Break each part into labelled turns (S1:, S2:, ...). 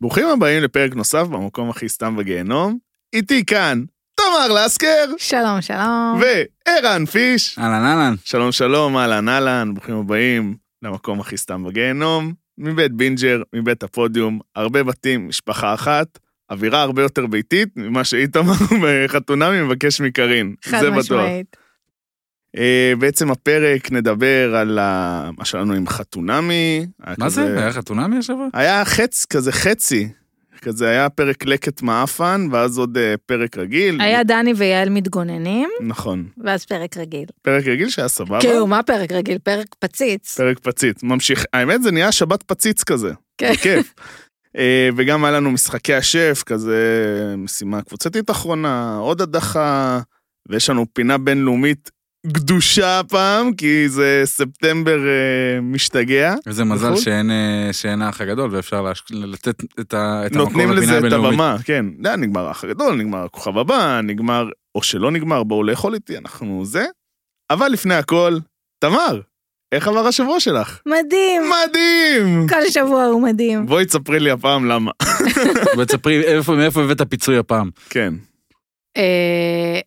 S1: ברוכים הבאים לפרק נוסף במקום הכי סתם בגיהנום. איתי כאן תמר לסקר
S2: שלום, שלום.
S1: וערן פיש.
S3: אהלן אהלן.
S1: שלום שלום, אהלן אהלן, ברוכים הבאים למקום הכי סתם בגיהנום, מבית בינג'ר, מבית הפודיום, הרבה בתים, משפחה אחת, אווירה הרבה יותר ביתית ממה שאיתמר בחתונמי מבקש מקארין.
S2: חד
S1: זה בטוח.
S2: משמעית.
S1: אה, בעצם הפרק נדבר על ה- מה שלנו עם חתונמי. היה
S3: מה
S1: כזה-
S3: זה? היה חתונמי השבוע?
S1: היה חץ, כזה חצי. כזה היה פרק לקט מעפן, ואז עוד אה, פרק רגיל.
S2: היה דני ויעל מתגוננים,
S1: נכון.
S2: ואז פרק רגיל.
S1: פרק רגיל שהיה סבבה.
S2: כאילו, מה פרק רגיל? פרק פציץ.
S1: אה, פרק פציץ. ממשיך, האמת זה נהיה שבת פציץ כזה.
S2: כן.
S1: זה כיף. אה, וגם היה לנו משחקי השף, כזה משימה קבוצתית אחרונה, עוד הדחה, ויש לנו פינה בינלאומית גדושה הפעם, כי זה ספטמבר אה, משתגע.
S3: איזה מזל
S1: נכון.
S3: שאין, אה, שאין האח הגדול ואפשר להש- לתת את, ה, את המקום
S1: נותנים לזה את
S3: הבינלאומית.
S1: הבמה, כן. זה היה נגמר האח הגדול, נגמר הכוכב הבא, נגמר, או שלא נגמר, בואו לאכול איתי, אנחנו זה. אבל לפני הכל, תמר, איך עבר השבוע שלך?
S2: מדהים.
S1: מדהים!
S2: כל שבוע הוא מדהים.
S1: בואי תספרי לי הפעם למה.
S3: ותספרי איפה- מאיפה הבאת פיצוי הפעם.
S1: כן.
S2: אה,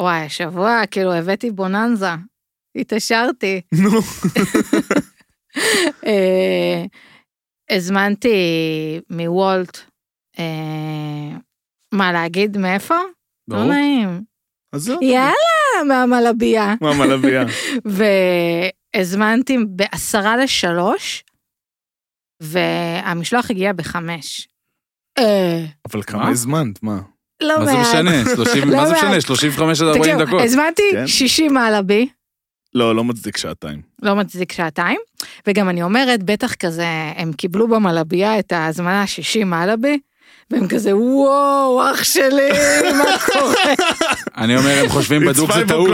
S2: וואי, השבוע, כאילו, הבאתי בוננזה. התעשרתי.
S1: נו.
S2: אה, הזמנתי מוולט, אה, מה להגיד, מאיפה? לא
S3: ברור.
S2: נעים.
S1: אז זהו.
S2: יאללה, מהמלבייה.
S1: מה מלבייה?
S2: והזמנתי בעשרה לשלוש, והמשלוח הגיע בחמש. אה,
S1: אבל
S3: מה?
S1: כמה הזמנת? מה?
S2: לא
S3: מה זה
S2: מעט.
S3: משנה? 30
S2: לא
S3: מה זה
S2: מעט.
S3: משנה? 35 עד 40
S2: תקשיב,
S3: דקות.
S2: הזמנתי
S1: כן.
S2: 60 מעלבי,
S1: לא, לא מצדיק שעתיים.
S2: לא מצדיק שעתיים, וגם אני אומרת, בטח כזה, הם קיבלו במלבייה את ההזמנה 60 מעלבי, והם כזה, וואו, אח שלי, מה קורה?
S3: אני אומר, הם חושבים בדוק זה טעות.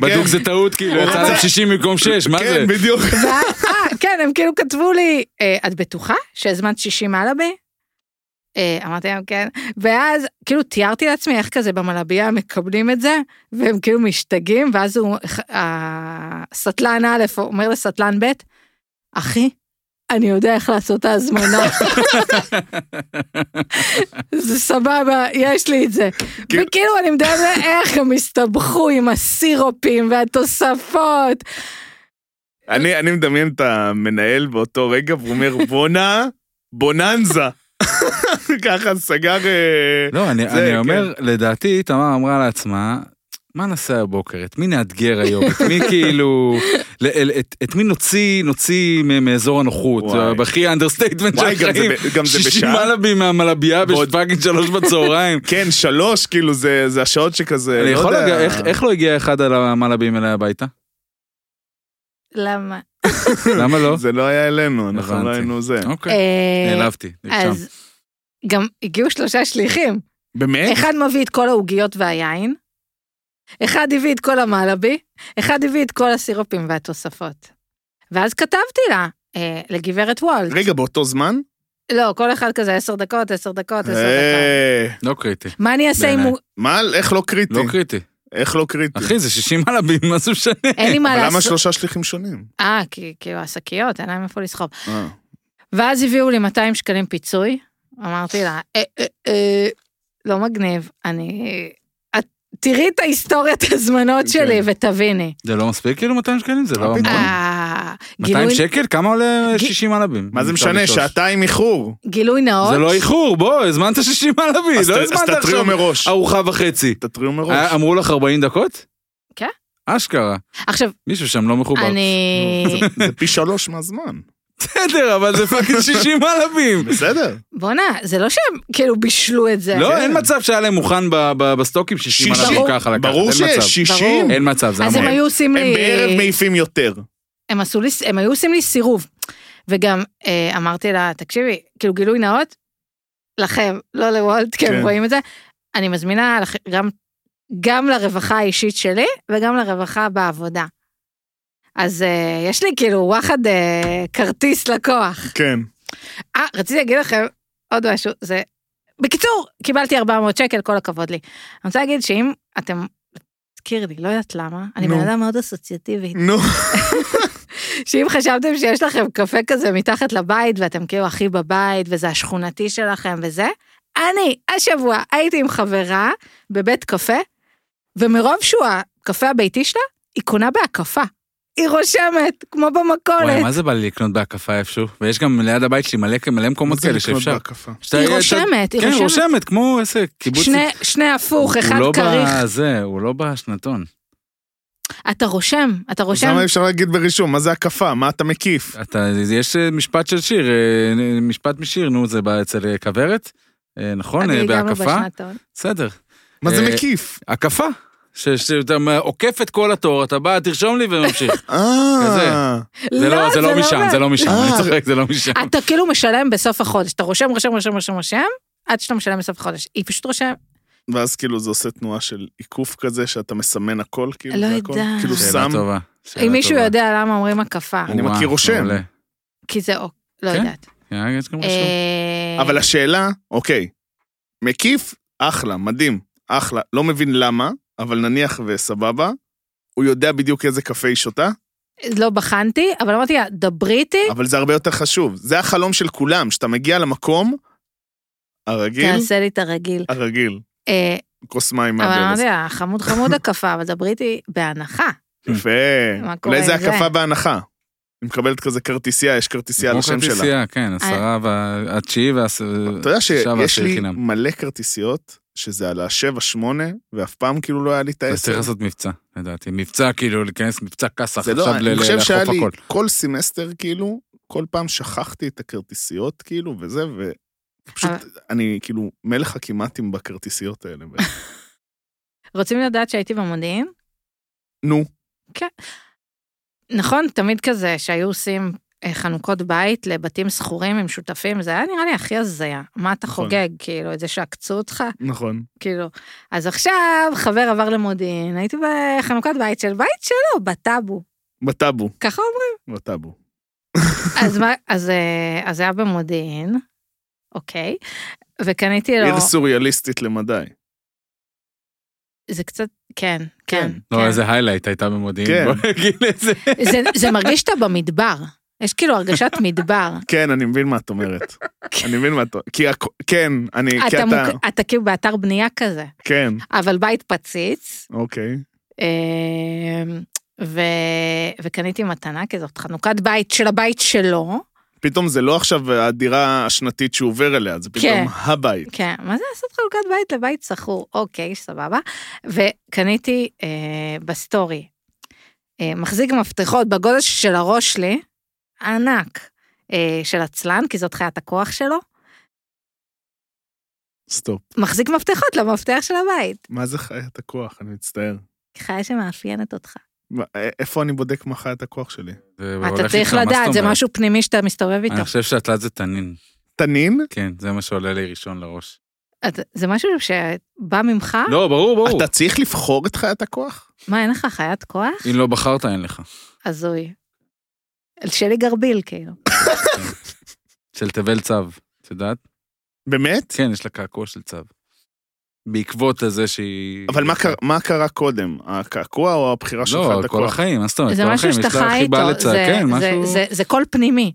S3: בדוק זה טעות,
S2: לא
S3: כאילו, יצא
S1: אבל-
S3: להם 60 במקום 6, מה זה?
S1: כן, בדיוק.
S2: ואז- אה, כן, הם כאילו כתבו לי, "אה, את בטוחה שהזמנת 60 מלאבי? אה, אמרתי להם כן, ואז כאילו תיארתי לעצמי איך כזה במלבייה מקבלים את זה, והם כאילו משתגעים, ואז הוא, אה, הסטלן א' אומר לסטלן ב', אחי, אני יודע איך לעשות את ההזמנה, זה סבבה, יש לי את זה.
S1: כן.
S2: וכאילו אני מדברת איך הם הסתבכו עם הסירופים והתוספות.
S1: אני אני מדמיין את המנהל באותו רגע, והוא אומר, בונה, בוננזה. ככה סגר... אה,
S3: לא, אני,
S1: זה,
S3: זה, אני אומר, לדעתי, תמר אמרה לעצמה, מה נעשה הבוקר? את מי נאתגר היום? את מי כאילו... ל- אל- את, את מי נוציא, נוציא מ- מאזור הנוחות?
S1: וואי.
S3: זה הכי אנדרסטייטמנט של
S1: וואי, גם זה
S3: החיים.
S1: ב- גם זה
S3: 60
S1: בשעה?
S3: מלאבי מהמלבייה
S1: ועוד-
S3: בפאקינג שלוש בצהריים.
S1: כן, שלוש, כאילו, זה זה השעות שכזה,
S3: אני
S1: לא
S3: יכול
S1: יודע.
S3: להגיע, איך, איך לא הגיע אחד על המלאבים אליי הביתה?
S2: למה?
S3: למה לא?
S1: זה לא היה אלינו, אנחנו לא
S3: הבנתי.
S1: היינו זה.
S3: אוקיי,
S2: אה,
S3: נעלבתי, נרשם.
S2: אז גם הגיעו שלושה שליחים.
S1: באמת?
S2: אחד מביא את כל העוגיות והיין, אחד הביא את כל המלאבי, אחד הביא את כל הסירופים והתוספות. ואז כתבתי לה, אה, לגברת וולט.
S1: רגע, באותו זמן?
S2: לא, כל אחד כזה עשר דקות, עשר דקות, עשר דקות.
S1: אה,
S3: לא קריטי,
S2: מה אני אעשה אם
S3: בעיניי.
S2: הוא...
S1: מה, איך לא קריטי?
S3: לא קריטי.
S1: איך לא קריטי?
S3: אחי, זה 60 מלאבים, מה זה משנה?
S2: אין לי מה
S1: אבל למה
S2: לעשות.
S1: שלושה שליחים שונים?
S2: אה, כי כאילו השקיות, אין להם איפה לסחוב.
S1: אה.
S2: ואז הביאו לי 200 שקלים פיצוי, אמרתי לה, אה, אה, אה, לא מגניב, אני... את תראי את ההיסטוריית הזמנות
S1: כן.
S2: שלי ותביני.
S3: זה לא מספיק כאילו 200 שקלים? זה לא
S1: מה
S3: המון.
S1: פתאום?
S2: אה,
S3: 200
S2: גילוי-
S3: שקל? כמה עולה
S2: ג-
S3: 60 מלאבים?
S1: מה זה
S3: אפשר
S1: משנה,
S3: לשאול.
S1: שעתיים איחור.
S2: גילוי נאות.
S3: זה לא איחור, בוא, הזמנת 60 מלאבי,
S1: אז ת-
S3: לא
S1: אז
S3: הזמנת
S1: תתריעו
S3: עכשיו
S1: מראש.
S3: ארוחה וחצי.
S1: תתריעו מראש.
S3: אה, אמרו לך 40 דקות?
S2: כן.
S3: אשכרה,
S2: עכשיו,
S3: מישהו שם לא מחובר.
S2: אני...
S3: אמ-
S1: זה פי שלוש מהזמן.
S3: בסדר, אבל זה פאקינג 60 מלאבים.
S1: בסדר.
S2: בואנה, זה לא שהם כאילו בישלו את זה.
S3: לא, אין מצב שהיה להם מוכן ב- ב- בסטוקים 60
S1: שישים.
S3: מלאבים ככה לקחת,
S1: ברור
S3: אין
S1: שיש
S3: מצב.
S1: שישים.
S3: אין מצב, זה
S2: אז הם
S3: המון.
S2: היו עושים
S1: הם
S2: לי...
S1: בערב מעיפים יותר.
S2: הם עשו לי, הם היו עושים לי סירוב. וגם אה, אמרתי לה, תקשיבי, כאילו גילוי נאות, לכם, לא לוולט, כי
S1: כן.
S2: הם רואים את זה. אני מזמינה לכ- גם, גם לרווחה האישית שלי וגם לרווחה בעבודה. אז אה, יש לי כאילו וואחד אה, כרטיס לקוח.
S1: כן.
S2: אה, רציתי להגיד לכם עוד משהו, זה... בקיצור, קיבלתי 400 שקל, כל הכבוד לי. אני רוצה להגיד שאם אתם... תזכיר לי, לא יודעת למה, אני
S1: נו.
S3: לא
S2: בן אדם מאוד אסוציאטיבי.
S1: נו.
S2: שאם חשבתם שיש לכם קפה כזה מתחת לבית ואתם כאילו הכי בבית וזה השכונתי שלכם וזה, אני השבוע הייתי עם חברה בבית קפה, ומרוב שהוא הקפה הביתי שלה, היא קונה בהקפה. היא רושמת, כמו
S3: וואי,
S2: במכולת.
S3: מה זה בא לי לקנות בהקפה איפשהו? ויש גם ליד הבית שלי מלא מלא מקומות כאלה שאפשר. שאתה-
S2: היא
S3: אתה-
S2: רושמת, היא
S3: כן, היא
S2: רושמת.
S3: רושמת, כמו איזה קיבוץ.
S2: שני- שני הפוך, אחד
S3: הוא לא
S2: כריך.
S3: בזה, הוא לא בשנתון.
S2: אתה רושם, אתה
S1: אז
S2: רושם.
S1: למה אי אפשר להגיד ברישום? מה זה הקפה? מה אתה מקיף?
S3: אתה, יש אה, משפט של שיר, אה, משפט משיר, נו, זה בא אצל אה, כוורת, אה, נכון? אה,
S2: אני גם לא
S3: בהקפה?
S2: בשנתון.
S3: בסדר.
S1: מה זה
S3: אה,
S1: מקיף?
S3: הקפה. ש- שאתה עוקף את כל התור, אתה בא, תרשום לי וממשיך. כזה.
S1: אה,
S3: זה לא, זה לא משם,
S2: עובד.
S3: זה לא משם,
S1: אה.
S3: אני צוחק, זה לא משם.
S2: אתה כאילו משלם בסוף החודש, אתה רושם, רושם, רושם, רושם, רושם, עד שאתה משלם בסוף החודש. היא פשוט רושמת,
S1: ואז כאילו זה עושה תנועה של עיקוף כזה, שאתה מסמן הכל, כאילו,
S2: לא
S1: זה הכל.
S2: יודעת.
S1: כאילו
S3: שאלה
S1: שם,
S3: טובה, שאלה
S2: אם מישהו
S3: טובה.
S2: יודע למה אומרים הקפה,
S1: אני
S3: וואו,
S1: מכיר רושם.
S3: מעולה.
S2: כי זה אוק, לא
S3: כן?
S2: יודעת.
S3: כן, יש גם רושם.
S2: אה,
S1: אבל השאלה, אוקיי, מקיף, אחלה, מדהים, אחלה. לא מבין למה, אבל נניח וסבבה, הוא יודע בדיוק איזה קפה היא שותה,
S2: לא בחנתי, אבל אמרתי לה, דברי איתי,
S1: אבל זה הרבה יותר חשוב. זה החלום של כולם, שאתה מגיע למקום הרגיל,
S2: תעשה לי את הרגיל.
S1: הרגיל.
S2: אה,
S1: כוס מים
S2: אבל
S1: מהברז.
S2: אמרתי לה, חמוד חמוד הקפה, אבל דברי איתי בהנחה.
S1: יפה.
S2: כן. מה קורה
S1: אולי זה
S2: עם זה?
S1: הקפה בהנחה. היא מקבלת כזה כרטיסייה, יש כרטיסייה על
S3: כמו
S1: השם שלה.
S3: כרטיסייה, כן,
S2: אה.
S3: עשרה והתשיעי והעשירי.
S1: אתה יודע
S3: עכשיו
S1: שיש
S3: והעשירי
S1: לי
S3: חינם.
S1: מלא כרטיסיות, שזה על השבע, שמונה, ואף פעם כאילו לא היה לי את
S3: אז צריך
S1: העשר.
S3: לעשות מבצע, לדעתי. מבצע, כאילו, להיכנס מבצע כסח,
S1: זה לא,
S3: עכשיו ל-
S1: אני חושב
S3: לאכוף
S1: שהיה לי
S3: הכל.
S1: כל סמסטר כאילו, כל פעם שכחתי את הכרטיסיות כאילו, וזה, ופשוט
S2: אבל-
S1: אני כאילו מלך הכמעטים בכרטיסיות האלה.
S2: רוצים לדעת שהייתי במודיעין?
S1: נו,
S2: נכון, תמיד כזה שהיו עושים אה, חנוכות בית לבתים שכורים עם שותפים, זה היה נראה לי הכי הזיה. מה אתה
S1: נכון.
S2: חוגג, כאילו, את זה שעקצו אותך?
S1: נכון.
S2: כאילו, אז עכשיו חבר עבר למודיעין, הייתי בחנוכת בית של בית שלו, בטאבו,
S1: בטאבו,
S2: ככה אומרים.
S1: בטאבו.
S2: אז, מה, אז, אה, אז זה היה במודיעין, אוקיי, וקניתי לו,
S1: עיר סוריאליסטית למדי.
S2: זה קצת, כן,
S1: כן.
S2: כן,
S3: לא,
S2: כן.
S3: איזה היילייט הייתה במודיעין,
S1: כן.
S3: בוא נגיד את זה.
S2: זה, זה מרגיש שאתה במדבר, יש כאילו הרגשת מדבר.
S1: כן, אני מבין מה את אומרת. אני מבין מה את אומרת. כי הכ- כן, אני, כי
S2: אתה,
S1: אתה,
S2: מוק... אתה כאילו באתר בנייה כזה,
S1: כן,
S2: אבל בית פציץ,
S1: אוקיי.
S2: אמ, ו... וקניתי מתנה כזאת, חנוכת בית של הבית שלו.
S1: פתאום זה לא עכשיו הדירה השנתית שהוא עובר אליה, זה פתאום
S2: כן.
S1: הבית.
S2: כן, מה זה לעשות חנוכת בית לבית שכור? אוקיי, סבבה. וקניתי אה, בסטורי, אה, מחזיק מפתחות בגודל של הראש שלי, ענק, אה, של עצלן, כי זאת חיית הכוח שלו,
S1: סטופ.
S2: מחזיק מפתחות למפתח של הבית.
S1: מה זה חיית הכוח? אני מצטער.
S2: חיה שמאפיינת אותך.
S1: מה- א- איפה אני בודק מה חיית הכוח שלי?
S3: זה
S2: אתה
S3: הולך
S2: צריך
S3: איתך, מה זאת
S2: לדעת, זה
S3: אומרת? אה.
S2: משהו פנימי שאתה מסתובב איתו.
S3: אני חושב שהתלת זה תנין,
S1: תנין?
S3: כן, זה מה שעולה לי ראשון לראש.
S2: אתה- זה משהו שבא ממך?
S3: לא, ברור, ברור.
S1: אתה צריך לבחור את חיית הכוח?
S2: מה, אין לך חיית כוח?
S3: אם לא בחרת, אין לך.
S2: הזוי. שלי גרביל, כאילו.
S3: של תבל צב, את יודעת?
S1: באמת?
S3: כן, יש לה קעקוע של צב. בעקבות הזה שהיא...
S1: אבל מה קרה- מה קרה קודם? הקעקוע או הבחירה של
S3: לא,
S1: חיית
S3: כל
S1: הכוח?
S3: החיים, מה זאת אומרת?
S2: זה
S3: כל
S2: משהו
S3: החיים, יש
S2: שאתה
S3: לה
S2: חי
S3: חיבה
S2: איתו,
S3: לצד,
S2: זה-
S3: כן,
S2: זה-
S3: משהו...
S2: זה- זה קול פנימי.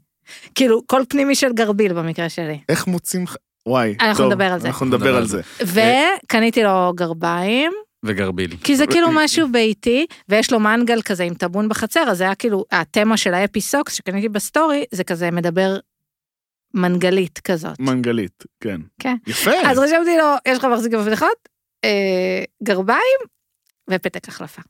S2: כאילו, קול פנימי של גרביל במקרה שלי.
S1: איך מוצאים... ח- וואי,
S2: אנחנו
S1: טוב,
S2: נדבר על זה.
S1: אנחנו נדבר על זה.
S3: אה,
S2: וקניתי לו גרביים,
S3: וגרבילי.
S2: כי זה כאילו
S3: אה,
S2: משהו ביתי, ויש לו מנגל כזה עם טאבון בחצר, אז זה היה כאילו, התמה של האפי סוקס שקניתי בסטורי, זה כזה מדבר מנגלית כזאת.
S1: מנגלית, כן.
S2: כן.
S1: יפה.
S2: אז רשמתי לו, יש לך מחזיק מפתחות, אה, גרביים ופתק החלפה.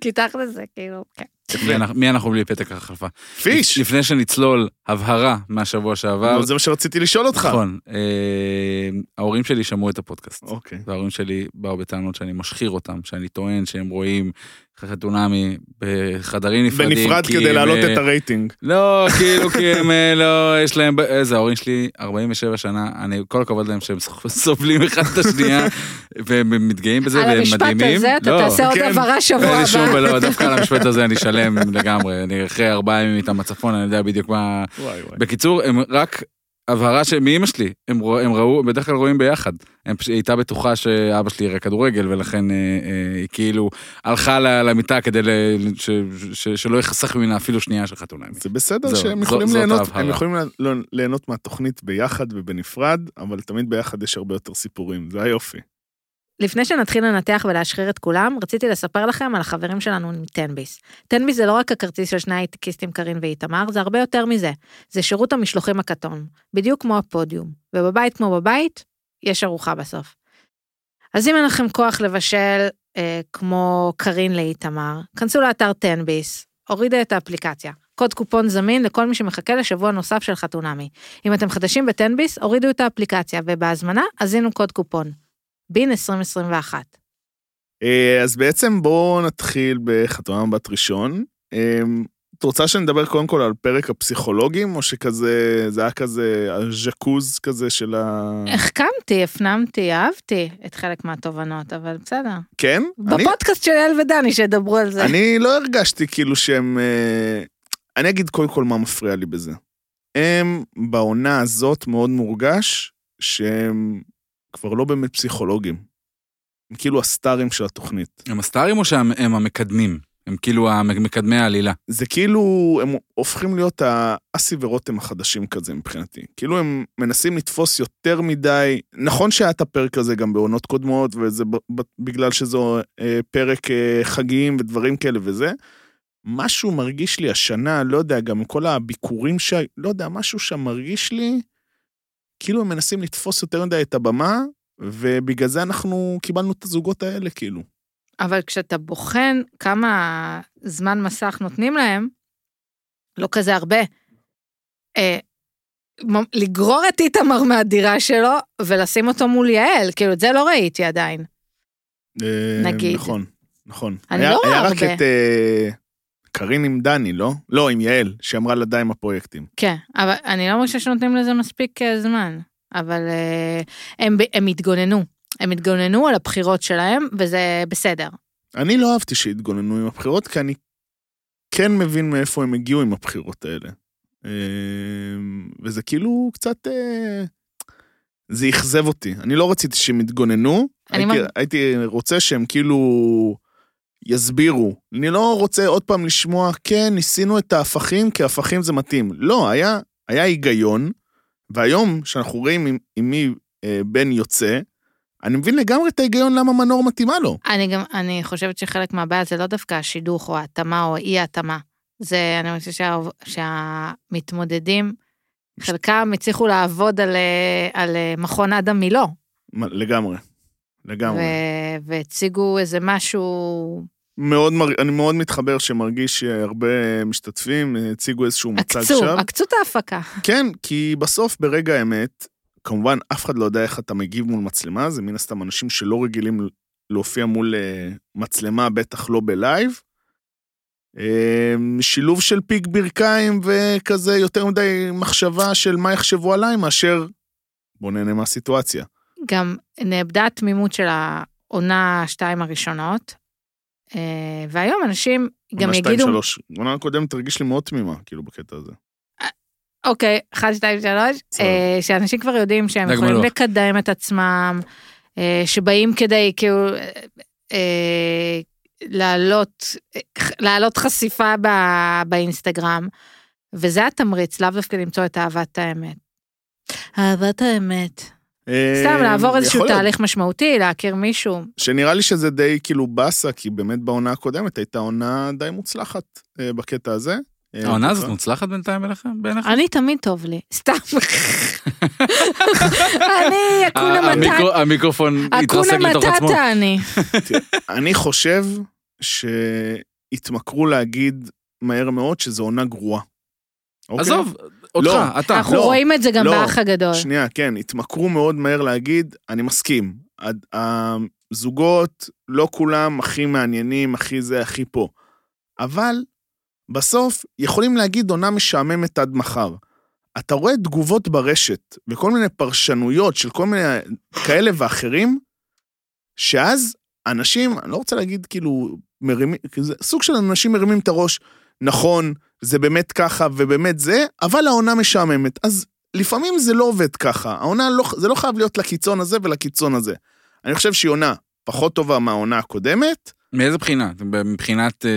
S2: כי תכל'ס זה כאילו, כן.
S3: מי אנחנו- מי אנחנו בלי פתק החלפה?
S1: פיש.
S3: לפני שנצלול, הבהרה מהשבוע שעבר.
S1: נו, זה מה שרציתי לשאול אותך.
S3: נכון. אה, ההורים שלי שמעו את הפודקאסט.
S1: אוקיי.
S3: וההורים שלי באו בטענות שאני משחיר אותם, שאני טוען שהם רואים חתונמי בחדרים נפרדים.
S1: בנפרד
S3: כי
S1: כדי
S3: הם,
S1: להעלות
S3: אה,
S1: את הרייטינג.
S3: לא, כאילו, כי הם אה, לא, יש להם, ב- איזה, ההורים שלי 47 שנה, אני, כל הכבוד להם שהם סוח- סובלים אחד את השנייה, והם מתגאים בזה,
S2: על
S3: והם
S2: המשפט
S3: מדהימים.
S2: הזה אתה
S3: לא,
S2: תעשה עוד
S1: כן.
S2: הבהרה שבוע
S3: אין לי שום
S2: הבא.
S3: בעיה, דווקא על המשפט הזה אני שלם לגמרי, אני אחרי ארבעה ימים איתם בצפון, אני יודע בדיוק מה...
S1: וואי וואי.
S3: בקיצור, הם רק הבהרה שמאימא שלי, הם, רוא- הם ראו, בדרך כלל רואים ביחד. הם פש... היא הייתה בטוחה שאבא שלי יראה כדורגל, ולכן אה, אה, היא כאילו הלכה ל- למיטה כדי ל... ש... ש... שלא יחסך ממנה אפילו שנייה של חתונה.
S1: זה בסדר
S3: זהו,
S1: שהם
S3: זו-
S1: יכולים
S3: זאת
S1: ליהנות,
S3: ההבהרה.
S1: הם יכולים לה- לא- ליהנות מהתוכנית ביחד ובנפרד, אבל תמיד ביחד יש הרבה יותר סיפורים, זה היופי.
S2: לפני שנתחיל לנתח ולהשחיר את כולם, רציתי לספר לכם על החברים שלנו עם תנביס. תנביס זה לא רק הכרטיס של שני הייטקיסטים קארין ואיתמר, זה הרבה יותר מזה. זה שירות המשלוחים הכתום, בדיוק כמו הפודיום. ובבית כמו בבית, יש ארוחה בסוף. אז אם אין לכם כוח לבשל אה, כמו קארין לאיתמר, כנסו לאתר תנביס, הורידו את האפליקציה. קוד קופון זמין לכל מי שמחכה לשבוע נוסף של חתונמי. אם אתם חדשים בטנביס, הורידו את האפליקציה, ובהזמנה, הזינו קוד קופון. בין 2021.
S1: אה, אז בעצם בואו נתחיל בחתונה מבט ראשון. אה, את רוצה שנדבר קודם כל על פרק הפסיכולוגים, או שכזה, זה היה כזה הז'קוז כזה של ה...
S2: החכמתי, הפנמתי, אהבתי את חלק מהתובנות, אבל בסדר.
S1: כן? אני-
S2: בפודקאסט של אל ודני שידברו על זה.
S1: אני לא הרגשתי כאילו שהם... אה, אני אגיד קודם כל מה מפריע לי בזה. הם בעונה הזאת מאוד מורגש שהם כבר לא באמת פסיכולוגים. הם כאילו הסטארים של התוכנית.
S3: הם הסטארים או שהם הם המקדמים? הם כאילו המ- מקדמי העלילה.
S1: זה כאילו, הם הופכים להיות האסי ורותם החדשים כזה מבחינתי. כאילו הם מנסים לתפוס יותר מדי, נכון שהיה את הפרק הזה גם בעונות קודמות, וזה ב- ב- בגלל שזו אה, פרק אה, חגים ודברים כאלה וזה, משהו מרגיש לי השנה, לא יודע, גם עם כל הביקורים ש... לא יודע, משהו שם מרגיש לי, כאילו הם מנסים לתפוס יותר מדי את הבמה, ובגלל זה אנחנו קיבלנו את הזוגות האלה, כאילו.
S2: אבל כשאתה בוחן כמה זמן מסך נותנים להם, לא כזה הרבה. אה, מ- לגרור את איתמר מהדירה שלו ולשים אותו מול יעל, כאילו את זה לא ראיתי עדיין.
S1: אה,
S2: נגיד.
S1: נכון, נכון.
S2: אני
S1: היה,
S2: לא רואה
S1: היה רק
S2: הרבה.
S1: את אה, קארין עם דני, לא? לא, עם יעל, שאמרה לה די עם הפרויקטים.
S2: כן, אבל אני לא מרגישה שנותנים לזה מספיק אה, זמן, אבל אה, הם, ב- הם התגוננו. הם התגוננו על הבחירות שלהם, וזה בסדר.
S1: אני לא אהבתי שהתגוננו עם הבחירות, כי אני כן מבין מאיפה הם הגיעו עם הבחירות האלה. אה, וזה כאילו קצת... אה, זה אכזב אותי. אני לא רציתי שהם יתגוננו,
S2: אני
S1: הייתי,
S2: מג-
S1: הייתי רוצה שהם כאילו יסבירו. אני לא רוצה עוד פעם לשמוע, כן, ניסינו את ההפכים, כי הפכים זה מתאים. לא, היה, היה היגיון, והיום, שאנחנו רואים עם, עם מי אה, בן יוצא, אני מבין לגמרי את ההיגיון למה מנור מתאימה לו.
S2: אני גם, אני חושבת שחלק מהבעיה זה לא דווקא השידוך או ההתאמה או האי-התאמה. זה, אני חושבת שה, שהמתמודדים, חלקם הצליחו לעבוד על, אה, על אה, מכון אדם מילוא,
S1: מה, לגמרי. לגמרי.
S2: ו- והציגו איזה משהו,
S1: מאוד מר... אני מאוד מתחבר שמרגיש שהרבה משתתפים הציגו איזשהו מצג
S2: עקצו,
S1: שווא.
S2: עקצו את ההפקה.
S1: כן, כי בסוף, ברגע האמת, כמובן, אף אחד לא יודע איך אתה מגיב מול מצלמה, זה מן הסתם אנשים שלא רגילים להופיע מול אה, מצלמה, בטח לא בלייב. אה, שילוב של פיק ברכיים וכזה יותר מדי מחשבה של מה יחשבו עליי, מאשר בוא נהנה מהסיטואציה.
S2: גם נאבדה התמימות של העונה השתיים הראשונות, אה, והיום אנשים גם
S1: עונה שתיים,
S2: יגידו,
S1: שלוש. העונה הקודמת הרגיש לי מאוד תמימה, כאילו, בקטע הזה.
S2: אוקיי, אחד, שתיים, שלוש,
S1: בסדר.
S2: אה, שאנשים כבר יודעים שהם
S3: דג
S2: יכולים
S3: מלוח.
S2: לקדם את עצמם, אה, שבאים כדי כאילו אה, אה, להעלות, להעלות חשיפה ב, באינסטגרם, וזה התמריץ, לאו דווקא למצוא את אהבת האמת. אהבת האמת. סתם
S1: אה,
S2: לעבור איזשהו
S1: יכול להיות.
S2: תהליך משמעותי, להכיר מישהו.
S1: שנראה לי שזה די כאילו באסה, כי באמת בעונה הקודמת הייתה עונה די מוצלחת אה, בקטע הזה. אה,
S3: העונה הזאת
S1: ככה.
S3: מוצלחת בינתיים אליכם? בעיניכם?
S2: אני תמיד טוב לי, סתם. אני
S1: אה,
S2: אקונה מטאטה,
S3: המיקרו- המיקרופון התרסק
S2: אקונה
S3: לתוך עצמו.
S2: מטאטה אוקיי. אני.
S1: אני חושב שהתמכרו להגיד מהר מאוד שזו עונה גרועה. אוקיי?
S3: עזוב, אותך,
S1: לא.
S3: אתה.
S2: אנחנו
S1: לא,
S2: רואים את זה גם
S1: לא.
S2: באח הגדול.
S1: שנייה, כן, התמכרו מאוד מהר להגיד, אני מסכים. הד- הזוגות, לא כולם הכי מעניינים, הכי זה, הכי פה. אבל בסוף יכולים להגיד עונה משעממת עד מחר. אתה רואה תגובות ברשת וכל מיני פרשנויות של כל מיני כאלה ואחרים, שאז אנשים, אני לא רוצה להגיד כאילו, מרימים, כי זה סוג של אנשים מרימים את הראש, נכון, זה באמת ככה ובאמת זה, אבל העונה משעממת. אז לפעמים זה לא עובד ככה. העונה לא, זה לא חייב להיות לקיצון הזה ולקיצון הזה. אני חושב שהיא עונה פחות טובה מהעונה הקודמת.
S3: מאיזה בחינה? מבחינת אה, אה,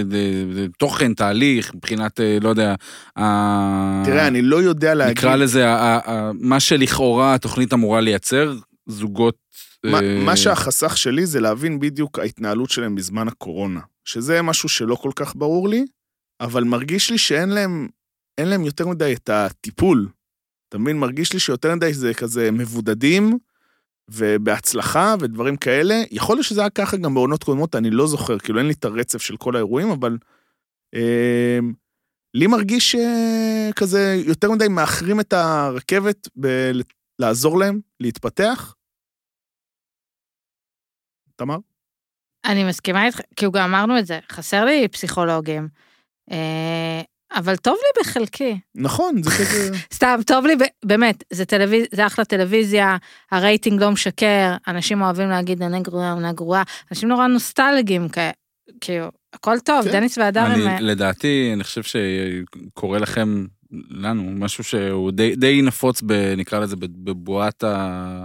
S3: אה, תוכן, תהליך, מבחינת, אה, לא יודע, ה-
S1: תראה, אני לא יודע להגיד...
S3: אה. נקרא לזה, ה- ה- ה- מה שלכאורה התוכנית אמורה לייצר, זוגות...
S1: מה,
S3: אה,
S1: מה שהחסך שלי זה להבין בדיוק ההתנהלות שלהם בזמן הקורונה, שזה משהו שלא כל כך ברור לי, אבל מרגיש לי שאין להם, אין להם יותר מדי את הטיפול. אתה מבין? מרגיש לי שיותר מדי זה כזה מבודדים, ובהצלחה ודברים כאלה. יכול להיות שזה היה ככה גם בעונות קודמות, אני לא זוכר, כאילו אין לי את הרצף של כל האירועים, אבל... אה, לי מרגיש אה, כזה יותר מדי מאחרים את הרכבת ב- לעזור להם להתפתח, תמר?
S2: אני מסכימה איתך, כאילו גם אמרנו את זה, חסר לי פסיכולוגים. אה, אבל טוב לי בחלקי.
S1: נכון, זה כזה...
S2: סתם, טוב לי, ב- באמת, זה, טלוויז... זה אחלה טלוויזיה, הרייטינג לא משקר, אנשים אוהבים להגיד עונה גרועה, עונה גרועה, אנשים נורא נוסטלגיים, כ... כאילו, הכל טוב,
S1: כן.
S2: דניס והדר
S3: אני,
S2: הם...
S3: לדעתי, אני חושב שקורה לכם, לנו, משהו שהוא די, די נפוץ, ב, נקרא לזה, בב- בבועת ה...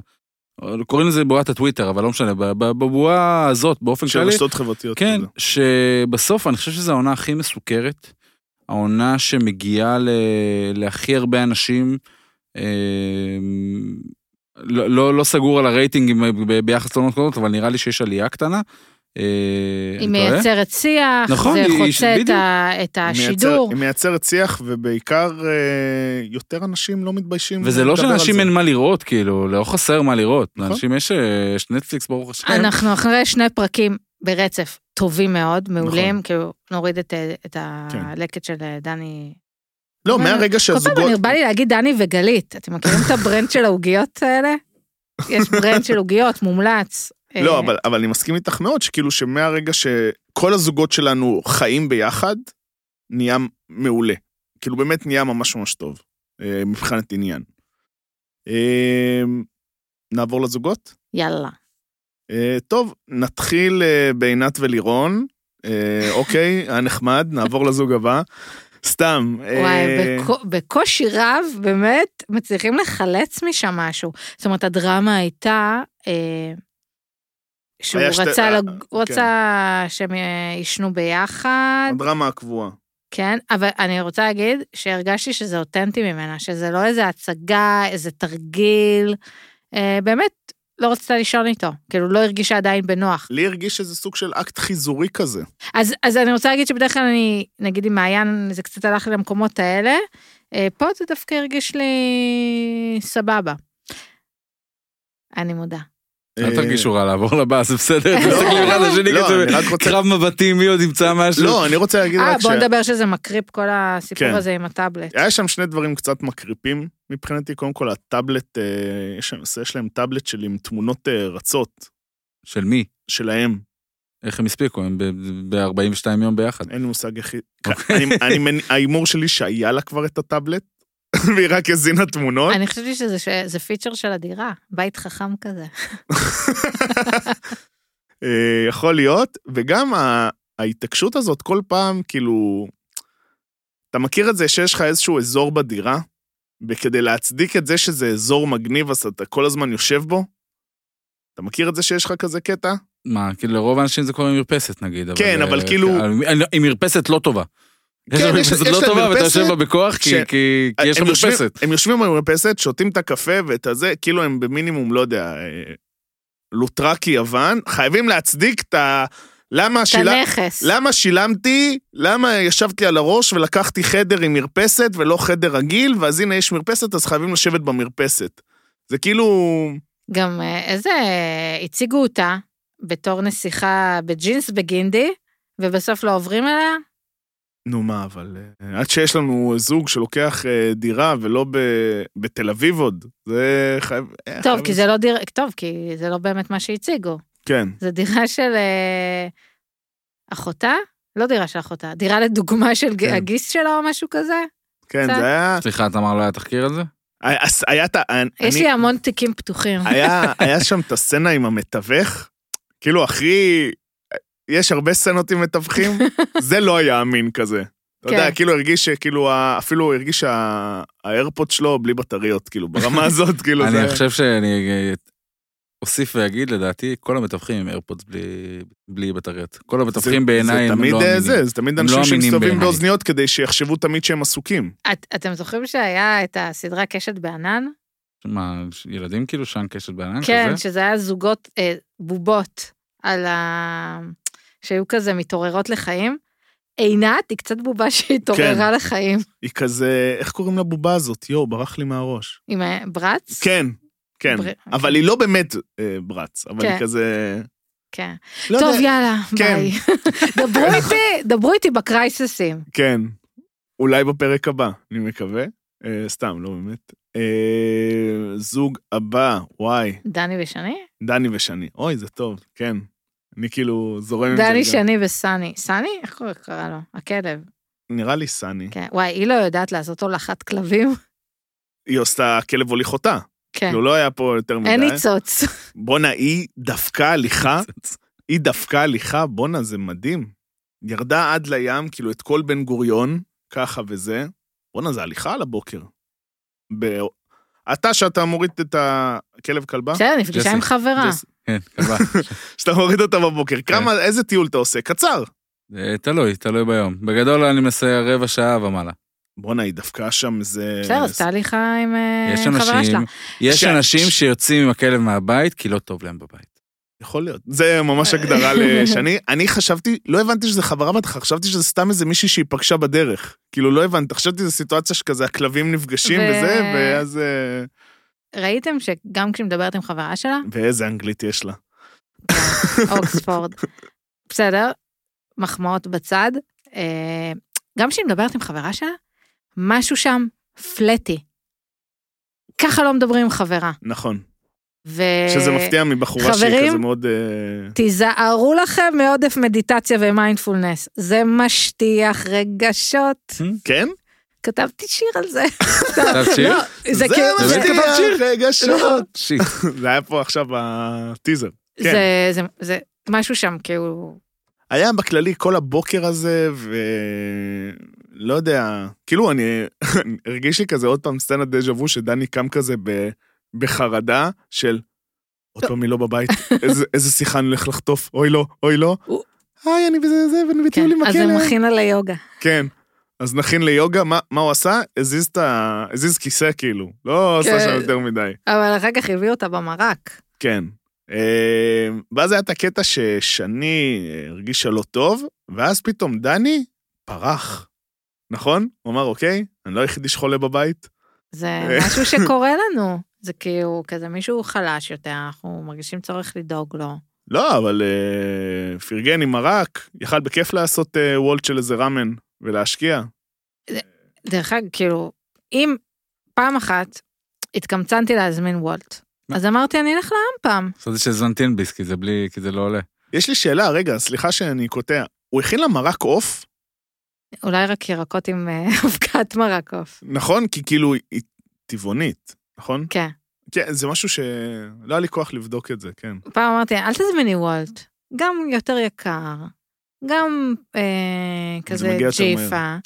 S3: קוראים לזה בועת הטוויטר, אבל לא משנה, ב- ב- בבועה הזאת, באופן
S1: של
S3: כללי,
S1: רשתות חברתיות.
S3: כן,
S1: כזה.
S3: שבסוף אני חושב שזו העונה הכי מסוכרת, העונה שמגיעה ל... להכי הרבה אנשים. אה, לא, לא, לא סגור על הרייטינג ב- ביחס לעונות קודמות, אבל נראה לי שיש עלייה קטנה. אה, אני
S2: היא
S3: טועה?
S2: מייצרת שיח,
S3: נכון,
S2: זה
S3: היא-
S2: חוצה את,
S3: בדיוק.
S2: ה... את
S1: היא מייצרת-
S2: השידור.
S1: היא מייצרת שיח, ובעיקר אה, יותר אנשים לא מתביישים
S3: וזה לא
S1: לדבר על
S3: שלאנשים
S1: זה.
S3: אין מה לראות, כאילו, לא חסר מה לראות.
S1: נכון.
S3: לאנשים יש אה, יש נטפליקס, ברוך
S1: כן.
S3: השם.
S2: אנחנו אחרי שני פרקים ברצף טובים מאוד, מעולים, כאילו, נוריד את, אה, את
S1: נכון. כן.
S2: הלקט של אה, דני.
S1: לא,
S2: אבל-
S1: מהרגע
S2: כל פעם אני-
S1: שהזוגות...
S2: בא לי להגיד דני וגלית, אתם מכירים את הברנד של העוגיות האלה? יש ברנד של עוגיות, מומלץ.
S1: לא,
S2: אה,
S1: אבל אבל אני מסכים איתך מאוד, שכאילו שמהרגע שכל הזוגות שלנו חיים ביחד, נהיה מעולה. כאילו באמת נהיה ממש ממש טוב, אה, מבחינת עניין. אה, נעבור לזוגות?
S2: יאללה.
S1: אה, טוב, נתחיל אה, בעינת ולירון. אה, אוקיי, היה נחמד, נעבור לזוג הבא. סתם. אה,
S2: וואי, בקו- בקושי רב, באמת, מצליחים לחלץ משם משהו. זאת אומרת, הדרמה הייתה... אה, שהוא
S1: היה שתי-
S2: רצה,
S1: אה,
S2: לג...
S1: כן.
S2: הוא רצה שהם אה, יישנו ביחד,
S1: הדרמה הקבועה.
S2: כן, אבל אני רוצה להגיד שהרגשתי שזה אותנטי ממנה, שזה לא איזה הצגה, איזה תרגיל, אה, באמת, לא רצתה לישון איתו, כאילו לא הרגישה עדיין בנוח.
S1: לי הרגיש שזה סוג של אקט חיזורי כזה.
S2: אז, אז אני רוצה להגיד שבדרך כלל אני, נגיד עם מעיין, זה קצת הלך לי למקומות האלה, אה, פה זה דווקא הרגיש לי סבבה. אני מודה.
S3: אל
S1: אה,
S3: תרגישו רע, לעבור לבא, זה בסדר.
S2: לא,
S3: תסתכלו אחד על השני
S1: לא,
S3: כזה,
S1: אני רק רוצה-
S3: קרב מבטים, מי עוד ימצא משהו.
S1: לא, אני רוצה להגיד
S2: אה,
S1: רק ש...
S2: בוא נדבר שזה מקריפ כל הסיפור
S1: כן.
S2: הזה עם הטאבלט.
S1: היה שם שני דברים קצת מקריפים מבחינתי. קודם כל, הטאבלט, אה, יש להם- יש להם טאבלט של עם תמונות אה, רצות
S3: של מי?
S1: שלהם.
S3: איך הם הספיקו? הם ב-42 יום ביחד.
S1: אין לי מושג איך היא...
S3: אוקיי.
S1: אני- אני מנ- ההימור שלי שהיה לה כבר את הטאבלט, והיא רק הזינה תמונות.
S2: אני חשבתי שזה שזה פיצ'ר של הדירה, בית חכם כזה.
S1: אה, יכול להיות, וגם ה- ההתעקשות הזאת כל פעם, כאילו... אתה מכיר את זה שיש לך איזשהו אזור בדירה, וכדי להצדיק את זה שזה אזור מגניב, אז אתה כל הזמן יושב בו? אתה מכיר את זה שיש לך כזה קטע?
S3: מה, כאילו לרוב האנשים זה קורה עם מרפסת נגיד.
S1: כן, אבל
S3: אה,
S1: כאילו-
S3: אה, עם מרפסת לא טובה. יש
S1: כן,
S3: לה
S1: יש-
S3: מרפסת
S1: יש
S3: לא
S1: לה
S3: טובה ואתה
S1: מרפסת
S3: יושב בה בכוח כי-
S1: ש-
S3: כי כי יש לה
S1: הם יושבים-
S3: מרפסת.
S1: הם יושבים במרפסת, שותים את הקפה ואת הזה, כאילו הם במינימום, לא יודע, אה, לוטרקי יוון, חייבים להצדיק את ה... למה
S2: את
S1: שילמת...
S2: הנכס.
S1: למה שילמתי, למה ישבתי על הראש ולקחתי חדר עם מרפסת ולא חדר רגיל, ואז הנה יש מרפסת, אז חייבים לשבת במרפסת. זה כאילו...
S2: גם אה, איזה, הציגו אותה בתור נסיכה בג'ינס בגינדי, ובסוף לא עוברים אליה.
S1: נו מה, אבל... אה, עד שיש לנו זוג שלוקח אה, דירה ולא ב... בתל אביב עוד, זה חייב... אה,
S2: טוב,
S1: חייב-
S2: כי זה לא דירה, טוב, כי זה לא באמת מה שהציגו.
S1: כן.
S2: זה דירה של אה, אחותה? לא דירה של אחותה, דירה לדוגמה של
S1: כן.
S2: כן. הגיס שלו או משהו כזה.
S1: כן,
S2: קצת.
S1: זה היה...
S3: סליחה, אתה אמר לא היה תחקיר על זה?
S1: היה- היה את ה... אני-
S2: יש לי המון תיקים פתוחים.
S1: היה, היה שם את הסצנה עם המתווך, כאילו הכי... יש הרבה סצנות עם מתווכים, זה לא היה אמין כזה. אתה יודע,
S2: כן.
S1: כאילו הרגיש שכאילו, ה- אפילו הרגיש שהאיירפוד שלו בלי בטריות, כאילו, ברמה הזאת, כאילו, זה...
S3: אני חושב שאני אה, אוסיף ואגיד, לדעתי, כל המתווכים הם איירפודס בלי- בלי בטריות. כל המתווכים בעיניי הם
S1: זה תמיד
S3: לא
S1: אה,
S3: אמינים.
S1: זה, זה תמיד
S3: הם
S1: אנשים
S3: לא אמינים
S1: שמסתובבים
S3: בעיניי.
S1: באוזניות כדי שיחשבו תמיד שהם עסוקים.
S2: את, אתם זוכרים שהיה את הסדרה קשת בענן?
S3: מה, ש- ילדים כאילו שען קשת בענן
S2: כן,
S3: כזה?
S2: שזה היה זוגות אה, בובות על ה... שהיו כזה מתעוררות לחיים. עינת היא קצת בובה
S1: כן.
S2: שהתעוררה לחיים
S1: היא כזה, איך קוראים לבובה הזאת? יואו, ברח לי מהראש.
S2: עם הברץ.
S1: כן, כן.
S2: בר-
S1: אבל היא לא באמת אה, ברץ, אבל
S2: כן.
S1: היא כזה...
S2: כן.
S1: לא
S2: טוב,
S1: יודע,
S2: יאללה,
S1: כן.
S2: ביי. דברו איתי, דברו איתי בקרייססים.
S1: כן. אולי בפרק הבא, אני מקווה. אה, סתם, לא באמת. אה, זוג הבא, וואי,
S2: דני ושני?
S1: דני ושני. אוי, זה טוב, כן. אני כאילו זורם עם זה.
S2: דני,
S1: גם.
S2: שני וסני. סני? איך קורא- קרא לו? הכלב.
S1: נראה לי סני.
S2: כן. וואי, היא לא יודעת לעשות הולכת כלבים?
S1: היא עושה כלב הוליך אותה.
S2: כן.
S1: כאילו, לא אה? היה פה יותר מדי.
S2: אין ניצוץ.
S1: בואנה, היא דפקה הליכה, היא דפקה הליכה, בואנה, זה מדהים. ירדה עד לים, כאילו, את כל בן גוריון, ככה וזה. בואנה, זה הליכה על הבוקר. ב... אתה, שאתה מוריד את הכלב כלבה,
S2: בסדר, נפגשה
S3: ג'סי,
S2: עם חברה.
S3: ג'ס- כן, כלבה.
S1: שאתה מוריד אותה בבוקר,
S2: כן.
S1: כמה, איזה טיול אתה עושה? קצר.
S3: אה, תלוי, תלוי ביום. בגדול אני מנסה רבע שעה ומעלה.
S1: בואנה, היא דפקה שם איזה...
S2: בסדר, אז תהליכה עם אה,
S3: יש
S2: חברה שלה.
S3: אנשים, יש
S1: ש-
S3: אנשים
S1: ש-
S3: שיוצאים עם הכלב מהבית כי לא טוב להם בבית.
S1: יכול להיות. זה ממש
S2: אה.
S1: הגדרה לשני. אני חשבתי, לא הבנתי שזה חברה בטח, חשבתי שזה סתם איזה מישהי שהיא פגשה בדרך. כאילו, לא הבנתי, חשבתי שזו סיטואציה שכזה הכלבים נפגשים
S2: ו-
S1: וזה, ואז... אה,
S2: ראיתם שגם כשהיא מדברת עם חברה שלה,
S1: ואיזה אנגלית יש לה.
S2: אוקספורד, בסדר, מחמאות בצד, אה, גם כשהיא מדברת עם חברה שלה, משהו שם פלטי. ככה לא מדברים עם חברה.
S1: נכון.
S2: ו...
S1: שזה מפתיע מבחורה שהיא
S2: אה, חברים?
S1: כזה מאוד... אה,
S2: תיזהרו לכם מעודף מדיטציה ומיינדפולנס, זה משטיח רגשות.
S1: כן?
S2: כתבתי שיר על זה.
S3: עכשיו שיר?
S2: לא, זה כאילו-
S3: באמת
S2: זה-
S3: כתבת שיר?
S1: רגע
S2: לא.
S1: שעות.
S3: שיט.
S1: זה היה פה עכשיו הטיזר. כן.
S2: זה- זה- זה משהו שם כאילו...
S1: היה בכללי כל הבוקר הזה, ולא יודע, כאילו אני, הרגיש לי כזה עוד פעם סצנת דז'ה וו, שדני קם כזה ב... בחרדה של, עוד פעם היא לא בבית, איזה, איזה שיחה אני הולך לחטוף, אוי לא, אוי לא.
S2: הוא-
S1: היי, כאילו אני בזה, זה, ואני
S2: כן,
S1: בטיול עם
S2: אז זה
S1: הכלב.
S2: מכין על היוגה.
S1: כן. אז נכין ליוגה, מה, מה הוא עשה? הזיז את ה... הזיז כיסא כאילו, לא
S2: כן.
S1: עשה שם יותר מדי.
S2: אבל אחר כך הביאו אותה במרק.
S1: כן. אה, ואז היה את הקטע ששני הרגישה לא טוב, ואז פתאום דני פרח. נכון? הוא אמר, אוקיי, אני לא היחידי שחולה בבית.
S2: זה משהו שקורה לנו. זה כאילו כזה מישהו חלש יותר, אנחנו מרגישים צורך לדאוג לו.
S1: לא, אבל אה, פרגן עם מרק, יכל בכיף לעשות אה, וולט של איזה ראמן ולהשקיע.
S2: דרך אגב, כאילו, אם פעם אחת התקמצנתי להזמין וולט,
S3: מה?
S2: אז אמרתי אני אלך לעם פעם.
S3: חשבתי שזנתין ביס, כי זה בלי, כי זה לא עולה.
S1: יש לי שאלה, רגע, סליחה שאני קוטע. הוא הכין לה מרק עוף,
S2: אולי רק ירקות עם אה, אבקת מרק עוף.
S1: נכון? כי כאילו היא טבעונית, נכון?
S2: כן.
S1: כן, זה משהו שלא היה לי כוח לבדוק את זה, כן.
S2: פעם אמרתי, אל תזמיני וולט, גם יותר יקר, גם אה, כזה
S1: מגיע יותר
S2: ג'יפה.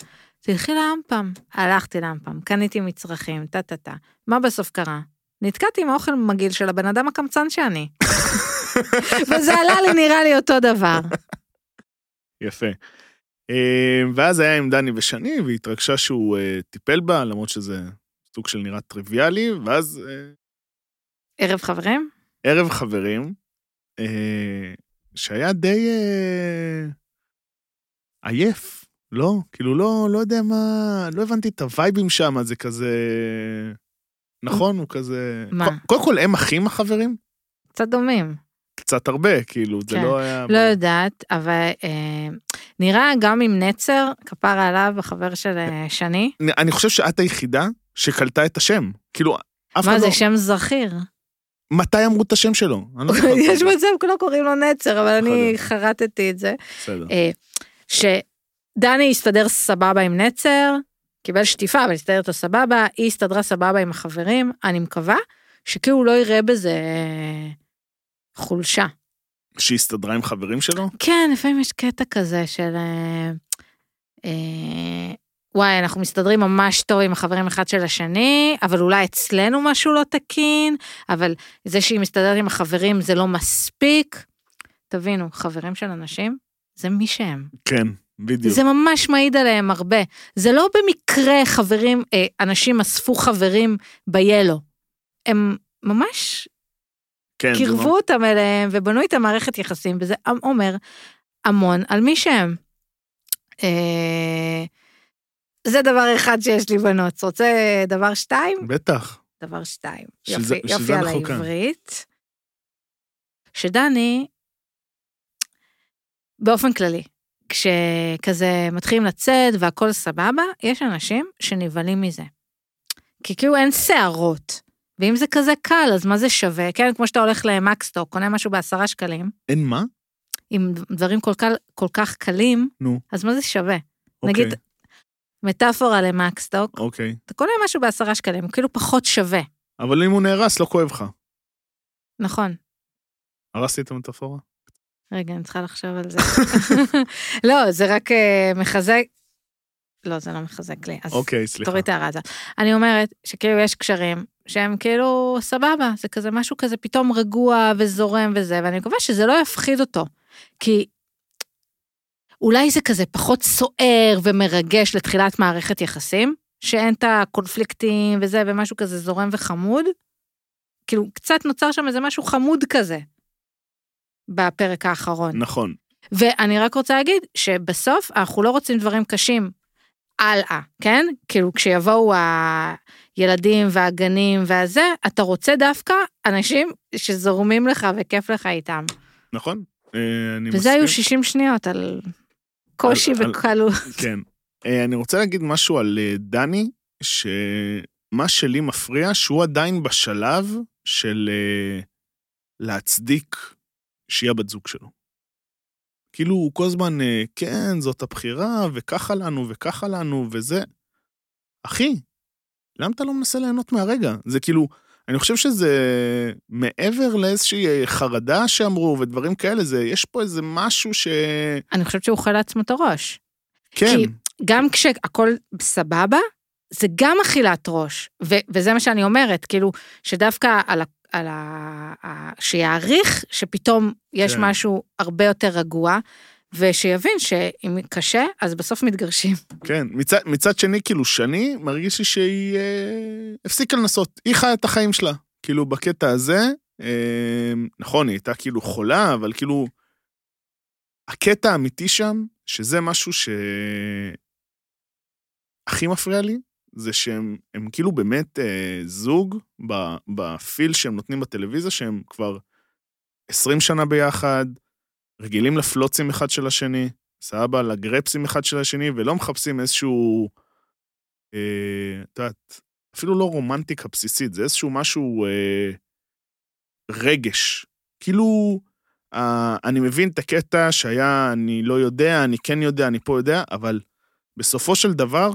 S2: תלכי לאמפם. הלכתי לאמפם, קניתי מצרכים, טה-טה-טה. מה בסוף קרה? נתקעתי עם האוכל מגעיל של הבן אדם הקמצן שאני. וזה עלה לי נראה לי אותו דבר.
S1: יפה. אה, ואז היה עם דני ושני, והיא התרגשה שהוא אה, טיפל בה, למרות שזה סוג של נראה טריוויאלי, ואז אה,
S2: ערב חברים?
S1: ערב חברים, אה, שהיה די אה, עייף, לא? כאילו, לא, לא יודע מה, לא הבנתי את הווייבים שם, זה כזה... נכון, הוא כזה...
S2: מה?
S1: ק- קודם כל, הם אחים החברים?
S2: קצת דומים.
S1: קצת הרבה, כאילו, זה
S2: כן.
S1: לא היה...
S2: לא יודעת, אבל אה, נראה גם עם נצר, כפרה עליו, החבר של אה, שני.
S1: אני- אני חושב שאת היחידה שקלטה את השם. כאילו, אף אחד
S2: מה
S1: לא...
S2: זה שם זכיר?
S1: מתי אמרו את השם שלו? אני לא זוכר.
S2: יש מצב, לא קוראים לו נצר, אבל
S1: יכול
S2: אני
S1: להיות.
S2: חרטתי את זה.
S1: בסדר.
S2: אה, שדני הסתדר סבבה עם נצר, קיבל שטיפה, אבל הסתדר איתו סבבה, היא הסתדרה סבבה עם החברים, אני מקווה שכאילו הוא לא יראה בזה אה, חולשה.
S1: שהסתדרה עם חברים שלו?
S2: כן, לפעמים יש קטע כזה של... אה, אה, וואי, אנחנו מסתדרים ממש טוב עם החברים אחד של השני, אבל אולי אצלנו משהו לא תקין, אבל זה שהיא מסתדרת עם החברים זה לא מספיק. תבינו, חברים של אנשים זה מי שהם.
S1: כן, בדיוק.
S2: זה ממש מעיד עליהם הרבה. זה לא במקרה חברים, אה, אנשים אספו חברים ב-Yellow. הם ממש
S1: כן, זה
S2: קירבו
S1: ממש-
S2: אותם אליהם ובנו איתם מערכת יחסים, וזה אמ- אומר המון על מי שהם. אה, זה דבר אחד שיש לי בנות. רוצה דבר שתיים?
S1: בטח.
S2: דבר שתיים.
S1: שזה-
S2: יופי,
S1: שזה
S2: יופי על
S1: אנחנו כאן.
S2: העברית. שדני, באופן כללי, כשכזה מתחילים לצאת והכל סבבה, יש אנשים שנבהלים מזה. כי כאילו אין שערות. ואם זה כזה קל, אז מה זה שווה? כן, כמו שאתה הולך למקסטוק, קונה משהו בעשרה שקלים,
S1: אין מה?
S2: עם דברים כל כך, כל כך קלים,
S1: נו.
S2: אז מה זה שווה?
S1: אוקיי,
S2: נגיד, מטאפורה למקסטוק,
S1: אוקיי.
S2: אתה קונה משהו בעשרה שקלים, הוא כאילו פחות שווה,
S1: אבל אם הוא נהרס, לא כואב לך.
S2: נכון?
S1: הרסתי את המטאפורה?
S2: רגע, אני צריכה לחשוב על זה. לא, זה רק אה, מחזק... לא, זה לא מחזק לי. אז
S1: אוקיי, סליחה.
S2: תוריד את ההערה הזאת. אני אומרת שכאילו יש קשרים שהם כאילו סבבה, זה כזה משהו כזה פתאום רגוע וזורם וזה, ואני מקווה שזה לא יפחיד אותו. כי אולי זה כזה פחות סוער ומרגש לתחילת מערכת יחסים, שאין את הקונפליקטים וזה, ומשהו כזה זורם וחמוד. כאילו, קצת נוצר שם איזה משהו חמוד כזה בפרק האחרון.
S1: נכון.
S2: ואני רק רוצה להגיד שבסוף אנחנו לא רוצים דברים קשים הלאה, כן? כאילו כשיבואו הילדים והגנים והזה, אתה רוצה דווקא אנשים שזורמים לך וכיף לך איתם.
S1: נכון. אה, אני
S2: וזה היו
S1: מסכים.
S2: 60 שניות על קושי
S1: על- על-
S2: וקלות.
S1: כן. אה, אני רוצה להגיד משהו על אה, דני, שמה שלי מפריע, שהוא עדיין בשלב של אה, להצדיק שהיא הבת זוג שלו. כאילו, הוא כל הזמן, אה, כן, זאת הבחירה, וככה לנו, וככה לנו, וזה. אחי, למה אתה לא מנסה ליהנות מהרגע? זה כאילו, אני חושב שזה מעבר לאיזושהי אה, חרדה שאמרו, ודברים כאלה, זה, יש פה איזה משהו ש...
S2: אני חושבת שהוא אוכל לעצמו את הראש.
S1: כן,
S2: כי- גם כשהכול סבבה, זה גם אכילת ראש. ו- וזה מה שאני אומרת, כאילו, שדווקא על ה... על ה... ה- שיעריך שפתאום יש
S1: כן.
S2: משהו הרבה יותר רגוע, ושיבין שאם קשה, אז בסוף מתגרשים.
S1: כן, מצד, מצד שני, כאילו, שני, מרגיש לי שהיא אה, הפסיקה לנסות. היא חיה את החיים שלה. כאילו, בקטע הזה, אה, נכון, היא הייתה כאילו חולה, אבל כאילו, הקטע האמיתי שם, שזה משהו שהכי מפריע לי, זה שהם הם כאילו באמת אה, זוג ב, בפיל שהם נותנים בטלוויזיה, שהם כבר 20 שנה ביחד, רגילים לפלוצים אחד של השני. סבבה, לגרפסים אחד של השני, ולא מחפשים איזשהו, אה, את יודעת, אפילו לא רומנטיקה בסיסית, זה איזשהו משהו אה, רגש. כאילו, אה, אני מבין את הקטע שהיה, אני לא יודע, אני כן יודע, אני פה יודע, אבל בסופו של דבר,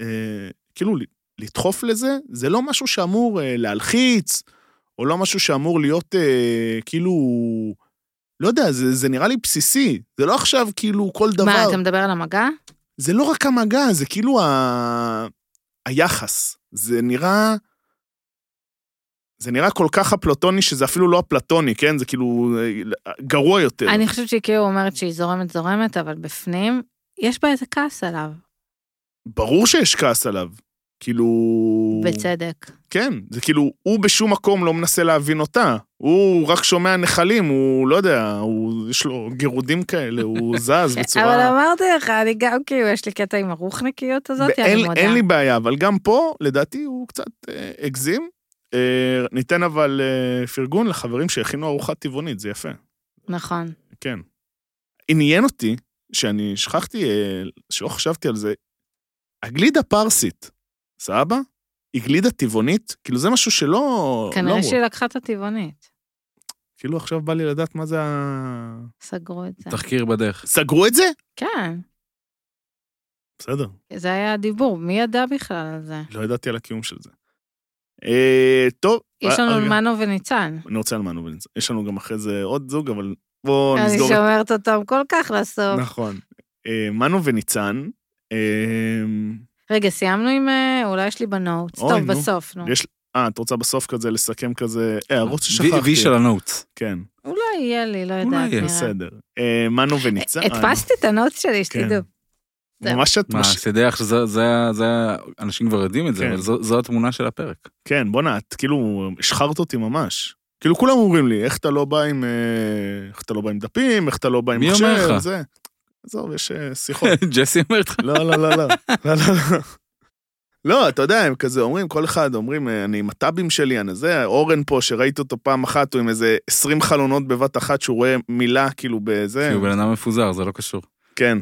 S1: אה, כאילו, ל- לדחוף לזה, זה לא משהו שאמור אה, להלחיץ, או לא משהו שאמור להיות, אה, כאילו... לא יודע, זה, זה נראה לי בסיסי. זה לא עכשיו כאילו כל דבר...
S2: מה, אתה מדבר על המגע?
S1: זה לא רק המגע, זה כאילו ה... היחס. זה נראה... זה נראה כל כך אפלטוני, שזה אפילו לא אפלטוני, כן? זה כאילו אה, גרוע יותר.
S2: אני חושבת שהיא כאילו אומרת שהיא זורמת זורמת, אבל בפנים, יש בה איזה כעס עליו,
S1: ברור שיש כעס עליו. כאילו...
S2: בצדק.
S1: כן, זה כאילו, הוא בשום מקום לא מנסה להבין אותה. הוא רק שומע נחלים, הוא לא יודע, הוא, יש לו גירודים כאלה, הוא זז בצורה...
S2: אבל אמרתי לך, אני גם כאילו, יש לי קטע עם הרוחניקיות הזאת, אני
S1: אין,
S2: מודה.
S1: אין לי בעיה, אבל גם פה, לדעתי, הוא קצת אה, הגזים. אה, ניתן אבל אה, פרגון לחברים שהכינו ארוחה טבעונית, זה יפה,
S2: נכון.
S1: כן. עניין אותי, שאני שכחתי, אה, שלא חשבתי על זה, הגלידה פרסית, סבבה? היא גלידה טבעונית? כאילו זה משהו שלא... לא
S2: כנראה
S1: אמרו.
S2: שהיא לקחה את הטבעונית.
S1: כאילו עכשיו בא לי לדעת מה זה ה...
S2: סגרו את זה.
S3: תחקיר בדרך.
S1: סגרו את זה?
S2: כן.
S1: בסדר.
S2: זה היה הדיבור, מי ידע בכלל על זה?
S1: לא ידעתי על הקיום של זה. אה, טוב.
S2: יש
S1: אה,
S2: לנו
S1: רגע.
S2: מנו וניצן.
S1: אני רוצה על מנו וניצן. יש לנו גם אחרי זה עוד זוג, אבל בואו
S2: אני
S1: נסגור את...
S3: נכון.
S2: שומרת אותם כל כך לסוף.
S1: נכון. אה, מנו וניצן, אמ,
S2: רגע, סיימנו עם... אה, אולי יש לי בנוטס.
S1: אוי,
S2: טוב,
S1: נו.
S2: בסוף, נו.
S1: יש- אה, את רוצה בסוף כזה לסכם כזה הערות
S3: וי- וי
S1: ששכחתי?
S3: של הנוטס.
S1: כן,
S2: אולי יהיה לי, לא
S3: אולי
S2: יודעת,
S3: יהיה,
S2: נראה.
S1: בסדר. אה, מנו וניצן.
S2: הדפסתי את הנוטס שלי,
S1: כן.
S2: שתדעו. זהו.
S1: ממש את...
S3: מה,
S1: מש-
S3: שתדע לך שזה, זה- זה, אנשים כבר יודעים את זה,
S1: כן.
S3: אבל זו- זו התמונה של הפרק.
S1: כן, בואנה, את כאילו השחרת אותי ממש. כאילו כולם אומרים לי, איך אתה לא בא עם... אה, איך אתה לא בא עם דפים, איך אתה לא בא עם
S3: מי
S1: מחשב,
S3: אומר לך?
S1: זה. עזוב, יש אה, שיחות.
S3: ג'סי אומרת לך,
S1: לא, לא, לא, לא. לא, לא, לא. לא, אתה יודע, הם כזה אומרים, כל אחד אומרים, אה, אני עם הטאבים שלי, אני זה, אורן פה, שראיתי אותו פעם אחת, הוא עם איזה 20 חלונות בבת אחת, שהוא רואה מילה כאילו בזה.
S3: כי הוא בן אדם מפוזר, זה לא קשור.
S1: כן.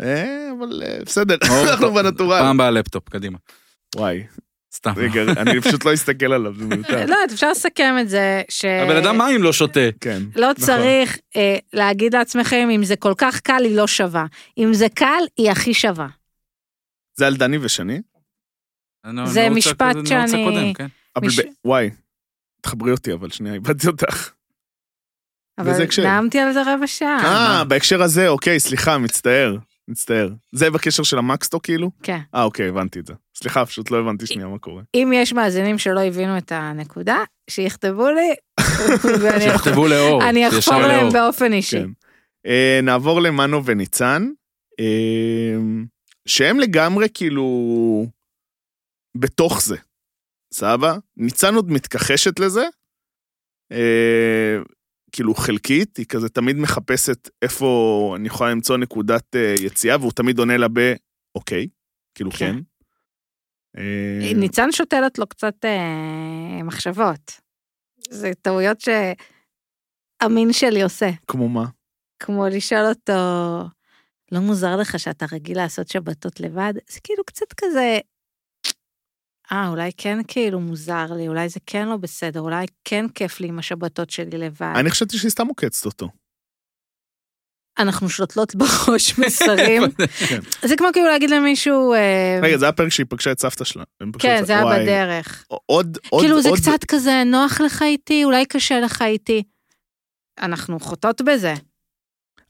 S1: אה, אבל אה, בסדר,
S3: אור,
S1: אנחנו
S3: טוב,
S1: בנטורל.
S3: פעם בלפטופ, קדימה.
S1: וואי,
S3: סתם.
S1: רגע, אני פשוט לא אסתכל עליו, זה מיותר.
S2: לא, אפשר לסכם את זה, ש...
S3: הבן אדם מים לא שותה.
S1: כן.
S2: לא
S1: נכון.
S2: צריך אה, להגיד לעצמכם, אם זה כל כך קל, היא לא שווה. אם זה קל, היא הכי שווה.
S1: זה על דני ושני?
S3: אני- לא-
S2: זה
S3: אני רוצה
S2: משפט
S3: קודם- אני רוצה
S2: שאני-
S3: קודם, כן.
S1: אבל
S2: מש-
S1: ב- וואי, תחברי אותי, אבל שנייה, איבדתי אותך.
S2: אבל
S1: וזה הקשר.
S2: נאמתי על זה רבע שעה.
S1: אה, בהקשר הזה, אוקיי, סליחה, מצטער. מצטער. זה בקשר של המקסטו כאילו?
S2: כן.
S1: אה, אוקיי, הבנתי את זה. סליחה, פשוט לא הבנתי שנייה מה קורה.
S2: אם יש מאזינים שלא הבינו את הנקודה, שיכתבו לי, ואני אח-
S3: שיכתבו לאור,
S2: אני
S3: שישר
S2: אחפור להם
S3: לאור.
S2: באופן אישי.
S1: כן. אה, נעבור למנו וניצן, אה, שהם לגמרי כאילו בתוך זה, סבבה? ניצן עוד מתכחשת לזה, אה, כאילו חלקית, היא כזה תמיד מחפשת איפה אני יכולה למצוא נקודת אה, יציאה, והוא תמיד עונה לה ב, אוקיי, כאילו
S2: כן.
S1: כן. אה,
S2: ניצן שותלת לו קצת אה, מחשבות. זה טעויות שאמין שלי עושה,
S1: כמו מה?
S2: כמו לשאול אותו, לא מוזר לך שאתה רגיל לעשות שבתות לבד? זה כאילו קצת כזה, אה, אולי כן כאילו מוזר לי, אולי זה כן לא בסדר, אולי כן כיף לי עם השבתות שלי לבד.
S1: אני חשבתי שהיא סתם עוקצת אותו.
S2: אנחנו שותלות בראש מסרים.
S1: כן.
S2: זה כמו כאילו להגיד למישהו, אה,
S1: רגע, זה היה פרק שהיא פגשה את סבתא שלה. הם פגשו
S2: כן,
S1: את-
S2: זה היה
S1: וואי,
S2: בדרך.
S1: עוד, עוד,
S2: כאילו זה
S1: עוד-
S2: קצת כזה נוח לך איתי, אולי קשה לך איתי. אנחנו חוטאות בזה,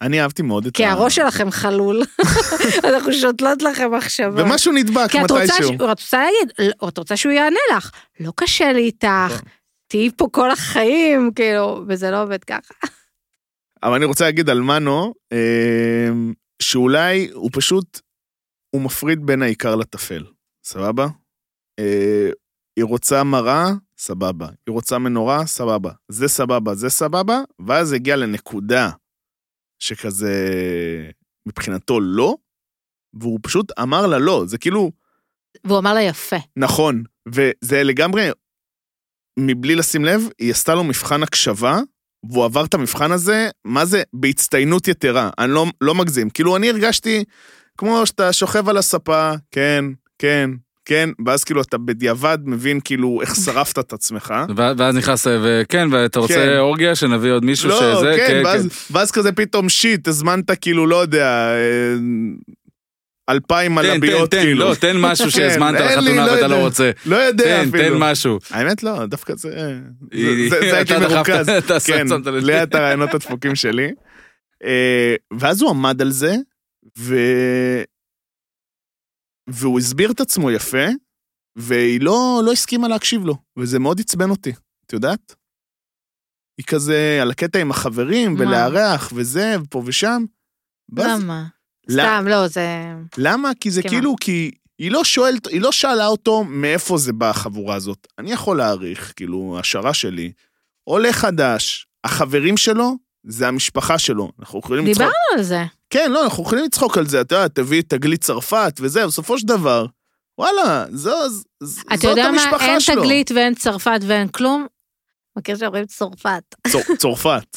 S1: אני אהבתי מאוד את
S2: כי הראש שלכם חלול, אנחנו שותלות לכם מחשבות.
S1: ומשהו נדבק
S2: כי את רוצה, ש...
S1: מתישהו.
S2: את רוצה להגיד, לא, את רוצה שהוא יענה לך, לא קשה לי איתך,
S1: נכון.
S2: תהיי פה כל החיים, כאילו, וזה לא עובד ככה.
S1: אבל אני רוצה להגיד על מנו, אה, שאולי הוא פשוט, הוא מפריד בין העיקר לטפל, סבבה? אה, היא רוצה מראה, סבבה. היא רוצה מנורה, סבבה. זה סבבה, זה סבבה, ואז הגיע לנקודה שכזה, מבחינתו לא, והוא פשוט אמר לה לא, זה כאילו,
S2: והוא אמר לה יפה.
S1: נכון, וזה לגמרי, מבלי לשים לב, היא עשתה לו מבחן הקשבה, והוא עבר את המבחן הזה, מה זה? בהצטיינות יתרה, אני לא, לא מגזים. כאילו, אני הרגשתי כמו שאתה שוכב על הספה, כן, כן, כן, ואז כאילו אתה בדיעבד מבין כאילו איך שרפת את עצמך.
S3: ו- ואז נכנס, אה, וכן, ואתה
S1: כן.
S3: רוצה אורגיה, שנביא עוד מישהו
S1: לא,
S3: שזה,
S1: כן, ואז, ואז כזה פתאום שיט, הזמנת כאילו, לא יודע, אה, אלפיים
S3: תן,
S1: מלביות
S3: תן, תן,
S1: כאילו.
S3: לא, תן משהו שהזמנת
S1: אין לי,
S3: לחתונה
S1: לא
S3: ואתה
S1: יודע.
S3: לא רוצה.
S1: לא יודע
S3: תן,
S1: אפילו.
S3: תן משהו.
S1: האמת לא, דווקא זה... זה- זה זה הייתי
S3: אתה דחפת,
S1: מרוכז.
S3: אתה
S1: כן,
S3: שמת לב.
S1: ליד הרעיונות הדפוקים שלי. אה, ואז הוא עמד על זה, ו... והוא הסביר את עצמו יפה, והיא לא, לא הסכימה להקשיב לו, וזה מאוד עצבן אותי, את יודעת? היא כזה על הקטע עם החברים,
S2: מה?
S1: ולארח, וזה, ופה ושם. ואז-
S2: למה?
S1: לא-
S2: סתם, לא, זה...
S1: למה? כי זה
S2: מסכימה.
S1: כאילו, כי היא לא שואלת, היא לא שאלה אותו מאיפה זה בא החבורה הזאת. אני יכול להעריך, כאילו, השערה שלי, עולה חדש, החברים שלו, זה המשפחה שלו. אנחנו יכולים לצחוק.
S2: דיברנו על זה.
S1: כן, לא, אנחנו יכולים לצחוק על זה, אתה יודע, תביא את תגלית צרפת וזה, בסופו של דבר, וואלה, זו, ז- זאת
S2: אתה יודע מה,
S1: המשפחה
S2: אין
S1: שלו.
S2: תגלית ואין צרפת ואין כלום. מכיר שאומרים צרפת.
S1: צור- צרפת.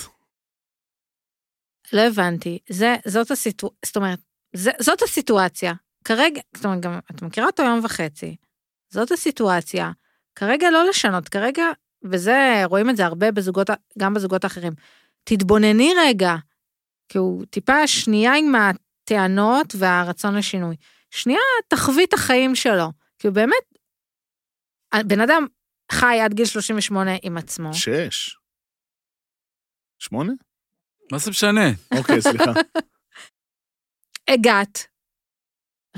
S2: לא הבנתי. זה, זאת הסיטואציה, זאת אומרת, זה, זאת הסיטואציה. כרגע, זאת אומרת, גם את מכירה אותו יום וחצי. זאת הסיטואציה. כרגע לא לשנות, כרגע, וזה, רואים את זה הרבה בזוגות, ה- גם בזוגות האחרים. תתבונני רגע, כי הוא טיפה שנייה עם הטענות והרצון לשינוי. שנייה, תחווי את החיים שלו. כי הוא באמת, בן אדם חי עד גיל 38 עם עצמו.
S1: שש. שמונה?
S3: מה זה משנה?
S1: אוקיי, סליחה.
S2: הגעת,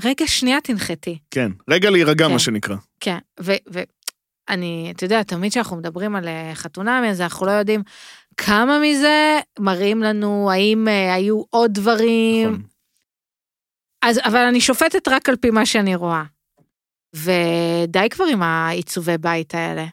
S2: רגע שנייה תנחתי.
S1: כן. רגע להירגע,
S2: כן.
S1: מה שנקרא.
S2: כן, ואני, אתה יודע, תמיד כשאנחנו מדברים על אה, חתונה, אז אנחנו לא יודעים כמה מזה מראים לנו, האם אה, היו עוד דברים.
S1: נכון.
S2: אז, אבל אני שופטת רק על פי מה שאני רואה. ודי כבר עם העיצובי בית האלה.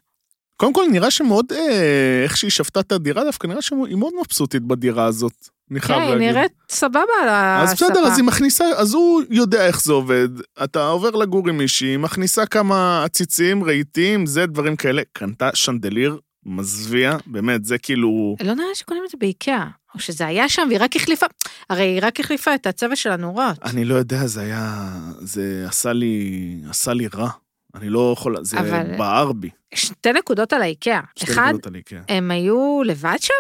S1: קודם כל, נראה שמאוד, אה, איך שהיא שבתה את הדירה, דווקא נראה שהיא מאוד מבסוטית בדירה הזאת. אני
S2: כן,
S1: חייב
S2: היא
S1: להגיד.
S2: נראית סבבה על
S1: אז
S2: הספה.
S1: בסדר, אז היא מכניסה, אז הוא יודע איך זה עובד. אתה עובר לגור עם מישהי, היא מכניסה כמה עציצים, רהיטים, זה, דברים כאלה. קנתה שנדליר מזוויע, באמת, זה כאילו...
S2: לא נראה לי שקונים את זה באיקאה, או שזה היה שם והיא רק החליפה, הרי היא רק החליפה את הצבע של הנורות.
S1: אני לא יודע, זה היה... זה עשה לי... עשה לי רע. אני לא יכול... זה
S2: אבל-
S1: בער בי.
S2: שתי נקודות על האיקאה.
S1: שתי
S2: אחד,
S1: נקודות על איקאה.
S2: הם היו לבד שם?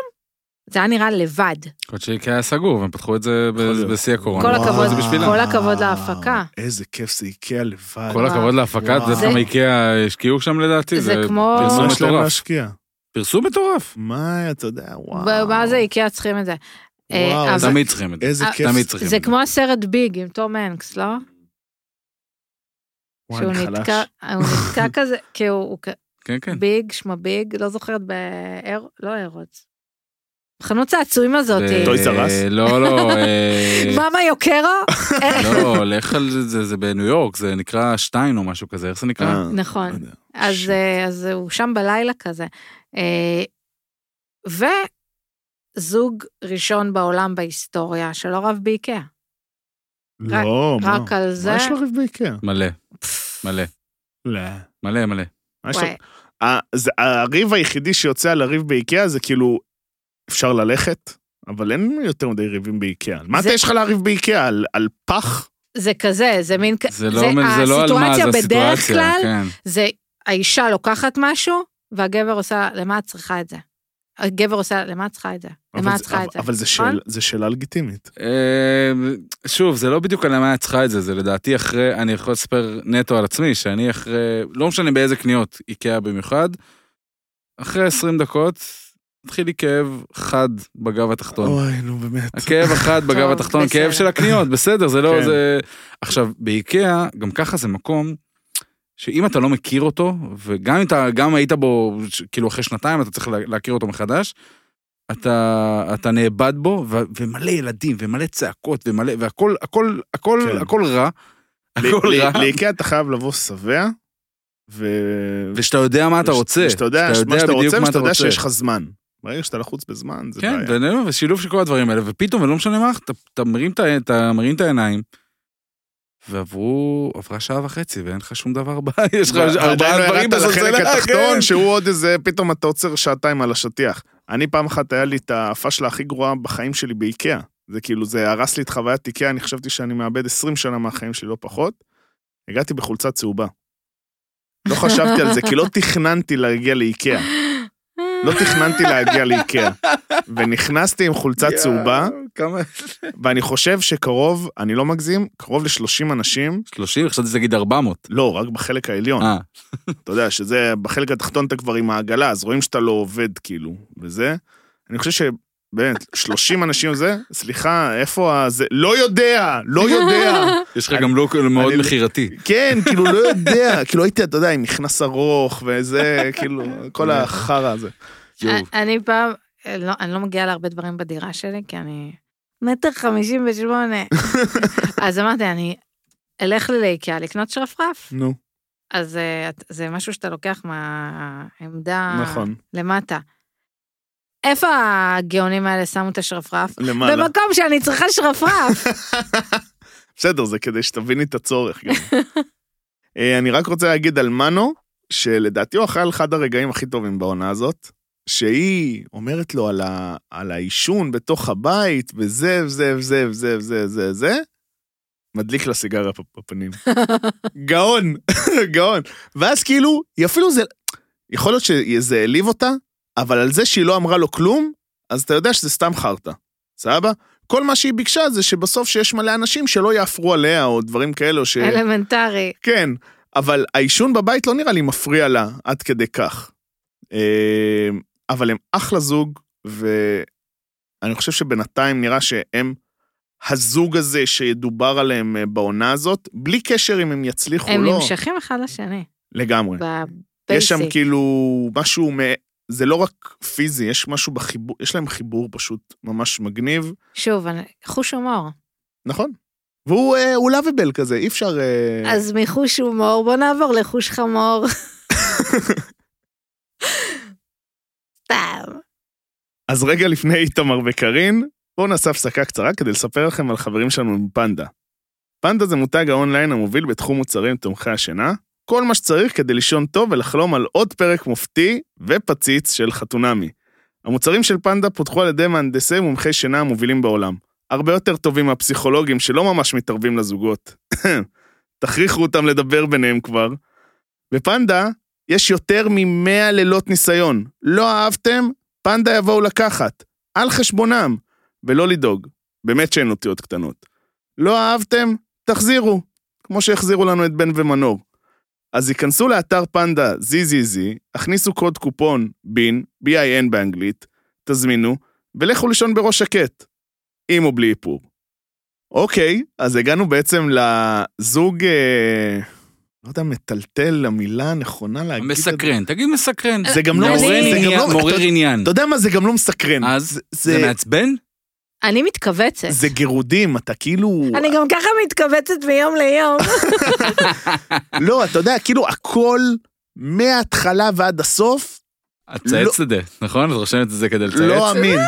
S2: זה היה נראה לבד.
S3: עוד שאיקאה סגור, והם פתחו את זה ב-
S1: יכול להיות.
S3: בשיא הקורונה.
S2: כל
S3: הם פתחו את
S2: הכבוד,
S3: זה בשבילם.
S2: כל הכבוד להפקה.
S1: איזה כיף זה איקאה לבד.
S3: כל הכבוד להפקה,
S1: וואו.
S3: זה כמה איקאה השקיעו שם לדעתי.
S2: זה כמו-
S3: פרסום
S1: אה, מה יש להם
S3: מטורף.
S1: להשקיע?
S3: פרסום מטורף.
S1: מה, אתה יודע, וואו.
S2: ב- מה זה איקאה צריכים את זה? אה,
S1: וואו,
S2: אבל-
S3: תמיד צריכים את זה.
S1: איזה
S2: אה,
S1: כיף.
S3: תמיד צריכים.
S2: זה כמו הסרט ביג עם תום הנקס, לא?
S1: וואי,
S2: שהוא
S1: אני חלש.
S2: נתקע, הוא נתקע כזה, כי הוא הוא כ-
S3: כן, כן.
S2: ביג, שמה ביג, לא זוכרת באר... לא ארוץ. חנות צעצועים הזאתי.
S3: ב-
S1: Toys R Us?
S3: אה, לא, לא. אה,
S2: מאמה יוקרו?
S3: לא, לך על זה, זה, זה בניו יורק, זה נקרא שטיין או משהו כזה, איך זה נקרא?
S1: אה,
S2: נכון.
S1: לא יודע.
S2: אז,
S1: שיט.
S2: אה, אז הוא שם בלילה כזה. אה, וזוג ראשון בעולם בהיסטוריה שלא רב באיקאה. רק-
S1: לא, מה?
S2: רק על זה,
S1: מה יש לריב באיקאה?
S3: מלא, מלא,
S1: לא.
S3: מלא, מלא.
S1: מה יש לו-
S2: וואי,
S1: אה, זה- הריב היחידי שיוצא על הריב באיקאה זה כאילו, אפשר ללכת, אבל אין יותר מדי ריבים באיקאה. מה
S2: זה-
S1: אתה יש לך לריב באיקאה? על- על פח?
S2: זה כזה, זה מין, כ-
S3: זה לא, זה לא על מה, זה
S2: הסיטואציה בדרך
S3: הסיטואציה,
S2: כלל,
S3: כן.
S2: זה האישה לוקחת משהו, והגבר עושה, למה את צריכה את זה? הגבר עושה, למה את צריכה את זה?
S1: אבל
S2: למה את
S1: זה-
S2: צריכה את זה?
S1: אבל זה
S2: נכון?
S1: שאל- זה שאלה לגיטימית.
S3: אה, שוב, זה לא בדיוק על למה את צריכה את זה, זה לדעתי אחרי, אני יכול לספר נטו על עצמי, שאני אחרי, לא משנה באיזה קניות, איקאה במיוחד, אחרי 20 דקות, התחיל לי כאב חד בגב התחתון.
S1: אוי, נו באמת.
S3: הכאב החד בגב
S2: טוב,
S3: התחתון,
S2: בסדר.
S3: כאב של הקניות, בסדר, זה לא,
S1: כן.
S3: זה... עכשיו, באיקאה, גם ככה זה מקום שאם אתה לא מכיר אותו, וגם אם אתה, גם היית בו, ש- כאילו אחרי שנתיים, אתה צריך לה- להכיר אותו מחדש, אתה, אתה נאבד בו, ו- ומלא ילדים, ומלא צעקות, ומלא, והכל, הכל, הכל,
S1: כן.
S3: הכל רע.
S1: ל-
S3: הכל
S1: ל-
S3: רע.
S1: לאיקאה אתה חייב לבוא שבע, ו-
S3: ושאתה יודע מה אתה
S1: וש-
S3: רוצה.
S1: ושאתה יודע
S3: שאתה
S1: מה שאתה
S3: בדיוק
S1: רוצה,
S3: מה
S1: ושאתה
S3: אתה
S1: יודע
S3: רוצה.
S1: שיש לך זמן. ברגע שאתה לחוץ בזמן, זה
S3: כן,
S1: בעיה.
S3: ונראה, ושילוב של כל הדברים האלה, ופתאום, ולא משנה מה, אתה, אתה, מרים, את ה- אתה מרים את העיניים, ועברו, עברה שעה וחצי, ואין לך שום דבר הבא, יש לך
S1: ועדיין לא
S3: ארבעה דברים
S1: ירדת לחלק
S3: בסלסלה,
S1: התחתון,
S3: כן.
S1: שהוא עוד איזה, פתאום אתה עוצר שעתיים על השטיח. אני פעם אחת היה לי את הפשלה הכי גרועה בחיים שלי באיקאה. זה כאילו, זה הרס לי את חוויית איקאה, אני חשבתי שאני מאבד 20 שנה מהחיים שלי, לא פחות. הגעתי בחולצה צהובה. לא חשבתי על זה, כי לא תכננתי להגיע לאיקאה.
S2: אה,
S1: לא תכננתי להגיע לאיקאה. ונכנסתי עם חולצה
S3: יואו,
S1: צהובה,
S3: כמה?
S1: ואני חושב שקרוב, אני לא מגזים, קרוב ל-30 אנשים,
S3: 30, חשבתי שתגיד 400.
S1: לא, רק בחלק העליון.
S3: אה,
S1: אתה יודע שזה, בחלק התחתון אתה כבר עם העגלה, אז רואים שאתה לא עובד, כאילו, וזה. אני חושב שבאמת, 30 אנשים זה, סליחה, איפה ה... זה, לא יודע, לא יודע.
S3: יש לך גם לוק מאוד
S1: אני-
S3: מכירתי.
S1: כן, כאילו, לא יודע, כאילו הייתי, אתה יודע, עם מכנס ארוך, וזה, כאילו, כל החרא הזה.
S3: יואו.
S2: אני פעם, אה, לא, אני לא מגיעה להרבה דברים בדירה שלי, כי אני מטר חמישים ושמונה. אז אמרתי, אני אלך לי לאיקאה לקנות שרפרף.
S1: נו,
S2: אז אה, את- זה משהו שאתה לוקח מהעמדה
S1: נכון.
S2: למטה. איפה הגאונים האלה שמו את השרפרף?
S1: למעלה.
S2: במקום שאני צריכה שרפרף.
S1: בסדר, זה כדי שתביני את הצורך גם. אה, אני רק רוצה להגיד על מנו, שלדעתי הוא אחראי על אחד הרגעים הכי טובים בעונה הזאת, שהיא אומרת לו על, ה, על העישון בתוך הבית, וזה, וזה, וזה, וזה, וזה, וזה, וזה, מדליק לה סיגריה פ- בפנים. גאון, גאון. ואז כאילו, היא אפילו זה, יכול להיות שזה העליב אותה, אבל על זה שהיא לא אמרה לו כלום, אז אתה יודע שזה סתם חרטא, סבבה? כל מה שהיא ביקשה זה שבסוף שיש מלא אנשים שלא יעפרו עליה, או דברים כאלו ש...
S2: אלמנטרי.
S1: כן, אבל העישון בבית לא נראה לי מפריע לה עד כדי כך. אה, אבל הם אחלה זוג, ואני חושב שבינתיים נראה שהם הזוג הזה שידובר עליהם אה, בעונה הזאת, בלי קשר אם הם יצליחו או
S2: הם
S1: לא,
S2: נמשכים אחד לשני,
S1: לגמרי.
S2: בבייסיק.
S1: יש שם כאילו משהו, מ... זה לא רק פיזי, יש משהו בחיבור, יש להם חיבור פשוט ממש מגניב,
S2: שוב, אני- חוש הומור.
S1: נכון. והוא אה, הוא לאביבל כזה, אי אפשר... אה,
S2: אז מחוש הומור, בוא נעבור לחוש חמור. סתם.
S1: אז רגע לפני איתמר וקארין, בואו נעשה הפסקה קצרה כדי לספר לכם על חברים שלנו מפנדה. פנדה זה מותג האונליין המוביל בתחום מוצרים תומכי השינה, כל מה שצריך כדי לישון טוב ולחלום על עוד פרק מופתי ופציץ של חתונמי. המוצרים של פנדה פותחו על ידי מהנדסי מומחי שינה המובילים בעולם. הרבה יותר טובים מהפסיכולוגים שלא ממש מתערבים לזוגות. תכריחו אותם לדבר ביניהם כבר. בפנדה יש יותר מ-100 לילות ניסיון. לא אהבתם? פנדה יבואו לקחת, על חשבונם, ולא לדאוג. באמת שאין אותיות קטנות. לא אהבתם? תחזירו, כמו שהחזירו לנו את בן ומנור. אז היכנסו לאתר פנדה ZZZ, הכניסו קוד קופון בין, BIN באנגלית, תזמינו, ולכו לישון בראש שקט, עם או בלי איפור. אוקיי, אז הגענו בעצם לזוג, אה, לא יודע, מטלטל, למילה הנכונה להגיד את זה.
S3: מסקרן, תגיד מסקרן.
S1: זה גם לא
S2: אני-
S3: מעורר
S1: זה גם
S3: עניין,
S1: לא-
S3: מעורר עניין.
S1: אתה יודע מה, זה גם לא מסקרן.
S3: אז אה, זה
S1: זה,
S3: מעצבן?
S2: אני מתכווצת.
S1: זה גירודים, אתה כאילו...
S2: אני גם ככה מתכווצת מיום ליום.
S1: לא, אתה יודע, כאילו הכל מההתחלה ועד הסוף,
S3: את צייצת את זה, נכון? את רושמת את זה כדי לצייץ?
S1: לא אמין.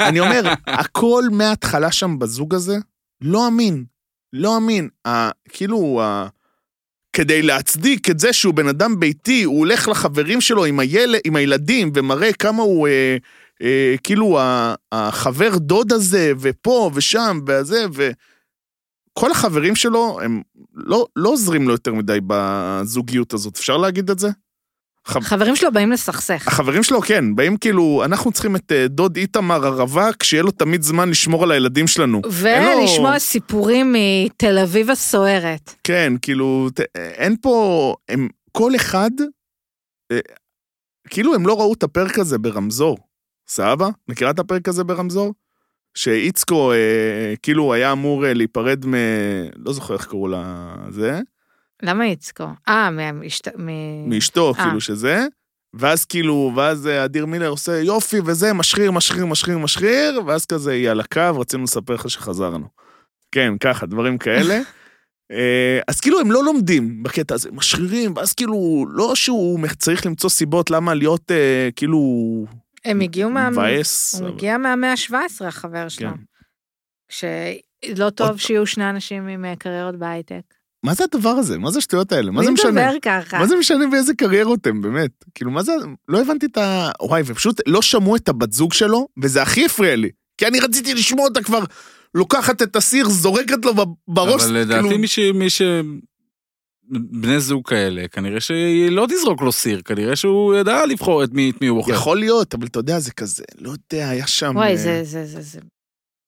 S1: אני אומר, הכל מההתחלה שם בזוג הזה, לא אמין. לא אמין. ה- כאילו, ה- כדי להצדיק את זה שהוא בן אדם ביתי, הוא הולך לחברים שלו עם, היל... עם הילדים ומראה כמה הוא... אה, אה, כאילו ה- החבר דוד הזה, ופה ושם, וזה, ו... כל החברים שלו, הם לא, לא עוזרים לו יותר מדי בזוגיות הזאת, אפשר להגיד את זה? חב-
S2: חברים שלו באים לסכסך.
S1: החברים שלו, כן, באים כאילו, אנחנו צריכים את אה, דוד איתמר הרווק, שיהיה לו תמיד זמן לשמור על הילדים שלנו.
S2: ולשמוע סיפורים מתל אביב הסוערת.
S1: כן, כאילו, ת, אין פה, הם, כל אחד, אה, כאילו הם לא ראו את הפרק הזה ברמזור. סבבה? מכירה את הפרק הזה ברמזור? שאיצקו, אה, כאילו, היה אמור אה, להיפרד מ... לא זוכר איך קראו לה... זה.
S2: למה יצקו? אה, מהמשת- מ-
S1: מאשתו,
S2: אה.
S1: כאילו שזה, ואז כאילו, ואז אה, אדיר מילר עושה יופי וזה, משחיר, משחיר, משחיר, משחיר, ואז כזה היא על הקו, רצינו לספר לך שחזרנו. כן, ככה, דברים כאלה. אה, אז כאילו הם לא לומדים בקטע הזה, משחירים, ואז כאילו, לא שהוא צריך למצוא סיבות למה להיות אה, כאילו
S2: הם הגיעו מה...
S1: מבאס.
S2: הוא
S1: אבל-
S2: הגיע מהמאה ה-17, החבר שלו.
S1: כן.
S2: שלא טוב
S1: עוד-
S2: שיהיו שני אנשים עם אה, קריירות בהייטק.
S1: מה זה הדבר הזה? מה זה השטויות האלה? מה זה
S2: מי
S1: משנה?
S2: מדבר ככה?
S1: מה זה משנה באיזה קריירות הם, באמת? כאילו, מה זה... לא הבנתי את ה... וואי, ופשוט לא שמעו את הבת זוג שלו, וזה הכי הפריע לי. כי אני רציתי לשמוע אותה כבר לוקחת את הסיר, זורקת לו ב- בראש, כאילו,
S3: אבל לדעתי מי ש... מי ש... בני זוג כאלה, כנראה שהיא לא תזרוק לו סיר, כנראה שהוא ידע לבחור את מי, את מי הוא בוחר.
S1: יכול להיות, אבל אתה יודע, זה כזה, לא יודע, היה שם...
S2: וואי,
S1: אה,
S2: זה, זה, זה, זה...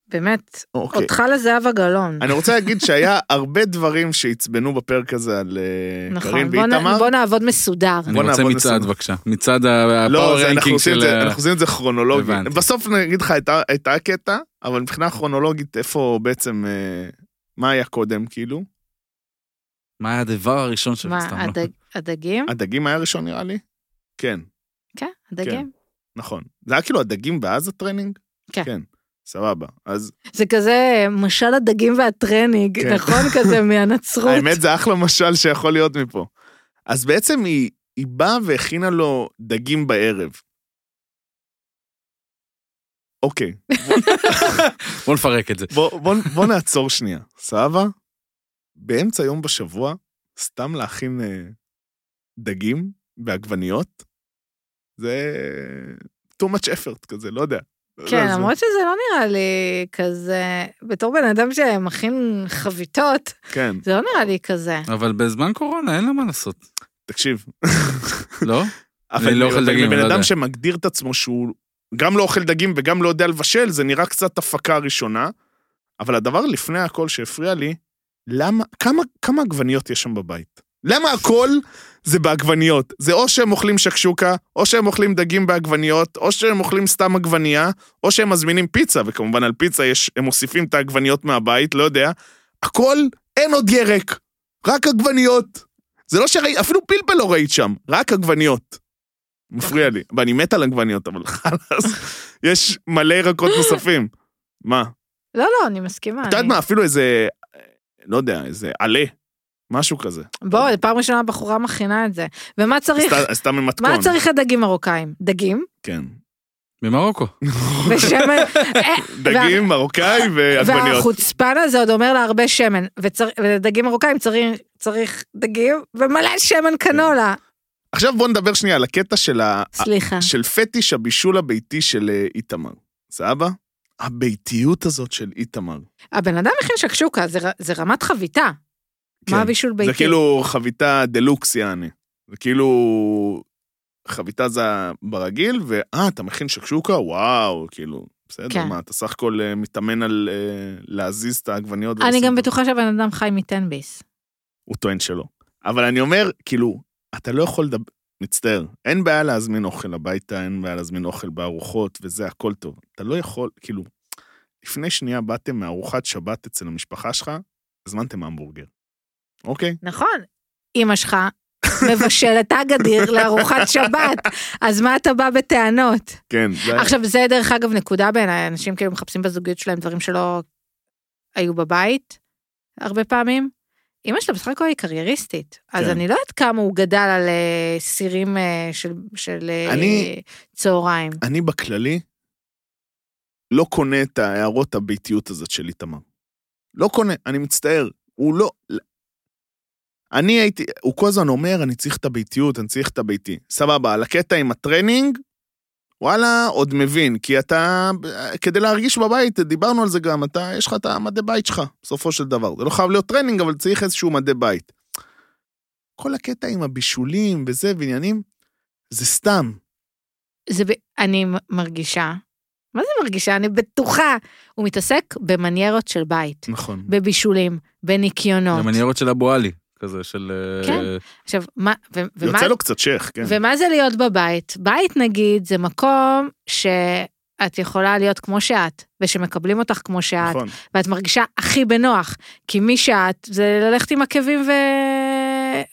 S2: באמת,
S1: אוקיי.
S2: אותך לזהבה גלאון.
S1: אני רוצה להגיד שהיה הרבה דברים שעצבנו בפרק הזה על אה, קארין
S2: נכון, בוא, נ,
S1: ואיתמר.
S2: בוא נעבוד מסודר.
S3: אני
S1: בוא
S3: רוצה
S1: נעבוד
S3: מצעד
S1: לסוף.
S3: בבקשה, מצעד ה-
S1: לא,
S3: הפאוור
S1: זה- אנחנו
S3: רנקינג
S1: עושים את
S3: של...
S1: זה-
S3: ה-
S1: אנחנו עושים את זה כרונולוגי.
S3: הבנתי.
S1: בסוף נגיד לך את ה- את הקטע, אבל מבחינה כרונולוגית, איפה בעצם, אה, מה היה קודם, כאילו?
S3: מה היה הדבר הראשון שלו?
S2: מה, הדג, הדגים?
S1: הדגים היה ראשון נראה לי? כן,
S2: כן, הדגים.
S1: נכון. זה היה כאילו הדגים ואז הטרנינג?
S2: כן.
S1: כן, סבבה. אז
S2: זה כזה אה, משל הדגים והטרנינג,
S1: כן.
S2: נכון? כזה מהנצרות.
S1: האמת זה אחלה משל שיכול להיות מפה. אז בעצם היא, היא באה והכינה לו דגים בערב. אוקיי,
S3: בוא נפרק את זה.
S1: בוא, בוא, בוא נעצור שנייה, סבבה? באמצע יום בשבוע, סתם להכין אה, דגים ועגבניות, זה too much effort כזה, לא יודע.
S2: כן,
S1: זה-
S2: למרות שזה לא נראה לי כזה, בתור בן אדם שמכין חביתות,
S1: כן,
S2: זה לא נראה לי כזה.
S3: אבל בזמן קורונה אין לה מה לעשות,
S1: תקשיב.
S3: לא?
S1: אבל
S3: אני לא אוכל דגים,
S1: לבן
S3: לא
S1: אדם
S3: יודע.
S1: שמגדיר את עצמו שהוא גם לא אוכל דגים וגם לא יודע לבשל, זה נראה קצת הפקה ראשונה. אבל הדבר לפני הכל שהפריע לי, למה, כמה, כמה עגבניות יש שם בבית? למה הכל זה בעגבניות? זה או שהם אוכלים שקשוקה, או שהם אוכלים דגים בעגבניות, או שהם אוכלים סתם עגבנייה, או שהם מזמינים פיצה, וכמובן על פיצה יש, הם מוסיפים את העגבניות מהבית, לא יודע. הכל, אין עוד ירק, רק עגבניות. זה לא שראית, אפילו פלפל לא ראית שם, רק עגבניות. מפריע לי. ואני מת על עגבניות, אבל חלאס, יש מלא ירקות נוספים. מה?
S2: לא, לא, אני מסכימה.
S1: את יודעת
S2: אני-
S1: מה, אפילו איזה, לא יודע, איזה עלה, משהו כזה.
S2: בואי, פעם ראשונה הבחורה מכינה את זה. ומה צריך,
S1: סת- סתם ממתכון.
S2: מה צריך לדגים מרוקאים? דגים?
S1: כן.
S3: ממרוקו.
S2: ושמן, אה,
S1: דגים, מרוקאי ועגבניות.
S2: והחוצפן הזה עוד אומר לה הרבה שמן, וצר- ולדגים מרוקאים צריך, צריך דגים ומלא שמן קנולה.
S1: כן.
S2: אה,
S1: עכשיו בוא נדבר שנייה על הקטע של ה-
S2: סליחה.
S1: של פטיש הבישול הביתי של אה, איתמר. סבא? הביתיות הזאת של איתמר.
S2: הבן אדם הכין שקשוקה, זה ר- זה רמת חביתה.
S1: כן.
S2: מה הבישול ביתי?
S1: זה כאילו חביתה דה לוקס, יעני. זה כאילו חביתה זה ברגיל, ואה, אתה מכין שקשוקה? וואו, כאילו, בסדר,
S2: כן.
S1: מה, אתה סך הכל אה, מתאמן על אה, להזיז את העגבניות.
S2: אני
S1: ולשים
S2: גם
S1: את-
S2: בטוחה שהבן אדם חי מתן ביס.
S1: הוא טוען שלא. אבל אני אומר, כאילו, אתה לא יכול לדבר, מצטער, אין בעיה להזמין אוכל הביתה, אין בעיה להזמין אוכל בארוחות, וזה, הכל טוב. אתה לא יכול, כאילו, לפני שנייה באתם מארוחת שבת אצל המשפחה שלך, הזמנתם המבורגר, אוקיי?
S2: נכון. אמא שלך מבשלת אגדיר לארוחת שבת, אז מה אתה בא בטענות?
S1: כן, זה...
S2: עכשיו זה דרך אגב נקודה בעיניי, אנשים כאילו מחפשים בזוגיות שלהם דברים שלא היו בבית, הרבה פעמים. אמא שלו בסך הכל היא קרייריסטית, אז
S1: כן.
S2: אני לא יודעת כמה הוא גדל על אה, סירים אה, של- של אה,
S1: אני-
S2: צהריים.
S1: אני בכללי לא קונה את ההערות הביתיות הזאת של איתמר. לא קונה, אני מצטער. הוא לא... אני הייתי, הוא כל הזמן אומר, אני צריך את הביתיות, אני צריך את הביתי. סבבה, על הקטע עם הטרנינג, וואלה, עוד מבין, כי אתה, כדי להרגיש בבית, דיברנו על זה גם, אתה, יש לך את המדי בית שלך, בסופו של דבר. זה לא חייב להיות טרנינג, אבל צריך איזשהו מדי בית. כל הקטע עם הבישולים וזה, ועניינים, זה סתם.
S2: זה, ב- אני מ- מרגישה, מה זה מרגישה? אני בטוחה. הוא מתעסק במניירות של בית,
S1: נכון.
S2: בבישולים, בניקיונות.
S3: המניירות של אבו עלי, כזה של... אה,
S2: לא. כן. עכשיו, מה, ו- ומה
S1: יוצא לו קצת שייח, כן.
S2: ומה זה להיות בבית? בית נגיד זה מקום שאת יכולה להיות כמו שאת, ושמקבלים אותך כמו שאת, נכון.
S1: נכון.
S2: ואת מרגישה הכי בנוח, כי מי שאת זה ללכת עם עקבים ו...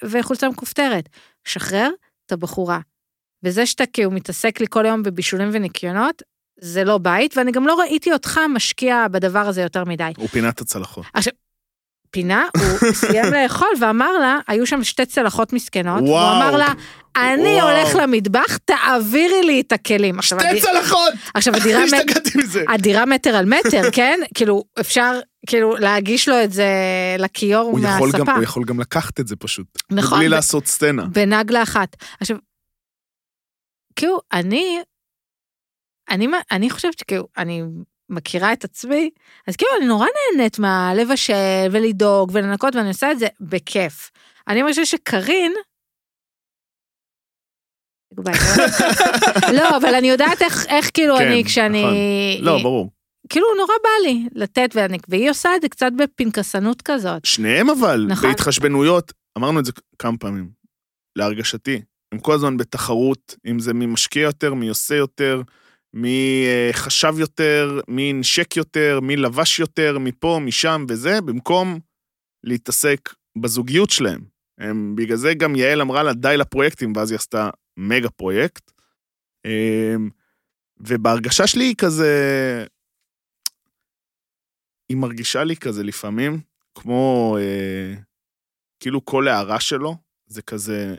S2: וחולצה מכופתרת. שחרר את הבחורה. וזה שאתה כאילו מתעסק לי כל היום בבישולים וניקיונות, זה לא בית, ואני גם לא ראיתי אותך משקיע בדבר הזה יותר מדי.
S1: הוא פינה את הצלחות.
S2: פינה, הוא סיים לאכול ואמר לה, היו שם שתי צלחות מסכנות, נכון, והוא
S1: וואו.
S2: אמר לה, אני
S1: וואו.
S2: הולך למטבח, תעבירי לי את הכלים. עכשיו,
S1: שתי
S2: הדי-
S1: צלחות!
S2: עכשיו הדירה, מט-
S1: השתגעתי מזה.
S2: הדירה מטר על מטר, כן? כאילו, אפשר כאילו להגיש לו את זה לכיור
S1: הוא יכול גם-
S2: מהספה.
S1: הוא יכול גם לקחת את זה פשוט.
S2: נכון,
S1: בלי
S2: ב-
S1: לעשות סצנה.
S2: בנגלה אחת. עכשיו, כאילו, אני, אני, מה- אני חושבת שכאילו, אני מכירה את עצמי, אז כאילו, אני נורא נהנית מהלבשל ולדאוג ולנקות, ואני עושה את זה בכיף. אני חושבת שקארין, לא, אבל אני יודעת איך, איך כאילו
S1: כן,
S2: אני, כשאני...
S1: לא, ברור.
S2: כאילו, נורא בא לי לתת, ואני, והיא עושה את זה קצת בפנקסנות כזאת.
S1: שניהם אבל,
S2: נכון.
S1: בהתחשבנויות, אמרנו את זה כמה פעמים, להרגשתי. הם כל הזמן בתחרות, אם זה מי משקיע יותר, מי עושה יותר, מי אה, חשב יותר, מי נשק יותר, מי לבש יותר, מפה, משם וזה, במקום להתעסק בזוגיות שלהם. הם, בגלל זה גם יעל אמרה לה די לפרויקטים, ואז היא עשתה מגה פרויקט. אמ, ובהרגשה שלי היא כזה... היא מרגישה לי כזה לפעמים, כמו... אה, כאילו כל הערה שלו, זה כזה,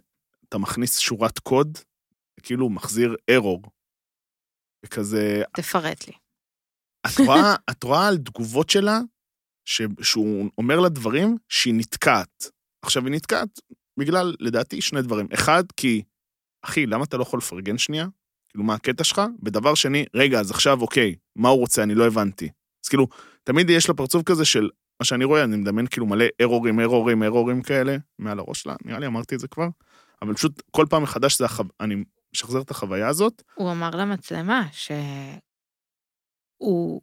S1: אתה מכניס שורת קוד, כאילו הוא מחזיר error. וכזה,
S2: תפרט לי.
S1: את רואה, את רואה על תגובות שלה, ש, שהוא אומר לה דברים שהיא נתקעת. עכשיו, היא נתקעת בגלל, לדעתי, שני דברים. אחד, כי, אחי, למה אתה לא יכול לפרגן שנייה? כאילו, מה הקטע שלך? ודבר שני, רגע, אז עכשיו, אוקיי, מה הוא רוצה? אני לא הבנתי. אז כאילו, תמיד יש לה פרצוף כזה של, מה שאני רואה, אני מדמיין כאילו מלא ארורים, ארורים, ארורים כאלה, מעל הראש שלה, נראה לי אמרתי את זה כבר, אבל פשוט כל פעם מחדש זה החו... אני משחזר את החוויה הזאת,
S2: הוא אמר למצלמה שהוא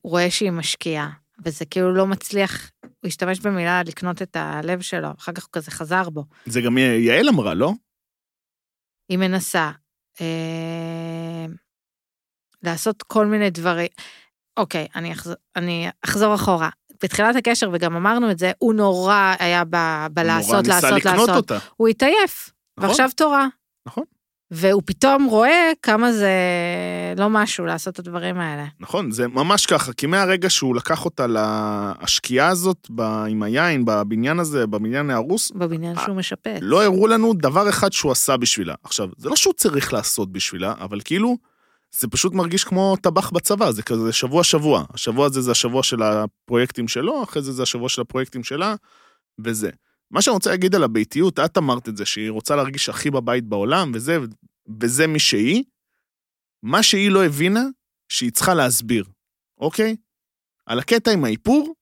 S2: רואה שהיא משקיעה, וזה כאילו לא מצליח הוא השתמש במילה לקנות את הלב שלו, אחר כך הוא כזה חזר בו.
S1: זה גם י- יעל אמרה, לא?
S2: היא מנסה אה, לעשות כל מיני דברים. אוקיי, אני אחזור, אני אחזור אחורה. בתחילת הקשר, וגם אמרנו את זה, הוא נורא היה ב, בלעשות,
S1: נורא
S2: לעשות,
S1: ניסה לקנות
S2: לעשות.
S1: אותה.
S2: הוא התעייף,
S1: נכון?
S2: ועכשיו תורה.
S1: נכון.
S2: והוא פתאום רואה כמה זה לא משהו לעשות את הדברים האלה.
S1: נכון, זה ממש ככה, כי מהרגע שהוא לקח אותה להשקיעה הזאת ב, עם היין, בבניין הזה, בבניין ההרוס,
S2: בבניין שהוא משפץ.
S1: לא הראו לנו דבר אחד שהוא עשה בשבילה. עכשיו, זה לא שהוא צריך לעשות בשבילה, אבל כאילו, זה פשוט מרגיש כמו טבח בצבא, זה כזה שבוע-שבוע. השבוע הזה זה השבוע של הפרויקטים שלו, אחרי זה זה השבוע של הפרויקטים שלה, וזה. מה שאני רוצה להגיד על הביתיות, את אמרת את זה, שהיא רוצה להרגיש הכי בבית בעולם, וזה, וזה מי שהיא. מה שהיא לא הבינה, שהיא צריכה להסביר, אוקיי? על הקטע עם האיפור,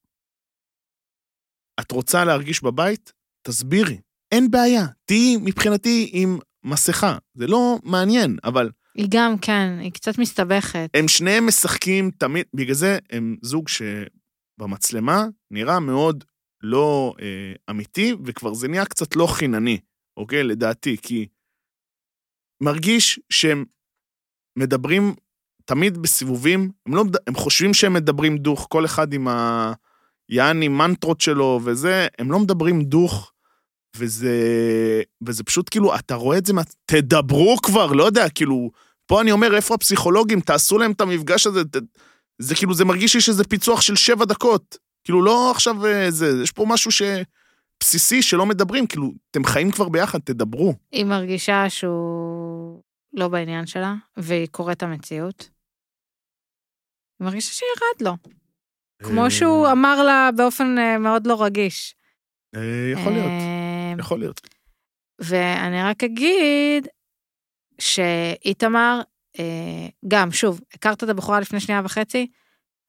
S1: את רוצה להרגיש בבית? תסבירי. אין בעיה, תהיי מבחינתי עם מסכה, זה לא מעניין, אבל
S2: היא גם, כן, היא קצת מסתבכת.
S1: הם שניהם משחקים תמיד, בגלל זה הם זוג שבמצלמה נראה מאוד לא אה, אמיתי, וכבר זה נהיה קצת לא חינני, אוקיי? לדעתי, כי מרגיש שהם מדברים תמיד בסיבובים, הם, לא, מד- הם חושבים שהם מדברים דוך, כל אחד עם ה... יעני מנטרות שלו וזה, הם לא מדברים דוך, וזה, וזה פשוט כאילו, אתה רואה את זה, מה- תדברו כבר, לא יודע, כאילו, פה אני אומר, איפה הפסיכולוגים? תעשו להם את המפגש הזה. ת... זה כאילו, זה מרגיש לי שזה פיצוח של שבע דקות. כאילו, לא עכשיו אה, זה, יש פה משהו ש... בסיסי שלא מדברים, כאילו, אתם חיים כבר ביחד, תדברו.
S2: היא מרגישה שהוא לא בעניין שלה, והיא קוראת את המציאות. היא מרגישה שירד
S1: אה.
S2: לו, כמו שהוא אמר לה באופן אה, מאוד לא רגיש.
S1: אה, יכול להיות,
S2: אה,
S1: יכול להיות.
S2: ואני רק אגיד שאיתמר, אה, גם, שוב, הכרת את הבחורה לפני שנייה וחצי,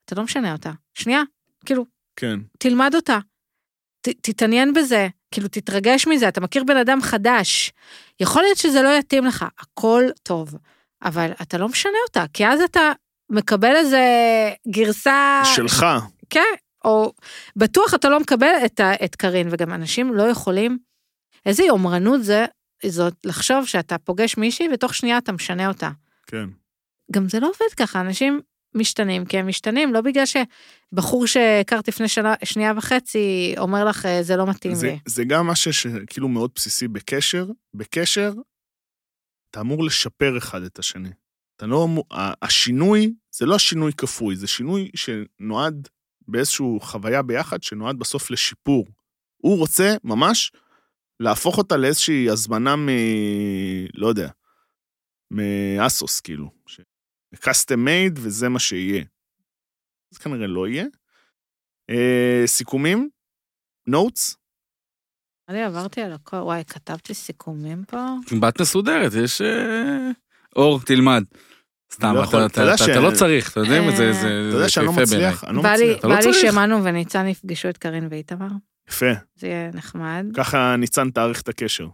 S2: אתה לא משנה אותה. שנייה, כאילו,
S1: כן.
S2: תלמד אותה. ת, תתעניין בזה, כאילו תתרגש מזה, אתה מכיר בן אדם חדש. יכול להיות שזה לא יתאים לך, הכל טוב, אבל אתה לא משנה אותה, כי אז אתה מקבל איזה גרסה...
S1: שלך,
S2: כן, או בטוח אתה לא מקבל את, ה- את קארין, וגם אנשים לא יכולים... איזה יומרנות זה, זאת לחשוב שאתה פוגש מישהי ותוך שנייה אתה משנה אותה.
S1: כן.
S2: גם זה לא עובד ככה, אנשים משתנים כי הם משתנים, לא בגלל שבחור שהכרת לפני שנה, שנייה וחצי אומר לך, "אה, זה לא מתאים
S1: זה,
S2: לי.
S1: זה גם משהו שכאילו מאוד בסיסי בקשר. בקשר, אתה אמור לשפר אחד את השני. אתה לא אמור... ה- השינוי, זה לא שינוי כפוי, זה שינוי שנועד באיזושהי חוויה ביחד, שנועד בסוף לשיפור. הוא רוצה ממש להפוך אותה לאיזושהי הזמנה מ... לא יודע, מאסוס, כאילו. ש... custom made, וזה מה שיהיה. זה כנראה לא יהיה. אה, סיכומים? נוטס?
S2: אני עברתי על הכל, וואי, כתבתי סיכומים פה.
S3: בת מסודרת, יש... אה, אור, תלמד. סתם,
S1: לא
S3: אתה-
S1: יכול,
S3: אתה-
S1: אתה יודע
S3: אתה
S1: ש-
S3: אתה לא צריך, אתה יודע מה
S2: אה.
S3: זה, זה-
S1: אתה
S3: זה
S1: יודע שאני לא
S3: יפה בעיניי.
S1: מצליח, אני לא
S2: בא לי,
S1: מצליח.
S3: אתה לא
S2: בא לי
S3: צריך.
S2: שמנו וניצן יפגשו את קארין ואיתמר,
S1: יפה,
S2: זה יהיה נחמד.
S1: ככה ניצן תאריך את הקשר.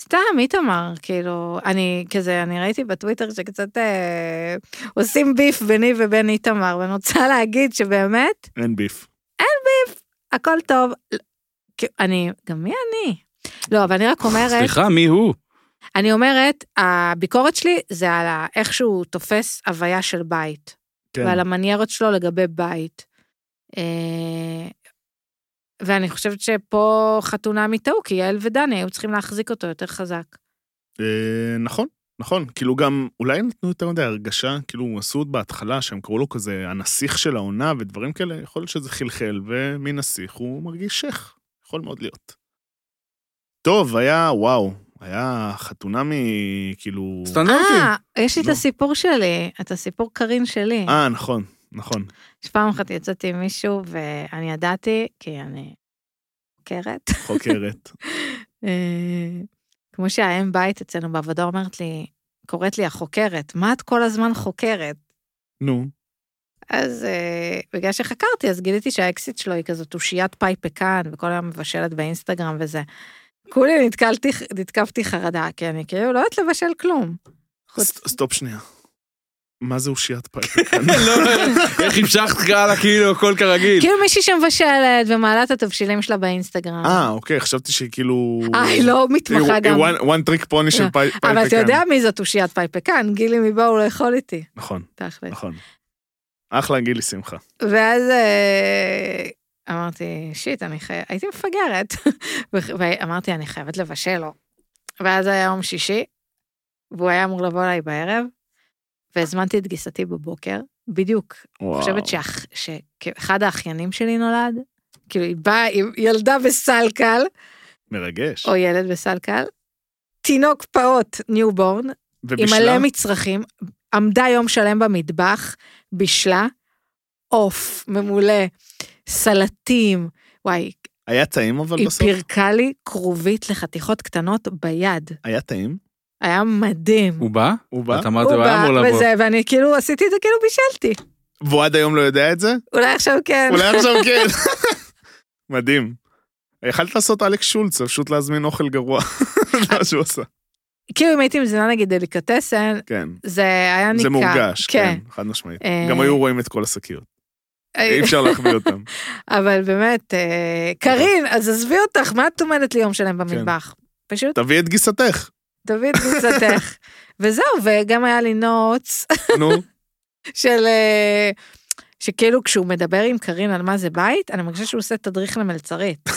S2: סתם, איתמר, כאילו, אני כזה, אני ראיתי בטוויטר שקצת אה, עושים ביף ביני ובין איתמר, ואני רוצה להגיד שבאמת,
S1: אין ביף.
S2: הכל טוב. כאילו, אני, גם מי אני? לא, אבל אני רק אומרת,
S3: סליחה, מי הוא?
S2: אני אומרת, הביקורת שלי זה על ה- איך שהוא תופס הוויה של בית,
S1: כן.
S2: ועל המניירות שלו לגבי בית. אה, ואני חושבת שפה חתונם יטעו, כי יעל ודני היו צריכים להחזיק אותו יותר חזק.
S1: אה, נכון, נכון. כאילו גם, אולי נתנו יותר מדי הרגשה, כאילו עשו עוד בהתחלה שהם קראו לו כזה הנסיך של העונה ודברים כאלה, יכול להיות שזה חלחל, ומנסיך הוא מרגיש שייח. יכול מאוד להיות. טוב, היה, וואו, היה חתונה מ... כאילו...
S3: סטנדרטי.
S2: אה, יש לי את
S1: לא.
S2: הסיפור שלי, את הסיפור קרין שלי.
S1: אה, נכון, נכון.
S2: שפעם אחת יצאתי עם מישהו ואני ידעתי, כי אני חוקרת.
S1: חוקרת.
S2: אה, כמו שהאם בית אצלנו בעבודה אומרת לי, קוראת לי החוקרת, מה את כל הזמן חוקרת?
S1: נו.
S2: אז אה, בגלל שחקרתי, אז גיליתי שהאקסיט שלו היא כזאת אושיית פאי פקן, וכל היום מבשלת באינסטגרם וזה. כולי נתקלתי, נתקפתי חרדה, כי אני כאילו לא יודעת לבשל כלום. חוץ-
S1: ס- סטופ שנייה. מה זה אושיית פייפקן?
S3: איך המשכת הלאה כאילו הכל כרגיל?
S2: כאילו מישהי שמבשלת ומעלה את התבשילים שלה באינסטגרם.
S1: אה, אוקיי, חשבתי שהיא כאילו...
S2: אה, היא לא מתמחה
S1: היא-
S2: גם.
S1: היא one- one trick pony של
S2: לא,
S1: פי- כן. פייפקן.
S2: אבל אתה יודע מי זאת אושיית פייפקן, גילי מבואו לא יכול איתי,
S1: נכון,
S2: תכל'ס.
S1: נכון. אחלה גילי שמחה.
S2: ואז אה, אמרתי, שיט, אני חייבת, הייתי מפגרת. ו- ואמרתי, אני חייבת לבשל לו. ואז היה יום שישי, והוא היה אמור לבוא אליי בערב, והזמנתי את גיסתי בבוקר, בדיוק. אני
S1: וואו.
S2: חושבת שאח- שאחד האחיינים שלי נולד, כאילו היא באה עם ילדה בסלקל,
S1: מרגש.
S2: או ילד בסלקל, תינוק פעוט, ניובורן, עם מלא מצרכים, עמדה יום שלם במטבח, בישלה, עוף ממולא, סלטים, וואי,
S1: היה טעים אבל
S2: היא
S1: בסוף?
S2: פירקה לי כרובית לחתיכות קטנות ביד.
S1: היה טעים?
S2: היה מדהים.
S3: הוא בא?
S1: הוא בא?
S3: את אמרת, הוא היה אמור לבוא.
S2: וזה, ואני כאילו עשיתי את זה כאילו בישלתי.
S1: והוא עד היום לא יודע את זה?
S2: אולי עכשיו כן.
S1: אולי עכשיו כן. מדהים. יכלת לעשות אלכס שולץ, פשוט להזמין אוכל גרוע. זה מה שהוא עשה.
S2: כאילו אם הייתי מזינה נגיד דליקטסן,
S1: כן.
S2: זה היה ניכר.
S1: זה מורגש, כן, חד משמעית.
S2: אה,
S1: גם היו רואים את כל השקיות. אי אפשר להחביא אותם.
S2: אבל באמת, אה, קארין, אז עזבי אותך, מה את טומנת לי יום
S1: כן.
S2: שלם במטבח? פשוט
S1: תביאי את גיסתך.
S2: תביא את קבוצתך. וזהו, וגם היה לי נוטס
S1: נו,
S2: של... אה, שכאילו כשהוא מדבר עם קארין על מה זה בית, אני מרגישה שהוא עושה תדריך למלצרית.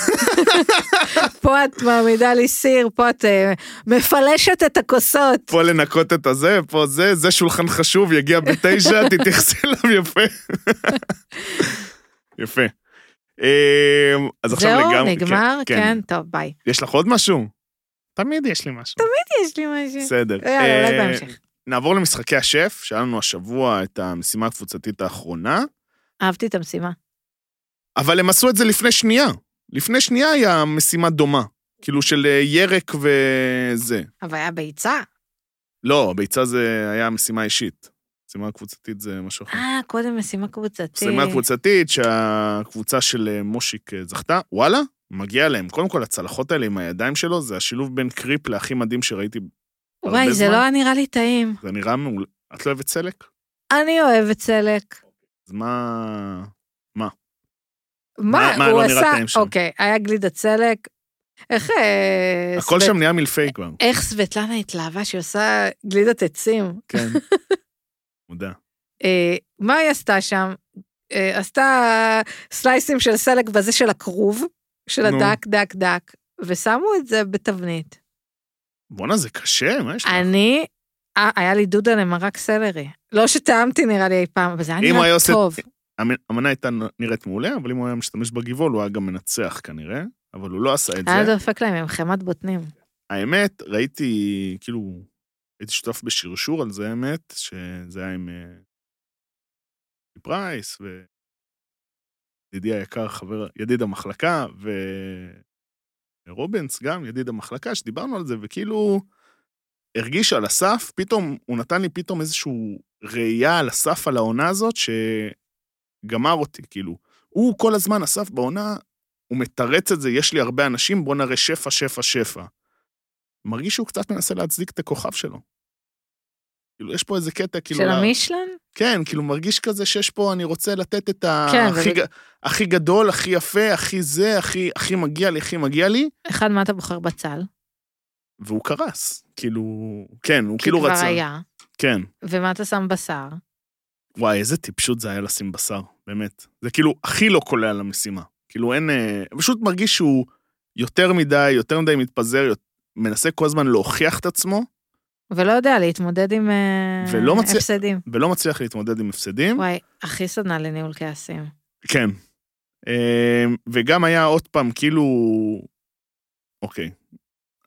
S2: פה את מעמידה לי סיר, פה את אה, מפלשת את הכוסות.
S1: פה לנקות את הזה, פה זה, זה שולחן חשוב, יגיע בתשע, תתייחסי אליו יפה. יפה. אמ, אז עכשיו
S2: זהו,
S1: לגמרי...
S2: נגמר? כן, טוב, ביי.
S1: יש לך עוד משהו? תמיד יש לי משהו. כן.
S2: יש לי משהו.
S1: בסדר.
S2: יאללה, אולי
S1: אה,
S2: בהמשך.
S1: נעבור למשחקי השף, שהיה לנו השבוע את המשימה הקבוצתית האחרונה,
S2: אהבתי את המשימה.
S1: אבל הם עשו את זה לפני שנייה. לפני שנייה היה משימה דומה, כאילו של אה, ירק וזה.
S2: אבל היה ביצה.
S1: לא, הביצה זה היה משימה אישית. משימה קבוצתית זה משהו אחר.
S2: אה, קודם משימה קבוצתית.
S1: משימה קבוצתית שהקבוצה של אה, מושיק אה, זכתה. וואלה, מגיע להם. קודם כל, הצלחות האלה עם הידיים שלו, זה השילוב בין קריפ להכי מדהים שראיתי. הרבה
S2: וואי, זה
S1: זמן.
S2: לא היה נראה לי טעים.
S1: זה נראה מעולה. את לא אוהבת סלק?
S2: אני אוהבת סלק.
S1: אז מה...
S2: מה,
S1: מה
S2: הוא
S1: לא נראה
S2: עשה,
S1: טעים שם?
S2: אוקיי, היה גלידת סלק. איך... אה,
S1: הכל
S2: סבט-
S1: שם נהיה מלפי כבר.
S2: איך סבטלנה התלהבה שהיא עושה גלידת עצים.
S1: כן. מודה.
S2: אה, מה היא עשתה שם? אה, עשתה סלייסים של סלק בזה של הכרוב, של
S1: נו.
S2: הדק, דק, דק, ושמו את זה בתבנית.
S1: בואנה, זה קשה, מה יש לך?
S2: אני, אה, היה לי דודה למרק סלרי. לא שטעמתי נראה לי אי פעם, אבל זה היה
S1: אם הוא היה
S2: נראה
S1: עושה-
S2: טוב.
S1: המנ- המנה הייתה נראית מעולה, אבל אם הוא היה משתמש בגבעול, הוא היה גם מנצח כנראה, אבל הוא לא עשה את
S2: היה
S1: זה.
S2: דופק להם עם חמת בוטנים.
S1: האמת, ראיתי, כאילו, הייתי שותף בשרשור על זה, האמת, שזה היה עם אה, פרייס, וידידי היקר, חבר, ידיד המחלקה, ורובנס גם, ידיד המחלקה, שדיברנו על זה, וכאילו, הרגיש על הסף, פתאום, הוא נתן לי פתאום איזושהי ראייה על הסף על העונה הזאת, שגמר אותי, כאילו. הוא כל הזמן, הסף בעונה, הוא מתרץ את זה, יש לי הרבה אנשים, בוא נראה שפע, שפע, שפע. מרגיש שהוא קצת מנסה להצדיק את הכוכב שלו. כאילו, יש פה איזה קטע, כאילו...
S2: של
S1: לה-
S2: המישלן?
S1: כן, כאילו מרגיש כזה שיש פה, אני רוצה לתת את ה...
S2: כן,
S1: הכי,
S2: ובג-
S1: ג... הכי גדול, הכי יפה, הכי זה, הכי, הכי מגיע לי, הכי מגיע לי,
S2: אחד, מה אתה בוחר בצל?
S1: והוא קרס. כאילו, כן, הוא
S2: כי
S1: כאילו
S2: כבר
S1: רצה.
S2: היה.
S1: כן.
S2: ומה אתה שם בשר?
S1: וואי, איזה טיפשות זה היה לשים בשר, באמת. זה כאילו הכי לא קולע למשימה. כאילו אין... אה, פשוט מרגיש שהוא יותר מדי, יותר מדי מתפזר, יות- מנסה כל הזמן להוכיח את עצמו,
S2: ולא יודע להתמודד עם אה,
S1: ולא מצליח-
S2: הפסדים.
S1: ולא מצליח להתמודד עם הפסדים.
S2: וואי, הכי סדנה לניהול כעסים.
S1: כן. אמ, וגם היה עוד פעם, כאילו... אוקיי,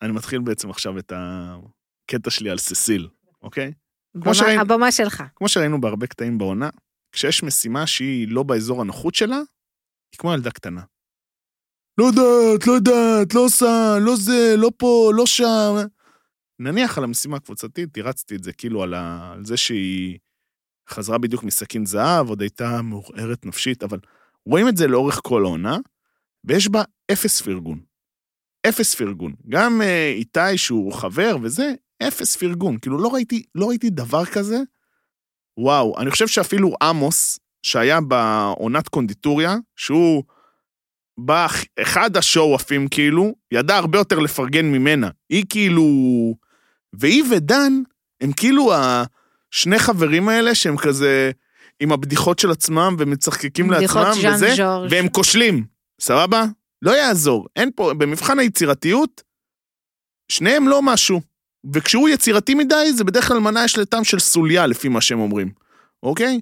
S1: אני מתחיל בעצם עכשיו את הקטע שלי על ססיל, אוקיי?
S2: במה-
S1: שראינו.
S2: הבמה שלך.
S1: כמו שראינו בהרבה קטעים בעונה, כשיש משימה שהיא לא באזור הנוחות שלה, היא כמו ילדה קטנה. לא יודעת, לא יודעת, לא עושה, לא זה, לא פה, לא שם. נניח על המשימה הקבוצתית, הרצתי את זה כאילו על, ה... על זה שהיא חזרה בדיוק מסכין זהב, עוד הייתה מעורערת נפשית, אבל רואים את זה לאורך כל העונה, ויש בה אפס פרגון. אפס פרגון. גם אה, איתי, שהוא חבר וזה, אפס פרגון. כאילו, לא ראיתי, לא ראיתי דבר כזה וואו, אני חושב שאפילו עמוס, שהיה בעונת קונדיטוריה, שהוא בא, אחד השואו-אפים כאילו, ידע הרבה יותר לפרגן ממנה. היא כאילו... והיא ודן, הם כאילו השני חברים האלה שהם כזה עם הבדיחות של עצמם ומצחקקים
S2: בדיחות
S1: לעצמם
S2: ז'אן
S1: וזה,
S2: ז'ורז'.
S1: והם כושלים, סבבה? לא יעזור, אין פה, במבחן היצירתיות, שניהם לא משהו. וכשהוא יצירתי מדי, זה בדרך כלל מנה יש לטעם של סוליה, לפי מה שהם אומרים, אוקיי?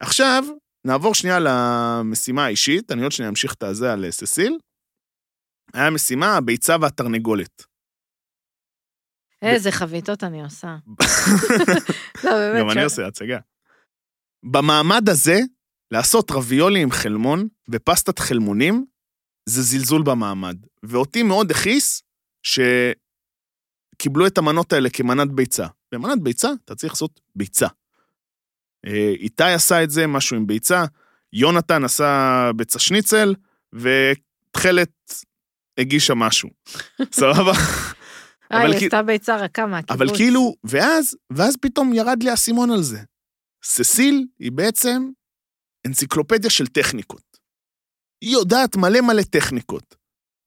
S1: עכשיו, נעבור שנייה למשימה האישית, אני עוד שנייה אמשיך את הזה על אה, ססיל. היה משימה, הביצה והתרנגולת.
S2: איזה חביתות אני עושה. לא, באמת.
S1: גם אני
S2: ש-
S1: עושה הצגה. במעמד הזה, לעשות רביולי עם חלמון ופסטת חלמונים, זה זלזול במעמד. ואותי מאוד הכעיס שקיבלו את המנות האלה כמנת ביצה. במנת ביצה אתה צריך לעשות ביצה. אה, איתי עשה את זה, משהו עם ביצה, יונתן עשה ביצה שניצל, ותכלת הגישה משהו. סבבה?
S2: אה,
S1: אבל
S2: היא
S1: כי-
S2: עשתה ביצה רכה מהקיבוץ.
S1: אבל כאילו, ואז, ואז פתאום ירד לי האסימון על זה. ססיל היא בעצם אנציקלופדיה של טכניקות. היא יודעת מלא מלא טכניקות,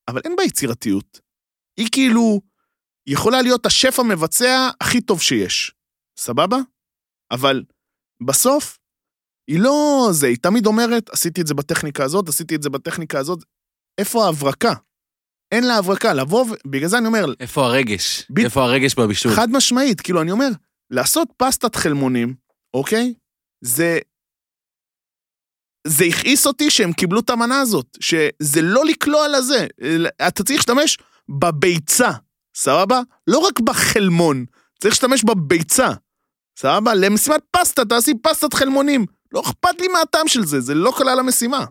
S1: אבל אין בה יצירתיות. היא כאילו יכולה להיות השף המבצע הכי טוב שיש, סבבה? אבל בסוף, היא לא זה, היא תמיד אומרת, עשיתי את זה בטכניקה הזאת, עשיתי את זה בטכניקה הזאת. איפה ההברקה? אין לה הברקה, לבוא, ו- בגלל זה אני אומר,
S3: איפה הרגש?
S1: ב-
S3: איפה הרגש בבישול?
S1: חד משמעית, כאילו, אני אומר, לעשות פסטת חלמונים, אוקיי? זה... זה הכעיס אותי שהם קיבלו את המנה הזאת, שזה לא לקלוע לזה, אלא אתה צריך להשתמש בביצה, סבבה? לא רק בחלמון, צריך להשתמש בביצה, סבבה? למשימת פסטה, תעשי פסטת חלמונים. לא אכפת לי מהטעם של זה, זה לא כלל המשימה.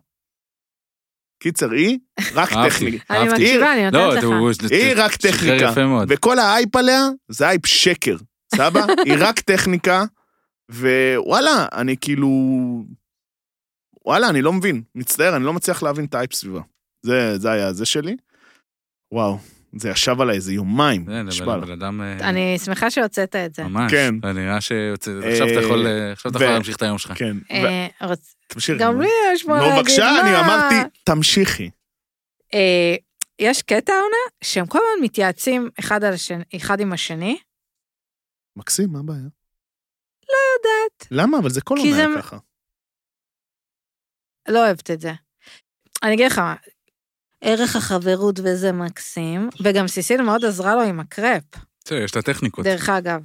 S1: קיצר, היא רק
S3: אהבתי.
S1: טכניקה.
S2: אני
S3: אהבתי.
S2: מקשיבה, אני
S3: לא,
S2: נותנת לך.
S3: אתה-
S1: היא רק
S3: שחרר
S1: טכניקה.
S3: יפה מאוד.
S1: וכל ההייפ עליה זה הייפ שקר, סבא? היא רק טכניקה, ווואלה, אני כאילו... וואלה, אני לא מבין. מצטער, אני לא מצליח להבין את ההייפ סביבה. זה, זה היה זה שלי. וואו, זה ישב עליי איזה יומיים.
S3: זה,
S1: נשבע לך.
S3: בן אדם... אה,
S2: אני שמחה שהוצאת את זה.
S3: ממש.
S1: כן.
S3: זה נראה שיוצא...
S1: אה,
S3: עכשיו אתה יכול אה, עכשיו אתה יכול
S1: ו-
S3: להמשיך את היום שלך.
S1: כן, ו-
S2: אה, רוצ-
S1: תמשיכי.
S2: גם לי יש מה להגיד.
S1: נו, בבקשה,
S2: מה?
S1: אני אמרתי, תמשיכי.
S2: אה, יש קטע עונה שהם כל הזמן מתייעצים אחד על השני- אחד עם השני.
S1: מקסים, מה הבעיה? לא יודעת. למה? אבל זה כל
S2: כי
S1: עונה
S2: זה-
S1: היה ככה.
S2: לא אוהבת את זה. אני אגיד לך מה, ערך החברות וזה מקסים, וגם סיסיל מאוד עזרה לו עם הקרפ,
S3: בסדר, יש לה טכניקות.
S2: דרך אגב.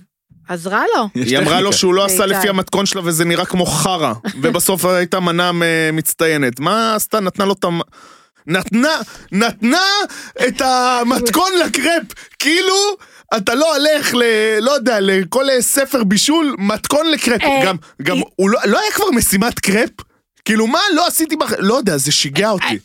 S2: עזרה לו.
S3: יש
S1: היא אמרה לו
S3: טכניקה.
S1: שהוא לא עשה
S2: בעיקר.
S1: לפי המתכון שלה וזה נראה כמו חרא, ובסוף הייתה מנה אה, מצטיינת. מה עשתה? נתנה לו את המ... נתנה, נתנה את המתכון לקרפ, כאילו אתה לא הולך ל... לא יודע, לכל אה, ספר בישול, מתכון לקרפ.
S2: אה,
S1: גם, גם,
S2: היא-
S1: הוא לא, לא היה כבר משימת קרפ? כאילו מה לא עשיתי בח... לא יודע, זה שיגע אותי.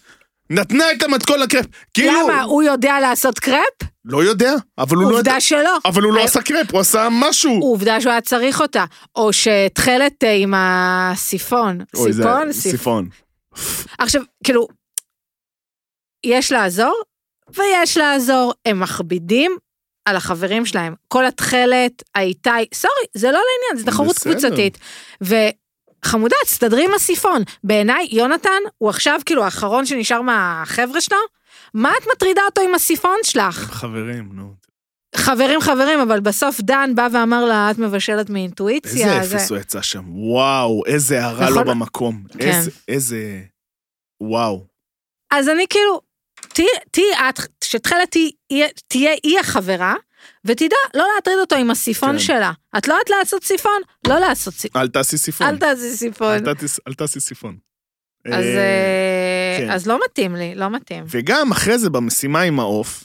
S1: נתנה את המתכון לקרפ, כאילו,
S2: אה, למה? הוא יודע לעשות קרפ?
S1: לא יודע, אבל הוא לא יודע,
S2: עובדה שלא.
S1: אבל הוא לא
S2: אה,
S1: עשה קרפ, הוא עשה משהו.
S2: עובדה שהוא היה צריך אותה. או שתכלת אה, עם הסיפון.
S1: אוי, זה-
S2: סיפון? סיפון.
S1: סיפון.
S2: עכשיו, כאילו, יש לעזור ויש לעזור. הם מכבידים על החברים שלהם. כל התכלת, האיתי, סורי, זה לא לעניין, זה תחרות
S1: בסדר.
S2: קבוצתית. וחמודה, תסתדרי עם הסיפון. בעיניי, יונתן הוא עכשיו כאילו האחרון שנשאר מהחבר'ה שלו. מה את מטרידה אותו עם הסיפון שלך?
S1: חברים, נו.
S2: חברים, חברים, אבל בסוף דן בא ואמר לה, את מבשלת מאינטואיציה.
S1: איזה אפס הוא יצא שם, וואו, איזה הרע
S2: נכון?
S1: לו במקום.
S2: כן.
S1: איזה, איזה... וואו.
S2: אז אני כאילו, תהיי תהיי את, שתכלת תהיה- תהיה היא החברה, ותדע לא להטריד אותו עם הסיפון
S1: כן.
S2: שלה. את לא יודעת לעשות סיפון? לא לעשות סיפון.
S1: אל תעשי סיפון.
S2: אל תעשי סיפון.
S1: כן. אל תעשי- אל תעשי סיפון.
S2: אז,
S1: אה,
S2: אה,
S1: כן.
S2: אז לא מתאים לי, לא מתאים.
S1: וגם אחרי זה במשימה עם העוף,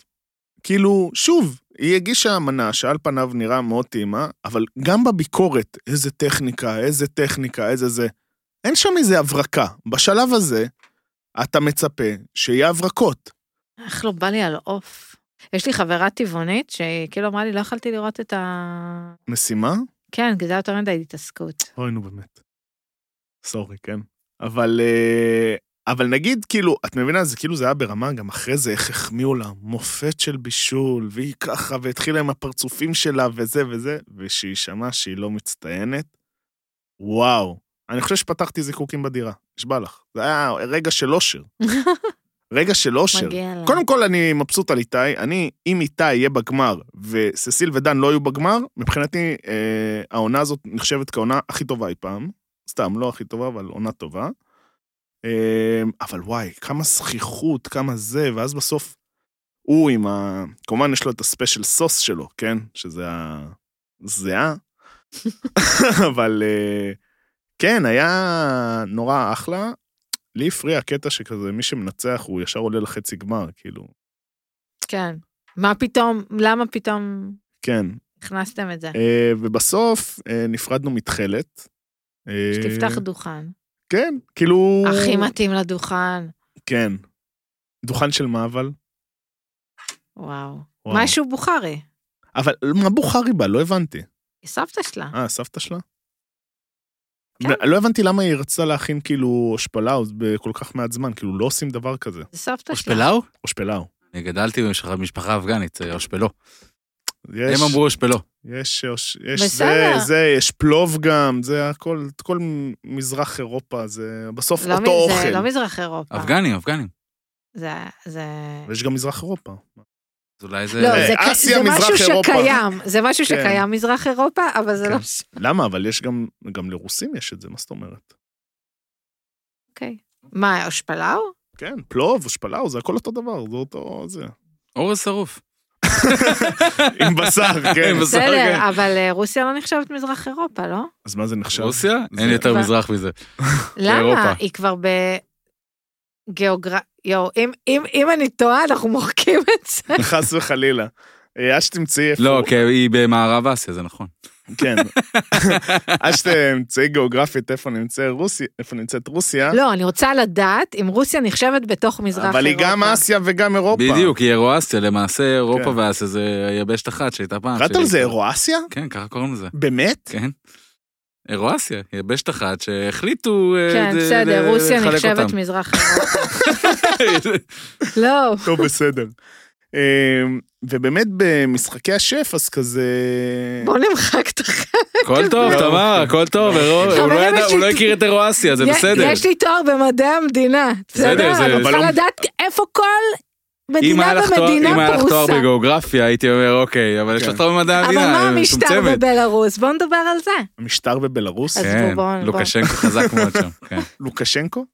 S1: כאילו, שוב, היא הגישה מנה שעל פניו נראה מאוד טעימה, אבל גם בביקורת, איזה טכניקה, איזה טכניקה, איזה זה. אין שם איזה הברקה. בשלב הזה, אתה מצפה שיהיה הברקות.
S2: איך לא בא לי על עוף. יש לי חברה טבעונית שהיא כאילו אמרה לי, לא יכלתי לראות את ה...
S1: משימה?
S2: כן, כי זה היה יותר מדי התעסקות.
S1: אוי, נו באמת. סורי, כן. אבל, אה, אבל נגיד, כאילו, את מבינה, זה כאילו זה היה ברמה, גם אחרי זה, איך החמיאו לה, מופת של בישול, והיא ככה, והתחילה עם הפרצופים שלה, וזה וזה, ושהיא שמעה שהיא לא מצטיינת, וואו. אני חושב שפתחתי זיקוקים בדירה, נשבע לך. זה היה רגע של אושר. רגע של אושר.
S2: מגיע להם.
S1: קודם כל, אני מבסוט על איתי. אני, אם איתי יהיה בגמר וססיל ודן לא יהיו בגמר, מבחינתי אה, העונה הזאת נחשבת כעונה הכי טובה אי פעם. סתם, לא הכי טובה, אבל עונה טובה. אה, אבל וואי, כמה זכיחות, כמה זה, ואז בסוף הוא עם ה... כמובן, יש לו את הספיישל סוס שלו, כן? שזה ה... זהה. אבל אה, כן, היה נורא אחלה. לי הפריע הקטע שכזה, מי שמנצח הוא ישר עולה לחצי גמר, כאילו,
S2: כן. מה פתאום, למה פתאום
S1: כן.
S2: הכנסתם את זה?
S1: אה, ובסוף אה, נפרדנו מתכלת. אה,
S2: שתפתח דוכן.
S1: כן, כאילו...
S2: הכי מתאים לדוכן.
S1: כן. דוכן של מה אבל?
S2: וואו.
S1: וואו.
S2: משהו בוכרי.
S1: אבל מה בוכרי בה? לא הבנתי.
S2: היא סבתא שלה.
S1: אה, סבתא שלה?
S2: כן.
S1: לא הבנתי למה היא רצתה להכין כאילו אושפלאו בכל כך מעט זמן, כאילו לא עושים דבר כזה.
S2: זה סבתא שלה.
S3: אושפלאו?
S1: אושפלאו.
S3: אני גדלתי במשפחה- במשפחה אפגנית, אה, אושפלו.
S1: יש,
S3: הם אמרו אושפלו.
S2: אה.
S1: יש, יש, יש זה,
S2: בסדר.
S1: זה, יש פלוב גם, זה הכל, כל מזרח אירופה, זה בסוף
S2: לא מ-
S1: אותו
S2: זה
S1: אוכל.
S2: לא מזרח אירופה.
S3: אפגנים, אפגנים.
S2: זה... זה...
S1: ויש גם מזרח אירופה.
S3: אז אולי זה...
S2: לא,
S1: אה,
S2: זה, ק-
S1: אסיה,
S2: זה
S1: מזרח
S2: משהו
S1: אירופה.
S2: שקיים, זה משהו
S1: כן.
S2: שקיים מזרח אירופה, אבל זה לא...
S1: כן. למה? אבל יש גם, גם לרוסים יש את זה, מה זאת אומרת?
S2: אוקיי. מה, אושפלאו?
S1: כן, פלוב, אושפלאו, זה הכל אותו דבר, זה אותו זה.
S3: אורז שרוף.
S1: עם בשר, כן.
S3: עם בשר.
S2: בסדר,
S3: כן.
S2: אבל אה, רוסיה לא נחשבת מזרח אירופה, לא?
S1: אז מה זה נחשב?
S3: רוסיה?
S1: זה-
S3: אין יותר
S2: אבל-
S3: מזרח מזה.
S2: למה?
S3: באירופה.
S2: היא כבר ב... גיאוגרפיה, יואו, אם, אם, אם אני טועה, אנחנו מוחקים את זה.
S1: חס וחלילה. אה, עד שתמצאי איפה...
S3: לא, כי היא במערב אסיה, זה נכון.
S1: כן. עד שתמצאי גיאוגרפית איפה נמצא רוסיה- איפה נמצאת רוסיה,
S2: לא, אני רוצה לדעת אם רוסיה נחשבת בתוך מזרח אירופה.
S1: אה? אבל היא גם אסיה וגם אירופה.
S3: בדיוק, היא אירואסיה, למעשה אירופה
S1: כן.
S3: ואסיה זה יבשת אחת שהייתה פעם.
S1: קראת
S3: שהיא-
S1: על זה אירואסיה?
S3: כן, ככה קוראים לזה.
S1: באמת?
S3: אה, כן. אירואסיה, יבשת אחת שהחליטו... אה,
S2: כן,
S3: ל-
S2: בסדר,
S3: ל-
S2: רוסיה
S3: לחלק
S2: נחשבת
S3: אותם.
S2: מזרח אירופה. לא,
S1: טוב, בסדר. אמ, ובאמת במשחקי השף, אז כזה...
S2: בוא נמחק את החלק.
S3: הכל טוב,
S1: לא.
S3: תמר, הכל טוב, אירו- הוא לא
S2: חברים,
S3: ידע-
S2: יש
S3: הוא לא
S2: לי-
S3: הכיר את אירואסיה, זה בסדר.
S2: יש לי תואר במדעי המדינה.
S3: בסדר,
S2: בסדר,
S3: זה-
S2: אני
S1: אבל
S2: צריכה
S1: לא-
S2: לדעת איפה כל
S3: אם
S2: מדינה
S3: היה לך תואר- אם היה
S2: ומדינה
S3: לך תואר
S2: פרוסה.
S3: בגיאוגרפיה, הייתי אומר, אוקיי, אבל יש לך
S1: כן.
S3: תואר במדעי
S2: אבל
S3: המדינה,
S2: מה
S3: היא
S2: המשטר
S3: מצומצמת.
S2: בבלארוס? בואו נדבר על זה.
S1: המשטר בבלארוס?
S2: אז בוא,
S3: כן,
S2: בוא, בוא.
S3: לוקשנקו חזק מאוד שם.
S1: אוקיי.
S3: כן.
S1: לוקשנקו?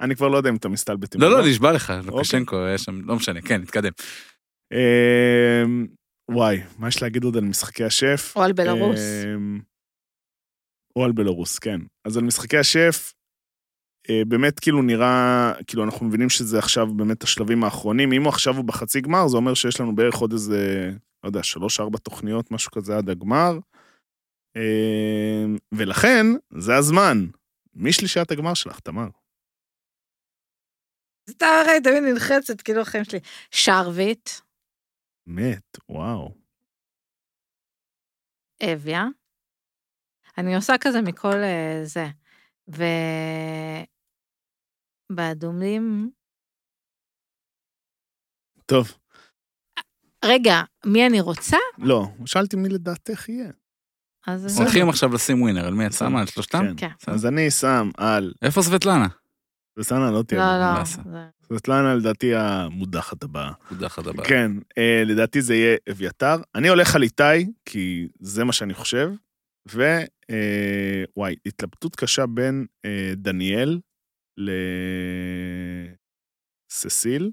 S1: אני כבר לא יודע אם אתה מסתלבט עם
S3: לא,
S1: זה.
S3: לא, נשבע לך, לוקשנקו
S1: אוקיי.
S3: היה שם, לא משנה, כן, נתקדם.
S1: אמ, וואי, מה יש להגיד עוד על משחקי השף?
S2: או על בלארוס.
S3: אה,
S1: אמ, או על בלרוס, כן. אז על משחקי השף, אה, באמת כאילו נראה, כאילו אנחנו מבינים שזה עכשיו באמת השלבים האחרונים. אם הוא עכשיו הוא בחצי גמר, זה אומר שיש לנו בערך עוד איזה, לא יודע, שלוש-ארבע תוכניות, משהו כזה עד הגמר. אמ, ולכן, זה הזמן. משלישיית הגמר שלך, תמר.
S2: אז אתה הרי תמיד נלחצת, כאילו החיים שלי. שרביט,
S1: מת, וואו.
S2: אביה. אני עושה כזה מכל אה, זה. ו... באדומים...
S1: טוב,
S2: רגע, מי אני רוצה?
S1: לא, שאלתי מי לדעתך יהיה.
S2: אז...
S1: בסדר.
S3: הולכים עכשיו לשים ווינר, על מי את לא
S1: בסדר.
S3: שמה? על שלושתם?
S1: כן.
S2: כן.
S1: אז אני שם על...
S3: איפה סבטלנה?
S1: וסנה לא
S2: לא,
S1: תהיה.
S2: לא.
S3: נעשה.
S2: זה-
S1: סבטלנה לדעתי המודחת הבאה.
S3: מודחת הבאה.
S1: כן, אה, לדעתי זה יהיה אביתר. אני הולך על איתי, כי זה מה שאני חושב. ו... אה, וואי, התלבטות קשה בין אה, דניאל לססיל.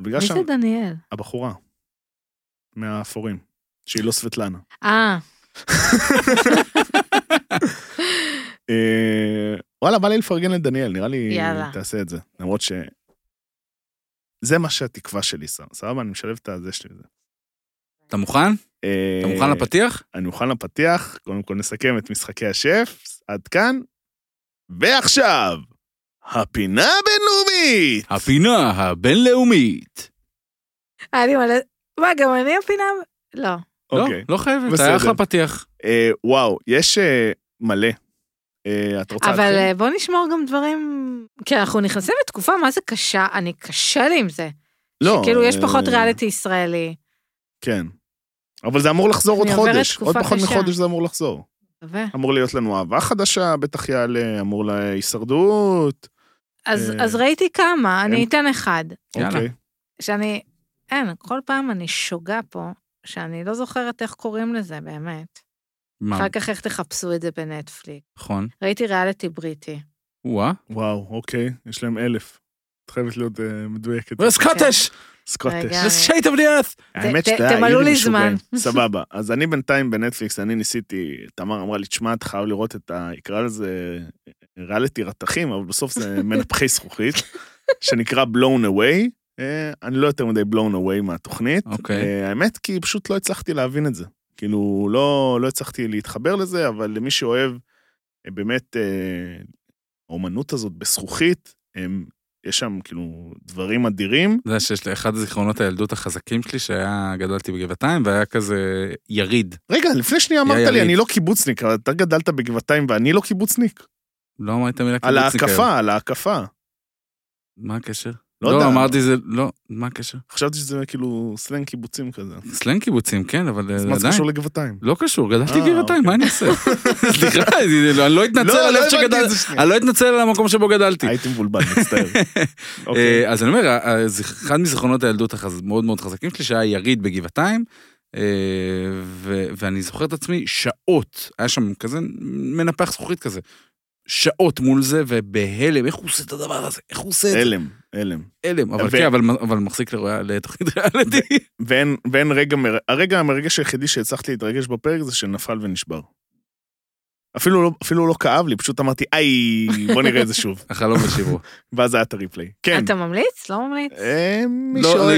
S1: בגלל
S2: מי
S1: שם
S2: זה דניאל?
S1: הבחורה מהאפורים, שהיא לא סבטלנה.
S2: אה,
S1: אה, וואלה, בא לי לפרגן לדניאל, נראה לי
S2: יאללה.
S1: תעשה את זה. למרות ש... זה מה שהתקווה שלי, ס- סבבה? אני משלב את הזה שלי. בזה.
S3: אתה מוכן?
S1: אה,
S3: אתה מוכן לפתיח?
S1: אני מוכן לפתיח, קודם כל נסכם את משחקי השף, עד כאן. ועכשיו, הפינה הבינלאומית!
S3: הפינה הבינלאומית.
S2: היה לי מלא... מה, גם אני הפינה? לא.
S3: לא,
S1: אוקיי.
S3: לא חייבת,
S1: בסדר.
S3: היה אחלה פתיח.
S1: אה, וואו, יש אה, מלא. אה, את רוצה
S2: אבל
S1: להתחיל?
S2: אה, בוא נשמור גם דברים... כי אנחנו נכנסים לתקופה, מה זה קשה? אני קשה לי עם זה.
S1: לא.
S2: כאילו, יש
S1: אה,
S2: פחות ריאליטי ישראלי.
S1: כן. אבל זה אמור לחזור עוד
S2: אני עוברת
S1: חודש. עוד
S2: תקופה
S1: פחות
S2: קשה.
S1: מחודש זה אמור לחזור.
S2: מקווה.
S1: אמור להיות לנו אהבה חדשה, בטח יעלה, אמור לה הישרדות.
S2: אז,
S1: אה,
S2: אז ראיתי כמה, אני אתן אחד.
S3: יאללה.
S1: אוקיי.
S2: שאני, אין, כל פעם אני שוגה פה, שאני לא זוכרת איך קוראים לזה באמת.
S3: מה,
S2: אחר כך איך תחפשו את זה בנטפליק.
S3: נכון.
S2: ראיתי ריאליטי בריטי.
S3: וואה.
S1: וואו, אוקיי, יש להם אלף. את חייבת להיות אה, מדויקת.
S3: לא,
S2: כן.
S3: וסקוטש!
S1: סקוטש.
S2: רגע.
S3: ושייט אבדיאס!
S1: האמת
S2: ת-
S1: שאתה,
S2: תמלאו
S1: היינו
S2: לי
S1: משוגעים.
S2: זמן.
S1: סבבה. אז אני בינתיים בנטפליקס, אני ניסיתי, תמר אמרה לי, תשמע, אתה חייב לראות את ה... יקרא לזה ריאליטי רתכים, אבל בסוף זה מנפחי זכוכית, שנקרא blown away. אה, אני לא יותר מדי blown away מהתוכנית.
S3: אוקיי.
S1: אה, האמת, כי פשוט לא הצלחתי להבין את זה. כאילו, לא, לא הצלחתי להתחבר לזה, אבל למי שאוהב אה, באמת אה, האומנות הזאת בזכוכית, הם, יש שם כאילו דברים אדירים.
S3: אתה יודע שיש לי אחד הזיכרונות הילדות החזקים שלי, שהיה, גדלתי בגבעתיים, והיה כזה יריד.
S1: רגע, לפני שנייה אמרת
S3: יאיר
S1: לי, אני
S3: ריד.
S1: לא קיבוצניק, אבל אתה גדלת בגבעתיים ואני לא קיבוצניק.
S3: לא אמרת מילה
S1: על
S3: קיבוצניק היום.
S1: ההקפה, על ההקפה.
S3: מה הקשר?
S1: לא יודע.
S3: לא, אמרתי זה, לא, מה הקשר?
S1: חשבתי שזה כאילו סלנג קיבוצים כזה.
S3: סלנג קיבוצים, כן, אבל אה,
S1: אז מה זה
S3: עדיין.
S1: קשור לגבעתיים?
S3: לא קשור, גדלתי
S1: אה,
S3: בגבעתיים, מה אני עושה? סליחה, זה- אני לא אתנצל על איפה שגדלתי.
S1: זה שנייה.
S3: אני לא אתנצל על המקום שבו גדלתי.
S1: הייתי מבולבל, מצטער. אוקיי.
S3: אה, אז אני אומר, ה- ה- זה אחד מזיכרונות הילדות המאוד מאוד חזקים שלי, שהיה יריד בגבעתיים, אה, ו- ואני זוכר את עצמי שעות, היה שם כזה מנפח זכוכית כזה, שעות מול זה, ובהלם, איך הוא עושה את הדבר הזה? איך הוא עושה את זה?
S1: הלם, הלם.
S3: הלם, אבל
S1: ו-
S3: כן, אבל אבל מחזיק לרוע- לתוכנית ריאליטי.
S1: ואין, ואין רגע, מר... הרגע המרגש היחידי שהצלחתי להתרגש בפרק זה שנפל ונשבר. אפילו לא, אפילו לא כאב לי, פשוט אמרתי, איי, בוא נראה את זה שוב.
S3: החלום ושיברו.
S1: ואז היה את הריפליי. כן.
S2: אתה ממליץ? לא ממליץ?
S1: אה, מי
S3: לא,
S1: שאוהב...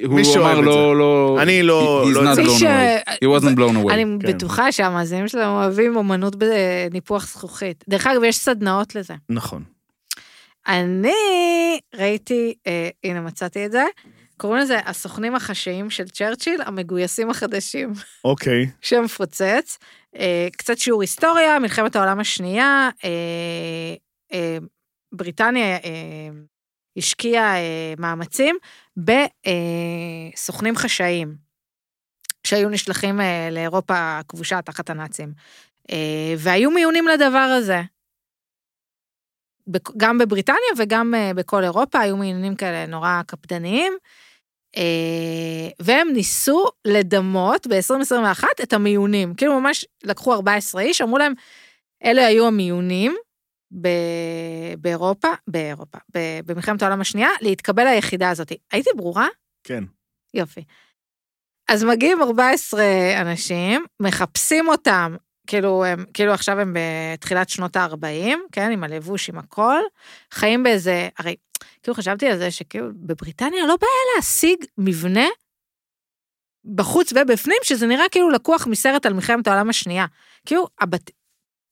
S3: לא,
S1: מי
S3: הוא
S1: שאוהב
S3: אמר
S1: את
S3: לא, לא,
S1: אני לא-
S3: He's
S1: לא
S3: not
S1: זה.
S2: מי
S3: blown
S2: ש-
S3: away. He wasn't blown away.
S2: אני
S1: כן.
S2: בטוחה שהמאזינים שלנו אוהבים אומנות בניפוח זכוכית. דרך אגב, יש סדנאות לזה.
S1: נכון.
S2: אני ראיתי, אה, הנה מצאתי את זה, קוראים לזה הסוכנים החשאיים של צ'רצ'יל, המגויסים החדשים.
S1: אוקיי.
S2: שם מפוצץ. אה, קצת שיעור היסטוריה, מלחמת העולם השנייה, אה, אה, בריטניה אה, השקיעה אה, מאמצים בסוכנים חשאיים שהיו נשלחים אה, לאירופה הכבושה תחת הנאצים. אה, והיו מיונים לדבר הזה. בכ- גם בבריטניה וגם אה, בכל אירופה היו מיונים כאלה נורא קפדניים. אה, והם ניסו לדמות ב-2021 את המיונים. כאילו ממש לקחו 14 איש, אמרו להם, אלה היו המיונים ב- באירופה, באירופה, ב- במלחמת העולם השנייה, להתקבל ליחידה הזאת. הייתי ברורה?
S1: כן.
S2: יופי. אז מגיעים 14 אנשים, מחפשים אותם, כאילו, הם, כאילו עכשיו הם בתחילת שנות ה-40, כן, עם הלבוש, עם הכל, חיים באיזה, הרי, כאילו חשבתי על זה שכאילו בבריטניה לא בעיה להשיג מבנה בחוץ ובפנים, שזה נראה כאילו לקוח מסרט על מלחמת העולם השנייה. כאילו, הבת,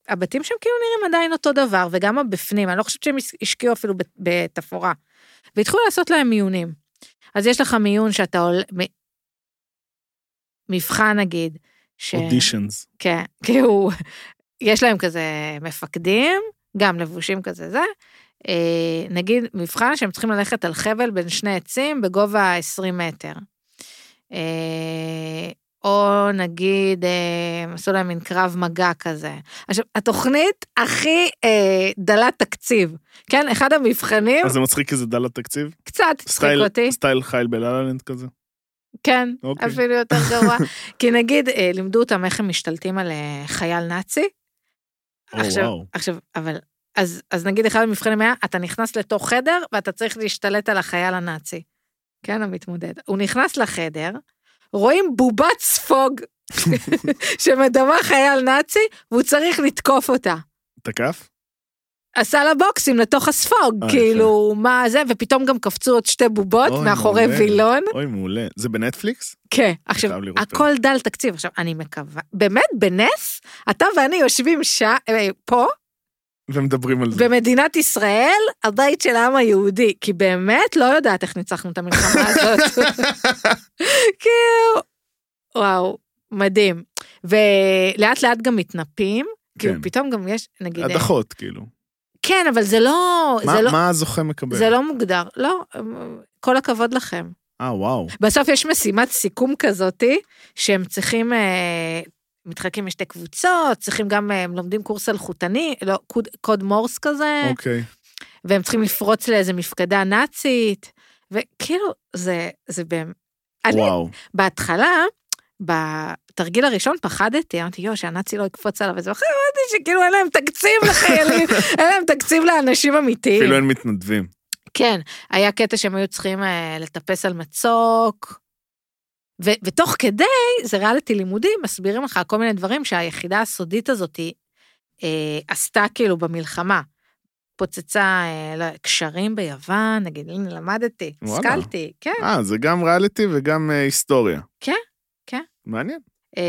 S2: הבתים שם כאילו נראים עדיין אותו דבר, וגם הבפנים, אני לא חושבת שהם השקיעו אפילו בת- בתפאורה. והתחילו לעשות להם מיונים. אז יש לך מיון שאתה עול... מ- מבחן נגיד, ש...
S1: אודישנס.
S2: כן, כאילו, יש להם כזה מפקדים, גם לבושים כזה זה. אה, נגיד מבחן שהם צריכים ללכת על חבל בין שני עצים בגובה 20 מטר. אה, או נגיד, אה, עשו להם מין קרב מגע כזה. עכשיו, התוכנית הכי אה, דלת תקציב, כן? אחד המבחנים,
S1: אז זה מצחיק כי זה דל התקציב?
S2: קצת הצחיק
S1: סטייל-
S2: אותי.
S1: סטייל חייל בלה-לה-לנד כזה?
S2: כן,
S1: אוקיי.
S2: אפילו יותר גרוע. כי נגיד, אה, לימדו אותם איך הם משתלטים על אה, חייל נאצי.
S1: או,
S2: עכשיו,
S1: וואו.
S2: עכשיו, אבל, אז, אז נגיד אחד המבחנים היה, אתה נכנס לתוך חדר ואתה צריך להשתלט על החייל הנאצי. כן, המתמודד. הוא נכנס לחדר, רואים בובת ספוג שמדמה חייל נאצי, והוא צריך לתקוף אותה.
S1: תקף?
S2: עשה לה בוקסים לתוך הספוג,
S1: אה,
S2: כאילו, מה זה, ופתאום גם קפצו עוד שתי בובות
S1: אוי,
S2: מאחורי
S1: מעולה.
S2: וילון.
S1: אוי, מעולה. זה בנטפליקס?
S2: כן, עכשיו,
S1: חייב לראות את
S2: הכל דל תקציב. עכשיו, אני מקווה, באמת, בנס, אתה ואני יושבים שעה, אה, פה,
S1: ומדברים על זה.
S2: במדינת ישראל, הבית של העם היהודי, כי באמת לא יודעת איך ניצחנו את המלחמה הזאת. כאילו, וואו, מדהים. ולאט לאט גם מתנפים, כאילו
S1: כן.
S2: פתאום גם יש, נגיד, אה,
S1: הדחות, כאילו.
S2: כן, אבל זה לא,
S1: מה-
S2: זה לא,
S1: מה הזוכה מקבל?
S2: זה לא מוגדר, לא, כל הכבוד לכם.
S1: אה, וואו.
S2: בסוף יש משימת סיכום כזאתי, שהם צריכים אה, מתחלקים לשתי קבוצות, צריכים גם, אה, הם לומדים קורס אלחוטני, לא, קוד, קוד מורס כזה,
S1: אוקיי.
S2: והם צריכים לפרוץ לאיזה מפקדה נאצית, וכאילו, זה, זה באמת... אני אה.
S1: וואו.
S2: בהתחלה, בתרגיל הראשון פחדתי, אמרתי, יואו, שהנאצי לא יקפוץ עליו, וזה אחרי אמרתי שכאילו אין להם תקציב לחיילים, אין להם תקציב לאנשים אמיתיים.
S1: אפילו אין מתנדבים.
S2: כן, היה קטע שהם היו צריכים אה, לטפס על מצוק, ו- ותוך כדי זה ריאליטי לימודי, מסבירים לך כל מיני דברים שהיחידה הסודית הזאת היא, אה, עשתה כאילו במלחמה. פוצצה אה, לא, קשרים ביוון, נגיד, הנה למדתי,
S1: וואלה.
S2: השכלתי, כן.
S1: אה, זה גם ריאליטי וגם אה, היסטוריה.
S2: כן, כן.
S1: מעניין.
S2: אה,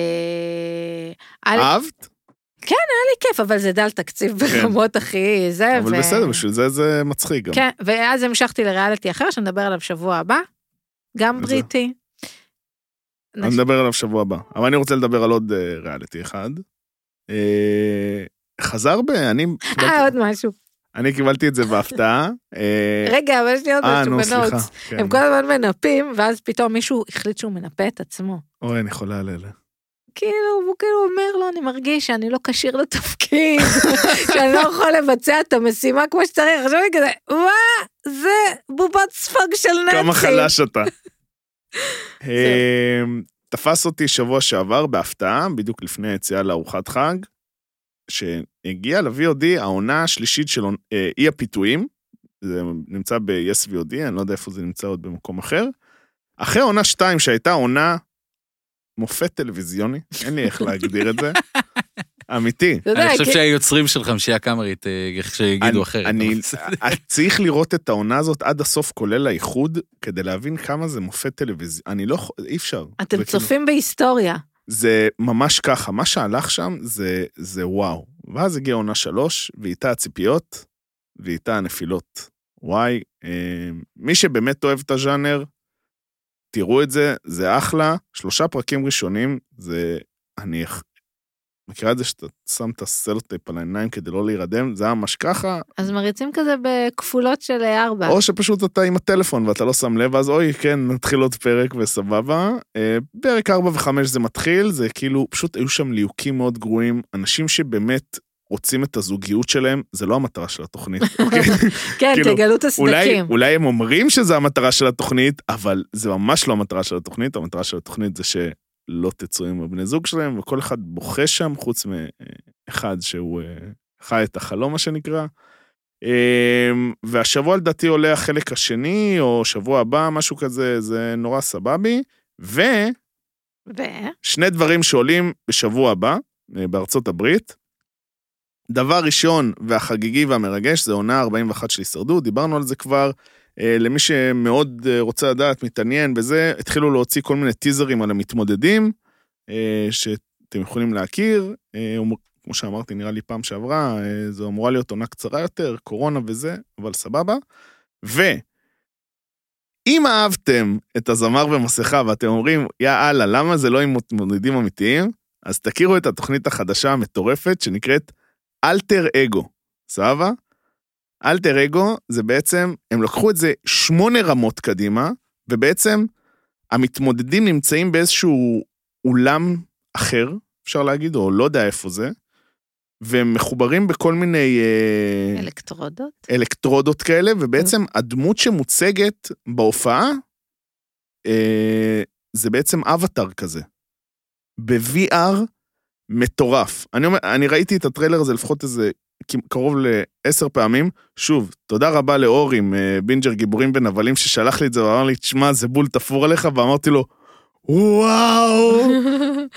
S2: היה לי- היה
S1: אהבת?
S2: לי כיף, אבל זה דל תקציב ברמות הכי זה.
S1: כן. אבל
S2: אה, ו-
S1: בסדר, בשביל זה זה מצחיק גם.
S2: כן, ואז המשכתי לריאליטי אחר שנדבר עליו שבוע הבא, גם
S1: איזה?
S2: בריטי.
S1: אני נדבר עליו שבוע הבא. אבל אני רוצה לדבר על עוד אה, ריאליטי אחד. אה, חזר ב... אני...
S2: אה, עוד משהו.
S1: אני קיבלתי את זה בהפתעה. אה,
S2: רגע, אבל יש לי עוד
S1: אה,
S2: משהו
S1: נו, סליחה.
S2: בנוטס.
S1: כן.
S2: הם כל הזמן מנפים, ואז פתאום מישהו החליט שהוא מנפה את עצמו.
S1: אוי, אני חולה על אלה.
S2: כאילו, הוא כאילו אומר לו, אני מרגיש שאני לא כשיר לתפקיד, שאני לא יכול לבצע את המשימה כמו שצריך. עכשיו אני כזה, מה? זה בובת ספג של נאצי.
S1: כמה חלש אתה. אה, תפס אותי שבוע שעבר בהפתעה, בדיוק לפני היציאה לארוחת חג, שהגיע ל-VOD העונה השלישית של אה, אי הפיתויים, זה נמצא ב-yes VOD, אני לא יודע איפה זה נמצא עוד במקום אחר. אחרי עונה 2, שהייתה עונה מופת טלוויזיוני, אין לי איך להגדיר את זה, אמיתי.
S2: אתה לא יודע,
S3: אני חושב
S2: כי-
S3: שהיוצרים של חמישייה קאמרית, אה, שיגידו
S1: אני-
S3: אחרת.
S1: אני,
S3: אבל בסדר.
S1: את צריך לראות את העונה הזאת עד הסוף, כולל האיחוד, כדי להבין כמה זה מופת טלוויזיה. אני לא יכול, אי אפשר.
S2: אתם
S1: זה כאילו-
S2: צופים בהיסטוריה.
S1: זה ממש ככה, מה שהלך שם זה, זה וואו. ואז הגיעה עונה שלוש, ואיתה הציפיות, ואיתה הנפילות. וואי, אה, מי שבאמת אוהב את הז'אנר, תראו את זה, זה אחלה. שלושה פרקים ראשונים, זה, אני אח- מכירה את זה שאתה שם את הסלוטייפ על העיניים כדי לא להירדם? זה היה ממש ככה,
S2: אז מריצים כזה בכפולות של אה, ארבע.
S1: או שפשוט אתה עם הטלפון ואתה לא שם לב, אז אוי, כן, נתחיל עוד פרק וסבבה. אה, פרק 4 ו-5 זה מתחיל, זה כאילו, פשוט היו שם ליהוקים מאוד גרועים, אנשים שבאמת רוצים את הזוגיות שלהם, זה לא המטרה של התוכנית, אוקיי?
S2: כן,
S1: כאילו,
S2: תגלו את
S1: אולי,
S2: הסדקים.
S1: אולי הם אומרים שזה המטרה של התוכנית, אבל זה ממש לא המטרה של התוכנית, המטרה של התוכנית זה שלא תצאו עם הבני זוג שלהם, וכל אחד בוכה שם, חוץ מאחד שהוא אה, חי את החלום, מה שנקרא. אמ, והשבוע לדעתי עולה החלק השני, או שבוע הבא, משהו כזה, זה נורא סבבי. ושני
S2: ו-
S1: כן. דברים שעולים בשבוע הבא, אה, בארצות הברית. דבר ראשון והחגיגי והמרגש זה עונה 41 של הישרדות, דיברנו על זה כבר. אה, למי שמאוד אה, רוצה לדעת, מתעניין בזה, התחילו להוציא כל מיני טיזרים על המתמודדים, אה, שאתם יכולים להכיר. אה, אומ- כמו שאמרתי, נראה לי פעם שעברה, אה, זו אמורה להיות עונה קצרה יותר, קורונה וזה, אבל סבבה. ואם אהבתם את הזמר במסכה ואתם אומרים, יא אללה, למה זה לא עם מתמודדים אמיתיים? אז תכירו את התוכנית החדשה המטורפת שנקראת אלטר אגו, סבבה? אלטר אגו זה בעצם, הם לקחו את זה שמונה רמות קדימה, ובעצם המתמודדים נמצאים באיזשהו אולם אחר, אפשר להגיד, או לא יודע איפה זה, והם מחוברים בכל מיני... אה,
S2: אלקטרודות?
S1: אלקטרודות כאלה, ובעצם הדמות שמוצגת בהופעה, אה, זה בעצם אבטאר כזה. ב-VR מטורף. אני, אומר, אני ראיתי את הטריילר הזה לפחות איזה כמ- קרוב לעשר פעמים. שוב, תודה רבה לאור עם אה, בינג'ר גיבורים ונבלים ששלח לי את זה ואמר לי, תשמע, זה בול תפור עליך, ואמרתי לו, וואו,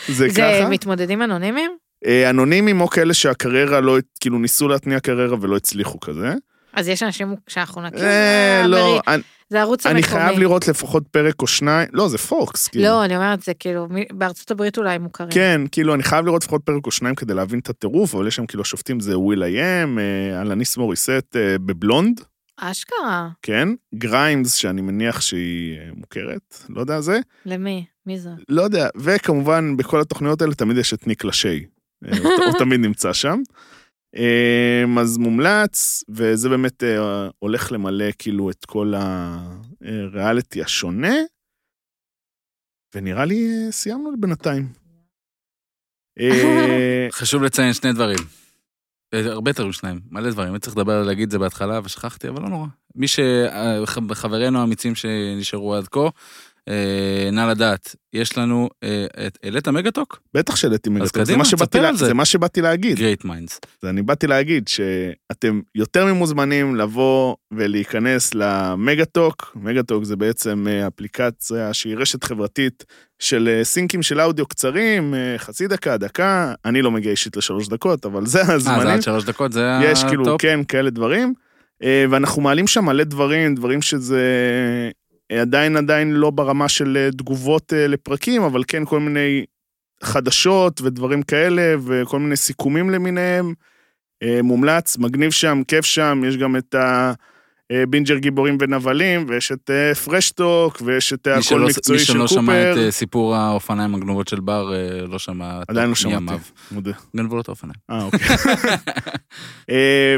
S1: זה
S2: זה
S1: ככה.
S2: מתמודדים אנונימיים?
S1: אה, אנונימים או כאלה שהקריירה לא, כאילו ניסו להתניע קריירה ולא הצליחו כזה.
S2: אז יש אנשים שאנחנו נכיר?
S1: אה,
S2: אה,
S1: לא,
S2: אמרי-
S1: אני-
S2: זה ערוץ
S1: אני
S2: המקומי.
S1: חייב לראות לפחות פרק או שניים, לא, זה פוקס, כאילו.
S2: לא, אני אומרת, זה כאילו, מי- בארצות הברית אולי מוכרים.
S1: כן, כאילו, אני חייב לראות לפחות פרק או שניים כדי להבין את הטירוף, אבל יש שם כאילו שופטים, זה וויל איי-אם, אלניס מוריסט אה, בבלונד,
S2: אשכרה.
S1: כן, גריימס, שאני מניח שהיא אה, מוכרת, לא יודע זה,
S2: למי? מי זו?
S1: לא יודע, וכמובן, בכל התוכניות האלה תמיד יש את ניק לשי, אה, הוא ת- הוא תמיד נמצא שם. אה, אז מומלץ, וזה באמת אה, הולך למלא כאילו את כל הריאליטי השונה, ונראה לי אה, סיימנו בינתיים. אה,
S3: חשוב לציין שני דברים. אה, הרבה דברים שניים, מלא דברים. הייתי צריך לדבר, להגיד את זה בהתחלה ושכחתי, אבל לא נורא. מי ש... אה, ח- חברינו האמיצים שנשארו עד כה, אה, נא לדעת, יש לנו... אה, את- העלית מגה-טוק?
S1: בטח שהעליתי מגטוק, זה
S3: קדימה,
S1: מה שבאתי
S3: תספר
S1: לה-
S3: על זה.
S1: זה מה שבאתי להגיד.
S3: גרייט מיינדס.
S1: אז אני באתי להגיד שאתם יותר ממוזמנים לבוא ולהיכנס למגה-טוק. מגה-טוק זה בעצם אה, אפליקציה שהיא רשת חברתית של אה, סינקים של אודיו קצרים, אה, חצי דקה, דקה. אני לא מגיע אישית לשלוש דקות, אבל זה
S3: אה, זה
S1: הזמנים.
S3: עד שלוש דקות, זה
S1: יש כאילו,
S3: הטופ?
S1: כן, כאלה דברים. אה, ואנחנו מעלים שם מלא דברים, דברים שזה אה, עדיין עדיין לא ברמה של אה, תגובות אה, לפרקים, אבל כן כל מיני חדשות ודברים כאלה, וכל מיני סיכומים למיניהם. אה, מומלץ, מגניב שם, כיף שם, יש גם את ה... אה, בינג'ר גיבורים ונבלים, ויש את אה, פרשטוק, ויש את אה,
S3: מי
S1: הכל
S3: שלא-
S1: מקצועי של
S3: מי שלא שמע את
S1: קופר.
S3: אה, סיפור האופניים הגנובות של בר, אה, לא שמע... את
S1: עדיין לא
S3: מימיו.
S1: שמעתי. מודה.
S3: גנבו לו את האופניים.
S1: אה, אוקיי. אה,